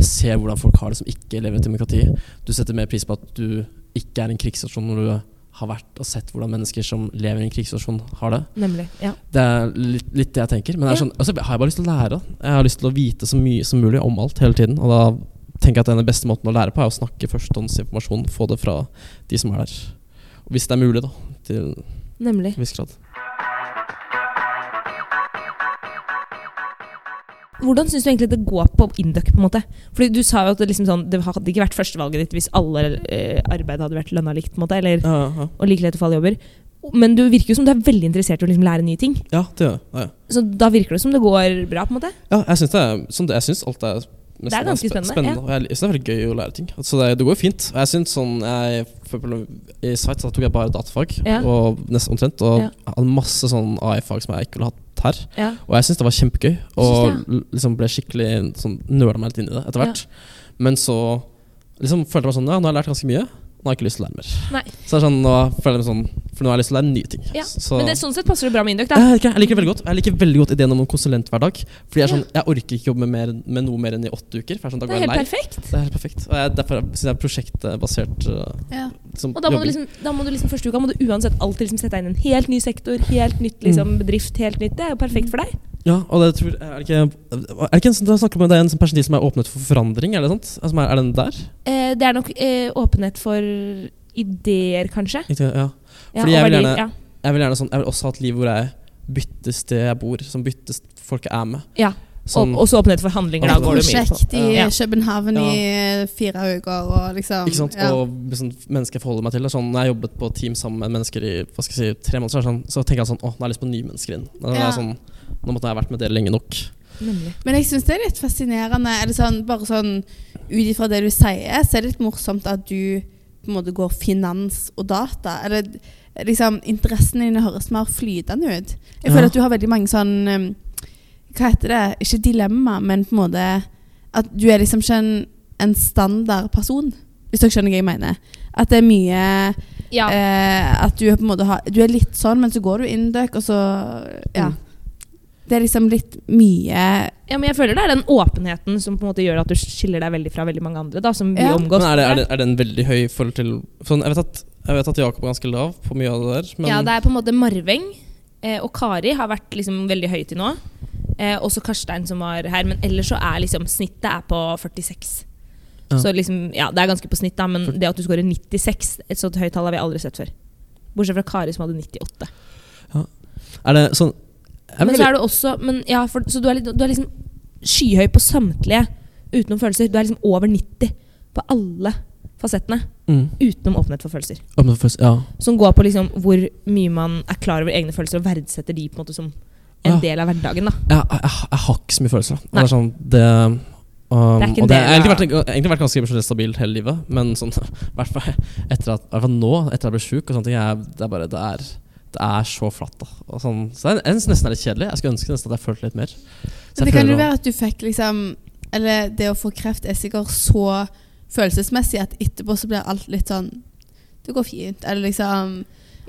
Speaker 3: ser hvordan folk har det som ikke lever i et demokrati. Du setter mer pris på at du ikke er i en krigsstasjon når du har vært og sett hvordan mennesker som lever i en krigsstasjon, har det.
Speaker 2: Nemlig. Ja.
Speaker 3: Det er litt, litt det jeg tenker. Men det er
Speaker 2: Ja.
Speaker 3: sånn, altså, har jeg bare lyst til å lære. da. Jeg har lyst til å vite så mye som mulig om alt hele tiden. Og da tenker jeg at den beste måten å lære på er å snakke førstehåndsinformasjon. Få det fra de som er der. Og hvis det er mulig, da. Til en
Speaker 2: Nemlig.
Speaker 3: viss grad.
Speaker 2: Hvordan syns du egentlig det går på Induc? på en måte? Fordi Du sa jo at det, liksom sånn, det hadde ikke vært førstevalget ditt hvis alle eh, arbeid hadde vært lønna likt. på en måte, eller,
Speaker 3: Ja, ja.
Speaker 2: og like lett å falle i jobber. Men du virker jo som du er veldig interessert i å liksom lære nye ting.
Speaker 3: ja det gjør jeg. Ja, ja.
Speaker 2: Så da virker det som det går bra. på en måte.
Speaker 3: Ja, jeg syns det er som det, jeg synes alt er nesten
Speaker 2: Det er ganske
Speaker 3: spe-
Speaker 2: spennende, ja.
Speaker 3: Og jeg jeg synes det er veldig gøy å lære ting. Så det, det går jo fint. Og Jeg synes sånn jeg, for eksempel, I Sveits da tok jeg bare datafag,
Speaker 2: Ja.
Speaker 3: og nesten omtrent. Og
Speaker 2: Ja.
Speaker 3: jeg hadde masse sånn AI-fag som jeg ikke ville hatt her.
Speaker 2: Ja.
Speaker 3: Og jeg syns det var kjempegøy, og
Speaker 2: Synes
Speaker 3: l- liksom ble skikkelig sånn, nøla meg litt inn i det etter hvert. Men så liksom følte jeg meg sånn Ja, nå har jeg lært ganske mye. Nå har jeg ikke lyst til å lære mer.
Speaker 2: Nei.
Speaker 3: Så det er sånn, nå føler jeg meg sånn For nå har jeg lyst til å lære nye ting.
Speaker 2: Ja,
Speaker 3: Så- Eh,
Speaker 2: Men det, sånn sett passer det bra med Induc. da.
Speaker 3: jeg, liker, det. jeg liker det veldig godt Jeg liker veldig godt ideen om en konsulenthverdag. Fordi Jeg er sånn, jeg orker ikke jobbe med, mer, med noe mer enn i åtte uker. For jeg er sånn, da
Speaker 2: Det er
Speaker 3: går jeg
Speaker 2: helt
Speaker 3: lei.
Speaker 2: perfekt.
Speaker 3: Det er helt perfekt. Og jeg, derfor syns jeg er prosjektbasert uh,
Speaker 1: ja.
Speaker 3: liksom,
Speaker 2: Og da må, du
Speaker 3: jobbing.
Speaker 2: liksom, da må du liksom første uka må du uansett alltid liksom sette deg inn i en helt ny sektor, helt nytt liksom, bedrift, helt nytt. Det er jo perfekt for deg.
Speaker 3: Ja, og det tror, er det ikke, er det ikke en, sånn- da snakker man om det er en sånn person som er åpnet for forandring? Er det sant? Altså, er, er den der?
Speaker 2: Eh, det er nok eh, åpenhet for ideer, kanskje.
Speaker 3: Ikke, ja.
Speaker 2: Ja,
Speaker 3: Fordi jeg
Speaker 2: og
Speaker 3: vil
Speaker 2: verdier,
Speaker 3: gjerne- Jeg vil gjerne sånn, jeg vil også ha et liv hvor jeg bytter sted jeg bor, som bytter st- folk jeg er med.
Speaker 2: ja. ja.
Speaker 3: Sånn,
Speaker 2: og, og så åpenhet for handlinger, da
Speaker 3: Ja,
Speaker 2: går du mye.
Speaker 1: Prosjekt i
Speaker 2: Ja.
Speaker 1: København
Speaker 3: Ja.
Speaker 1: i fire uker og liksom
Speaker 3: ikke sant?
Speaker 1: Ja.
Speaker 3: Og med sånn mennesker jeg forholder meg til. det er Sånn, når jeg har jobbet på team sammen med mennesker i hva skal jeg si, tre måneder, så, er det sånn, så tenker jeg sånn Å, nå har jeg lyst på nye mennesker inn. Nå, er
Speaker 1: Ja.
Speaker 3: jeg sånn, nå måtte jeg ha vært med dere lenge nok.
Speaker 2: Nemlig.
Speaker 1: Men jeg syns det er litt fascinerende. Er det sånn, bare sånn ut ifra det du sier, så er det litt morsomt at du på en måte går finans og data. Eller liksom Interessene dine høres mer flytende ut. Jeg
Speaker 3: Ja.
Speaker 1: føler at du har veldig mange sånn um, Hva heter det? Ikke dilemma, men på en måte At du er liksom ikke en, en standard person. Hvis dere skjønner hva jeg mener. At det er mye
Speaker 2: Ja.
Speaker 1: eh, At du på en måte har Du er litt sånn, men så går du inn døk, og så Ja.
Speaker 3: Mm.
Speaker 1: Det er liksom litt mye
Speaker 2: ja, men jeg føler det er den åpenheten som på en måte gjør at du skiller deg veldig fra veldig mange andre. da, som vi
Speaker 1: Ja.
Speaker 2: omgås.
Speaker 3: Men er, det, er, det, er den veldig høy i forhold til sånn, jeg, vet at, jeg vet at Jakob er ganske lav på mye av det der, men
Speaker 2: Ja, det er på en måte Marveng eh, og Kari har vært liksom veldig høyt til nå. Eh, også Karstein som var her, men ellers så er liksom snittet er på 46.
Speaker 3: Ja.
Speaker 2: Så liksom, ja, det er ganske på snitt, da, men det at du scorer 96, et sånt høyt tall har vi aldri sett før. Bortsett fra Kari som hadde 98.
Speaker 3: er det sånn jeg
Speaker 2: Men
Speaker 3: vil,
Speaker 2: så er du også men ja, for, Så du er, litt, du er liksom skyhøy på samtlige utenom følelser. Du er liksom over 90 på alle fasettene
Speaker 3: mm,
Speaker 2: utenom åpenhet for følelser.
Speaker 3: åpne for først, ja.
Speaker 2: Som går på liksom hvor mye man er klar over egne følelser og verdsetter de på en måte som en
Speaker 3: Ja.
Speaker 2: del av hverdagen. da.
Speaker 3: jeg, jeg, jeg har ikke så mye følelser. Da.
Speaker 2: Nei.
Speaker 3: Det er sånn det, um,
Speaker 2: Det er ikke en
Speaker 3: og det, jeg har
Speaker 2: del
Speaker 3: egentlig
Speaker 2: av-
Speaker 3: vært, egentlig vært ganske emosjonelt stabil hele livet, men sånn, [LAUGHS] i hvert fall etter at, i hvert fall nå, etter at jeg ble sjuk og sånne ting, jeg, det er bare det er, det er så flatt. Da. Og sånn, så det er, jeg synes nesten det er litt kjedelig. Jeg skulle ønske nesten at jeg følte litt mer. Så
Speaker 1: Men
Speaker 3: jeg
Speaker 1: det kan
Speaker 3: prøver
Speaker 1: jo
Speaker 3: å-
Speaker 1: være at du fikk liksom Eller det å få kreft er sikkert så følelsesmessig at etterpå så blir alt litt sånn Det går fint. Eller liksom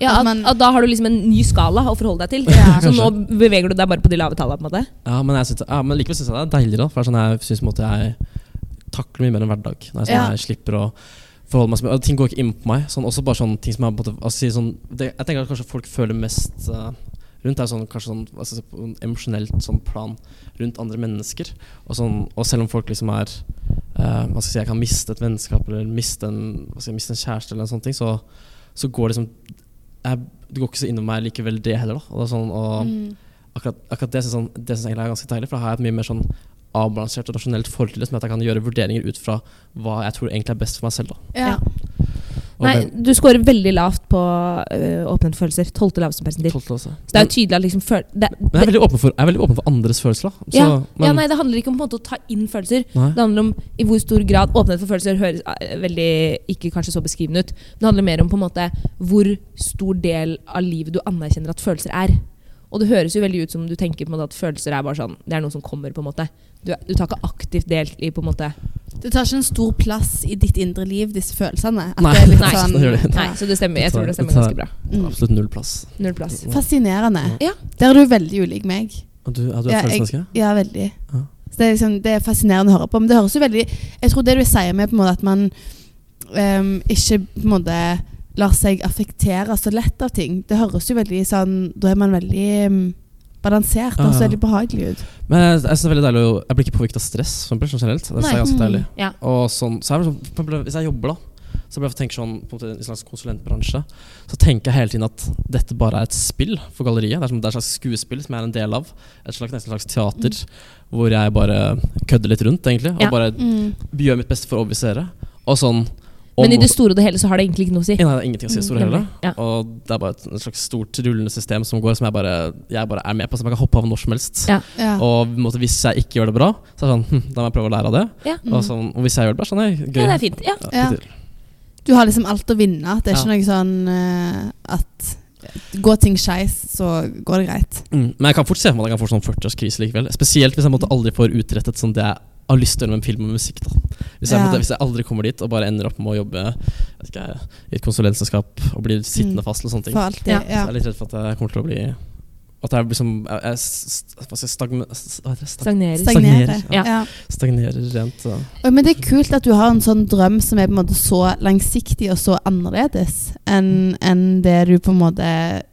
Speaker 2: Ja,
Speaker 1: At
Speaker 2: at,
Speaker 1: man-
Speaker 2: at Da har du liksom en ny skala å forholde deg til.
Speaker 1: Ja.
Speaker 2: Så nå beveger du deg bare på de lave tallene. på en måte.
Speaker 3: Ja, men, jeg synes, ja, men likevel syns jeg det er deiligere. da, For det er sånn jeg synes på en måte jeg takler mye mer enn hverdag. Når jeg, sånn,
Speaker 1: Ja.
Speaker 3: jeg slipper å forholde meg så mye. Og ting går ikke inn på meg. Sånn, også bare sånne ting som jeg på en måte, altså, sier sånn, det, Jeg tenker at kanskje folk føler mest eh, rundt er sånn, kanskje sånn hva skal jeg si, på en emosjonelt sånn plan rundt andre mennesker. Og, sånn, og selv om folk liksom er eh, hva skal jeg, si, jeg kan miste et vennskap eller miste en, hva skal jeg, miste en kjæreste, eller en sånn ting, så, så går liksom jeg, Det går ikke så innover meg likevel, det heller. da, og det er sånn, og,
Speaker 1: mm.
Speaker 3: akkurat, akkurat det syns jeg, det synes jeg egentlig er ganske deilig, for da har jeg et mye mer sånn avbalansert og rasjonelt forhold til det, som gjør at jeg kan gjøre vurderinger ut fra hva jeg tror egentlig er best for meg selv. Da.
Speaker 1: Ja.
Speaker 3: Og
Speaker 2: Nei, du scorer veldig lavt på øh, åpnet følelser. Tolvte laveste
Speaker 3: det,
Speaker 2: persentil.
Speaker 3: tolvte også.
Speaker 2: Så det er jo tydelig at liksom føl... Det,
Speaker 3: Men jeg er
Speaker 2: det,
Speaker 3: veldig åpen for, jeg er veldig åpen for andres følelser, da. Så,
Speaker 2: ja,
Speaker 3: men,
Speaker 2: ja, nei, det handler ikke om på en måte å ta inn følelser.
Speaker 3: nei.
Speaker 2: Det handler om i hvor stor grad åpenhet for følelser høres eh, veldig ikke kanskje så beskrivende ut. Men det handler mer om på en måte hvor stor del av livet du anerkjenner at følelser er. Og det høres jo veldig ut som du tenker på en måte at følelser er bare sånn, det er noe som kommer. på en måte. Du, du tar ikke aktivt del i på en
Speaker 3: [LAUGHS]
Speaker 2: måte.
Speaker 1: Det tar ikke en stor plass i ditt indre liv, disse følelsene. At
Speaker 3: Nei.
Speaker 1: det er litt
Speaker 2: Nei.
Speaker 1: sånn,
Speaker 3: Det gjør det.
Speaker 2: Nei, så det stemmer. Jeg tror det stemmer ganske bra.
Speaker 1: Mm.
Speaker 3: Absolutt null plass.
Speaker 2: Null plass.
Speaker 1: Fascinerende.
Speaker 2: Ja.
Speaker 1: Der er du veldig ulik meg.
Speaker 3: Og du, er du et
Speaker 1: Ja, jeg-
Speaker 3: følelsesmenneske?
Speaker 1: Ja, veldig.
Speaker 3: Ja.
Speaker 1: Så det, er liksom, det er fascinerende å høre på. Men det høres jo veldig Jeg tror det du sier med på en måte at man ehm, ikke på en måte lar seg affektere så lett av ting, det høres jo veldig sånn Da er man veldig ehm, balansert og
Speaker 3: Ja, ja.
Speaker 1: ser veldig behagelig ut.
Speaker 3: Men jeg, jeg synes det er veldig deilig å, Jeg blir ikke påvirket av stress for eksempel, sånn generelt. Det synes jeg er ganske
Speaker 1: Nei.
Speaker 3: deilig.
Speaker 2: Ja.
Speaker 3: Og sånn, så er det sånn, for eksempel, hvis jeg jobber, da, så blir jeg tenker sånn, på en måte, i en slags konsulentbransje, så tenker jeg hele tiden at dette bare er et spill for galleriet. Det er, som, det er et slags skuespill som jeg er en del av. Et slags, nesten et slags teater hvor jeg bare kødder litt rundt, egentlig. Og
Speaker 2: Ja.
Speaker 3: bare gjør mitt beste for å overbevise dere. Og sånn
Speaker 2: Men i
Speaker 3: om-
Speaker 2: det store Mm, og det hele så har det egentlig ikke noe å si.
Speaker 3: Nei, det er ingenting å si i det store heller.
Speaker 2: Ja.
Speaker 3: Og det er bare et et slags stort rullende system som går, som jeg bare, jeg bare er med på, som jeg kan hoppe av når som helst.
Speaker 2: Ja.
Speaker 1: Ja.
Speaker 3: Og på en måte, hvis jeg ikke gjør det bra, så er det sånn hm, Da må jeg prøve å lære av det.
Speaker 2: Ja.
Speaker 1: Mm.
Speaker 3: Og, sånn, og hvis jeg gjør det bra, sånn er gøy.
Speaker 2: Ja, det er fint. Ja.
Speaker 1: Ja.
Speaker 3: fint.
Speaker 1: Du har liksom alt å vinne. Det er ikke noe sånn eh, at går ting skeis, så går det greit.
Speaker 3: Mm. Men jeg kan fort se for meg at jeg kan få sånn 40-årskrise likevel. Spesielt hvis jeg på en måte aldri får utrettet sånn det jeg har lyst til å gjøre med film og musikk. Da. Hvis, jeg, på en
Speaker 1: Ja.
Speaker 3: måte, hvis jeg aldri kommer dit og bare ender opp med å jobbe jeg vet ikke, i et konsulentselskap og blir sittende
Speaker 1: Mm.
Speaker 3: fast eller sånne ting,
Speaker 1: For alltid.
Speaker 2: Ja.
Speaker 1: Ja.
Speaker 3: så jeg er litt redd for at jeg kommer til å bli At jeg liksom jeg, jeg, st- hva skal jeg, stagne, st- hva heter det? Stag-
Speaker 2: Stagnerer.
Speaker 3: Stag-
Speaker 1: Stagnere.
Speaker 3: Ja.
Speaker 1: Ja.
Speaker 3: stagnerer rent. Ja.
Speaker 1: Oi, Men det er kult at du har en sånn drøm som er på en måte så langsiktig og så annerledes enn enn det du på en måte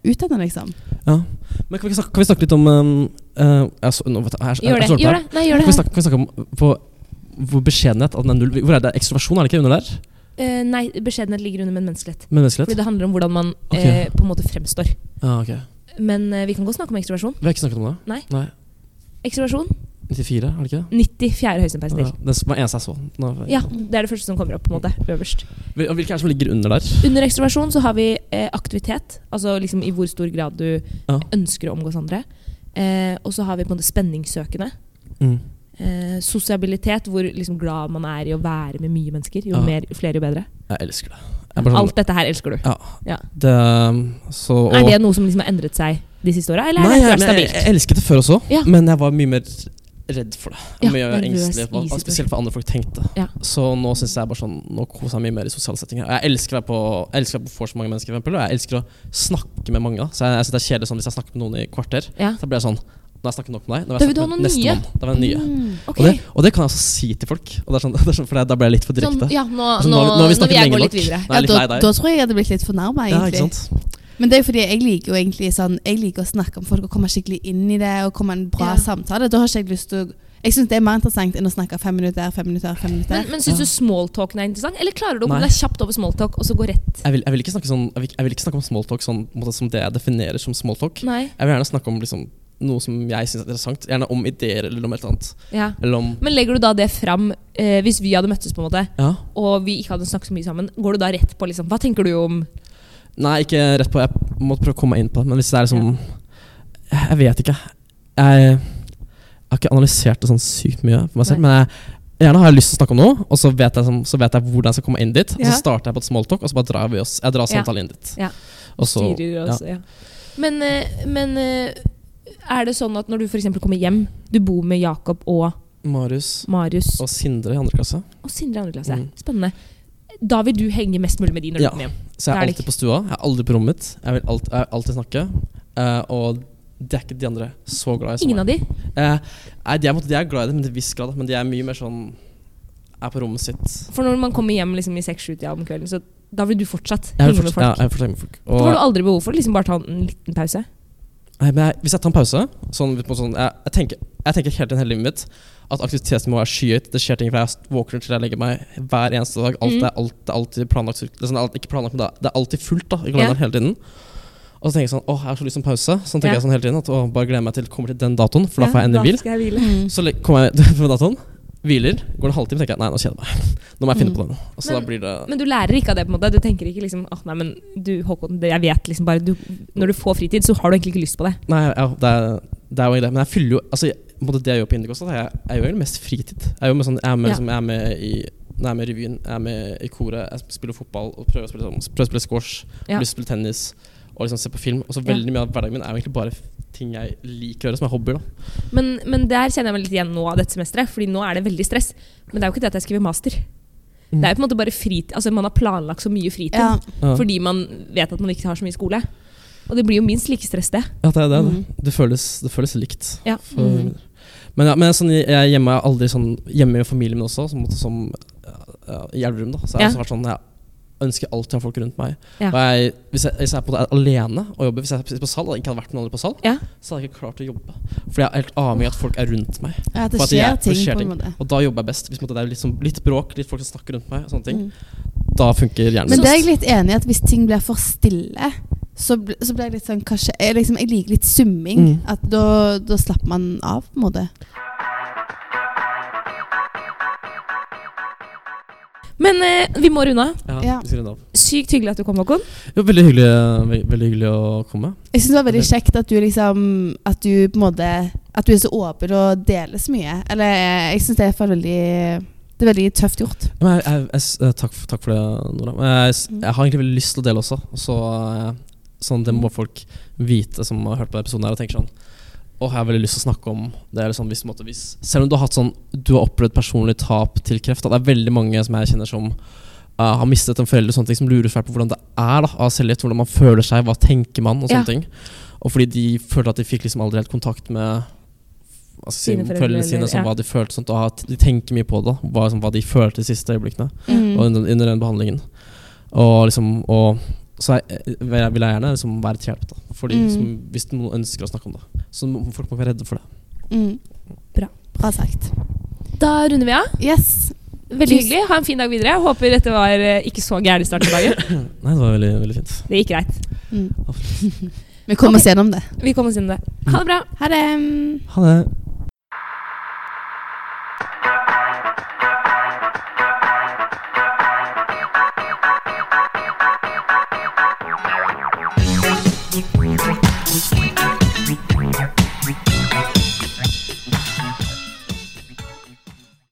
Speaker 1: utdanner, liksom.
Speaker 3: Ja. Men kan vi, ikke snakke, kan vi snakke litt om um, eh, jeg, så, nå, vet jeg, jeg, jeg, jeg,
Speaker 2: Gjør det.
Speaker 3: slår på her.
Speaker 2: Gjør det. Nei, gjør
Speaker 3: Kan vi
Speaker 2: det.
Speaker 3: snakke, kan vi snakke om på, hvor beskjedenhet at den er null Hvor er det ekstroversjon? Er det ikke under der?
Speaker 2: Eh, nei, beskjedenhet ligger under menneskelighet. Fordi
Speaker 3: Menneskelighet?
Speaker 2: det handler om hvordan man
Speaker 3: Ok.
Speaker 2: eh, på en måte fremstår.
Speaker 3: Ja, ok.
Speaker 2: Men eh, vi kan godt snakke om ekstroversjon.
Speaker 3: Vi har ikke snakket om det?
Speaker 2: Nei. Ekstroversjon
Speaker 3: 94, er det ikke det?
Speaker 2: 94. høyeste persentil.
Speaker 3: Ja, det var eneste jeg så. Nå-
Speaker 2: Ja, det er det første som kommer opp. på en måte, øverst.
Speaker 3: Hvil- Og hvilke er det som ligger under der?
Speaker 2: Under ekstroversjon så har vi eh, aktivitet, altså liksom i hvor stor grad du
Speaker 3: Ja.
Speaker 2: ønsker å omgås andre. Eh, og så har vi på en måte spenningssøkende.
Speaker 3: Mm.
Speaker 2: Eh, sosiabilitet, hvor liksom glad man er i å være med mye mennesker. Jo
Speaker 3: Ja.
Speaker 2: mer, flere, jo bedre.
Speaker 3: Jeg elsker det. Jeg er bare sånn,
Speaker 2: Alt dette her elsker du.
Speaker 3: Ja.
Speaker 2: Ja.
Speaker 3: det um, så, og,
Speaker 2: Er det noe som liksom har endret seg de siste åra, eller er
Speaker 3: Nei,
Speaker 2: det
Speaker 3: jeg,
Speaker 2: helt
Speaker 3: men jeg,
Speaker 2: stabilt?
Speaker 3: jeg elsket det før også,
Speaker 2: Ja.
Speaker 3: men jeg var mye mer redd for det.
Speaker 2: Ja,
Speaker 3: mye
Speaker 2: nervøs
Speaker 3: engstelig, for,
Speaker 2: i
Speaker 3: hva- spesielt for andre folk tenkte.
Speaker 2: Ja.
Speaker 3: Så nå syns jeg bare sånn Nå koser jeg mye mer i sosiale settinger. Og jeg elsker å være på Jeg elsker å være på vors med mange mennesker, for eksempel, og jeg elsker å snakke med mange. da. Så jeg, jeg synes det er kjedelig sånn hvis jeg snakker med noen i kvarter.
Speaker 2: Ja.
Speaker 3: Da blir jeg sånn Nå har jeg snakket nok med deg.
Speaker 2: Da
Speaker 3: Nå har
Speaker 2: vil
Speaker 3: jeg
Speaker 2: du ha
Speaker 3: snakket
Speaker 2: noen
Speaker 3: med
Speaker 2: nye.
Speaker 3: nestemann. Da vil jeg ha nye.
Speaker 1: Mm.
Speaker 2: Ok.
Speaker 3: Og, det, og det kan jeg også si til folk. Og det er sånn, [LAUGHS] det er sånn For da ble jeg litt for
Speaker 2: Sånn,
Speaker 3: direkte.
Speaker 2: ja, nå,
Speaker 3: Altså,
Speaker 2: nå,
Speaker 3: nå har vi- nå har
Speaker 2: nå
Speaker 3: vi
Speaker 2: vil
Speaker 3: snakket
Speaker 2: jeg
Speaker 3: lenge
Speaker 2: gå litt
Speaker 3: nok.
Speaker 2: videre.
Speaker 3: Nå er jeg litt
Speaker 1: ja,
Speaker 3: lei
Speaker 1: da,
Speaker 3: deg.
Speaker 1: da tror jeg jeg hadde blitt litt fornærma,
Speaker 3: Ja, ikke
Speaker 1: egentlig.
Speaker 3: sant?
Speaker 1: Men det er fordi jeg liker jo egentlig sånn Jeg liker å snakke om folk og komme skikkelig inn i det og komme en bra
Speaker 2: Ja.
Speaker 1: samtale. Da har ikke jeg lyst til å Jeg syns det er mer interessant enn å snakke fem minutter, fem minutter, fem minutter.
Speaker 2: Men, men syns du smalltalken er interessant, eller klarer du å komme
Speaker 3: Nei.
Speaker 2: deg kjapt over smalltalk og så gå rett?
Speaker 3: Jeg vil, jeg vil ikke snakke sånn Jeg vil, jeg vil ikke snakke om smalltalk sånn, på en måte, som det jeg definerer som smalltalk.
Speaker 2: Nei.
Speaker 3: Jeg vil gjerne snakke om liksom, noe som jeg syns er interessant. Gjerne om ideer eller om et eller annet.
Speaker 2: Ja.
Speaker 3: Eller om
Speaker 2: Men legger du da det fram eh, hvis vi hadde møttes, på en måte,
Speaker 3: Ja.
Speaker 2: og vi ikke hadde snakket så mye sammen? Går du da rett på liksom Hva tenker du om
Speaker 3: Nei, ikke rett på. Jeg må prøve å komme meg inn på det. Men hvis det er liksom Jeg vet ikke. Jeg har ikke analysert det sånn sykt mye for meg selv.
Speaker 2: Nei.
Speaker 3: Men jeg, gjerne har jeg lyst til å snakke om noe, og så vet jeg, sånn- så vet jeg hvordan jeg skal komme inn dit. Og
Speaker 2: Ja.
Speaker 3: så starter jeg på et smalltalk, og så bare drar vi oss Jeg drar
Speaker 2: Ja.
Speaker 3: samtalen inn dit.
Speaker 2: Ja.
Speaker 3: Og så
Speaker 2: styrer og så- ja. Men, eh, men eh, er det sånn at når du f.eks. kommer hjem Du bor med Jakob og
Speaker 3: Marius
Speaker 2: Marius
Speaker 3: og Sindre i andre klasse.
Speaker 2: og Sindre i andre klasse.
Speaker 3: Mm.
Speaker 2: Spennende. Da vil du henge mest mulig med de når du
Speaker 3: Ja.
Speaker 2: kommer hjem.
Speaker 3: Så jeg
Speaker 2: Det er
Speaker 3: er
Speaker 2: det
Speaker 3: alltid på stua. Jeg er aldri på rommet mitt. Jeg vil alt, jeg vil alltid snakke. Eh, og det er ikke de andre så glad i. som
Speaker 2: Ingen
Speaker 3: meg.
Speaker 2: av de?
Speaker 3: Eh, nei, de er, på en måte- de er glad i det, men til en viss grad. Men de er mye mer sånn Er på rommet sitt.
Speaker 2: For når man kommer hjem liksom, i seks-sju-tida om kvelden, så da vil du fortsatt
Speaker 3: Jeg
Speaker 2: henge
Speaker 3: vil
Speaker 2: med
Speaker 3: fortsatt
Speaker 2: folk.
Speaker 3: ja, jeg vil fortsatt henge med folk.
Speaker 2: Da har du
Speaker 3: Og,
Speaker 2: aldri behov for å liksom bare ta en liten pause.
Speaker 3: nei, men jeg, hvis jeg tar en pause sånn, på sånn, jeg, jeg, tenker, jeg tenker hele tiden hele livet mitt at aktivitetsnivået er skyhøyt. Det skjer ting fra jeg våkner til jeg legger meg hver eneste dag. Alt
Speaker 2: Mm.
Speaker 3: er, alt, det er alltid planlagt. Det er, sånn, alt, ikke planlagt men det er, det er alltid fullt da, i kalenderen hele tiden. Og så tenker jeg sånn Å, jeg har så lyst på pause. Så tenker
Speaker 2: Ja.
Speaker 3: jeg sånn hele tiden at å, bare gleder meg til kommer til den datoen, for da får jeg endelig hvil.
Speaker 2: skal jeg hvile.
Speaker 1: Mm.
Speaker 3: Så le- kommer jeg [LAUGHS] på datoen, hviler, går det en halvtime, tenker jeg nei, nå kjeder jeg meg. [LAUGHS] Nå må jeg finne
Speaker 1: Mm.
Speaker 3: på noe. Og så
Speaker 2: Men-
Speaker 3: da blir det
Speaker 2: Men du lærer ikke av det, på en måte. Du tenker ikke liksom åh nei, men du, Håkon, det- jeg vet liksom bare du, Når du får fritid, så har du egentlig ikke lyst på det.
Speaker 3: Nei, ja, det er, det er jo egentlig det. Men jeg fyller jo altså, jeg- på en måte Det jeg gjør på Indigost, jeg, jeg gjør egentlig mest fritid. Jeg er jo med, sånn, jeg er med,
Speaker 2: Ja.
Speaker 3: liksom, jeg er med i når jeg er med i revyen, jeg er med i koret, jeg spiller fotball og prøver å spille, sånn- prøver å spille squash,
Speaker 2: Ja.
Speaker 3: ja. lyst til å spille tennis og liksom se på film. Og så
Speaker 2: Ja.
Speaker 3: Veldig mye av hverdagen min er jo egentlig bare ting jeg liker å gjøre, som er hobbyer. da.
Speaker 2: Men, men der kjenner jeg meg litt igjen nå av dette semesteret, Fordi nå er det veldig stress. Men det er jo ikke det at jeg skriver master. Det er jo på en måte bare fritid Altså Man har planlagt så mye fritid
Speaker 1: Ja.
Speaker 3: Mm. Ja.
Speaker 2: fordi man vet at man ikke har så mye skole. Og det blir jo minst like stress, det.
Speaker 3: Ja, det er det. det.
Speaker 1: Mhm.
Speaker 3: Det, føles, det føles likt.
Speaker 2: Ja.
Speaker 3: For,
Speaker 1: Mhm.
Speaker 3: Men, ja, men sånn, jeg er hjemme jeg er aldri sånn hjemme med familien min også, som, som ja, i Elverum. da. Så jeg, har
Speaker 2: Ja.
Speaker 3: også vært sånn, jeg ønsker alltid å ha folk rundt meg.
Speaker 2: Ja.
Speaker 3: Og jeg, hvis, jeg, hvis jeg er på, er alene og jobber, hvis jeg sitter på sal og ikke hadde vært med andre på sal,
Speaker 2: Ja.
Speaker 3: så hadde jeg ikke klart å jobbe. Fordi jeg er helt avhengig av at folk er rundt meg.
Speaker 1: Ja, at det
Speaker 3: For at
Speaker 1: skjer
Speaker 3: jeg- det
Speaker 1: ting,
Speaker 3: skjer
Speaker 1: på
Speaker 3: ting.
Speaker 1: en måte.
Speaker 3: Og da jobber jeg best. Hvis på en måte det er litt, sånn, litt bråk, litt folk som snakker rundt meg, og sånne ting,
Speaker 1: Mm.
Speaker 3: da funker hjernen.
Speaker 1: Men
Speaker 3: min.
Speaker 1: det er jeg litt enig i, at hvis ting blir for stille, så, bl så blir jeg litt sånn kanskje, jeg, liksom, jeg liker litt summing.
Speaker 3: Mm.
Speaker 1: At da, da slapper man av, på en måte.
Speaker 2: Men eh, vi må runde av.
Speaker 3: ja,
Speaker 1: Ja.
Speaker 3: vi skal runde av.
Speaker 2: Sykt hyggelig at du kom, Håkon.
Speaker 3: Jo, veldig, hyggelig, eh, ve- veldig hyggelig å komme.
Speaker 1: Jeg syns det var veldig kjekt at du liksom At du på en måte At du er så åpen og deler så mye. Eller jeg syns det er for veldig Det er veldig tøft gjort.
Speaker 3: Ja, Men jeg, jeg, jeg, s- eh, takk, for, takk for det, Nora. Men Jeg, s-
Speaker 1: Mm.
Speaker 3: jeg har egentlig veldig lyst til å dele også. Så, eh, sånn, det må folk vite som har hørt på denne episoden her og tenker sånn Åh, jeg har veldig lyst til å snakke om det. Eller sånn, hvis, på en måte, hvis, selv om du har, hatt sånn, du har opplevd personlig tap til kreft. Da, det er veldig mange som jeg kjenner som eh, har mistet en forelder, og sånne ting, som lurer seg på hvordan det er da, av selvgift. Hvordan man føler seg, hva tenker man, og
Speaker 2: Ja.
Speaker 3: sånne ting. Og fordi de følte at de fikk liksom aldri helt kontakt med hva skal
Speaker 2: Sine
Speaker 3: jeg si,
Speaker 2: foreldre,
Speaker 3: foreldrene sine,
Speaker 2: eller- ja.
Speaker 3: sånn, hva de følte, sånt, og at de tenker mye på det. da, Hva, sånn, hva de følte de siste øyeblikkene
Speaker 1: Mm.
Speaker 3: og under, under den behandlingen. Og liksom og, Så jeg, jeg vil jeg gjerne liksom være til hjelp, da. Fordi
Speaker 1: Mm.
Speaker 3: liksom, Hvis noen ønsker å snakke om det. Så må, folk må ikke være redde for det. [CLEARS THROAT]
Speaker 1: Mm.
Speaker 2: Bra.
Speaker 1: Bra sagt.
Speaker 2: Da runder vi av.
Speaker 1: Yes.
Speaker 2: Veldig
Speaker 1: Tusen-
Speaker 2: hyggelig. Ha en fin dag videre. Håper dette var eh, ikke så gæren start på dagen.
Speaker 3: Nei, det var veldig, veldig fint.
Speaker 2: Det gikk greit.
Speaker 1: Mm. [LAUGHS] Vi kommer oss gjennom det.
Speaker 2: Vi kommer oss gjennom det. Ha det bra.
Speaker 1: Ha det.
Speaker 3: Ha det.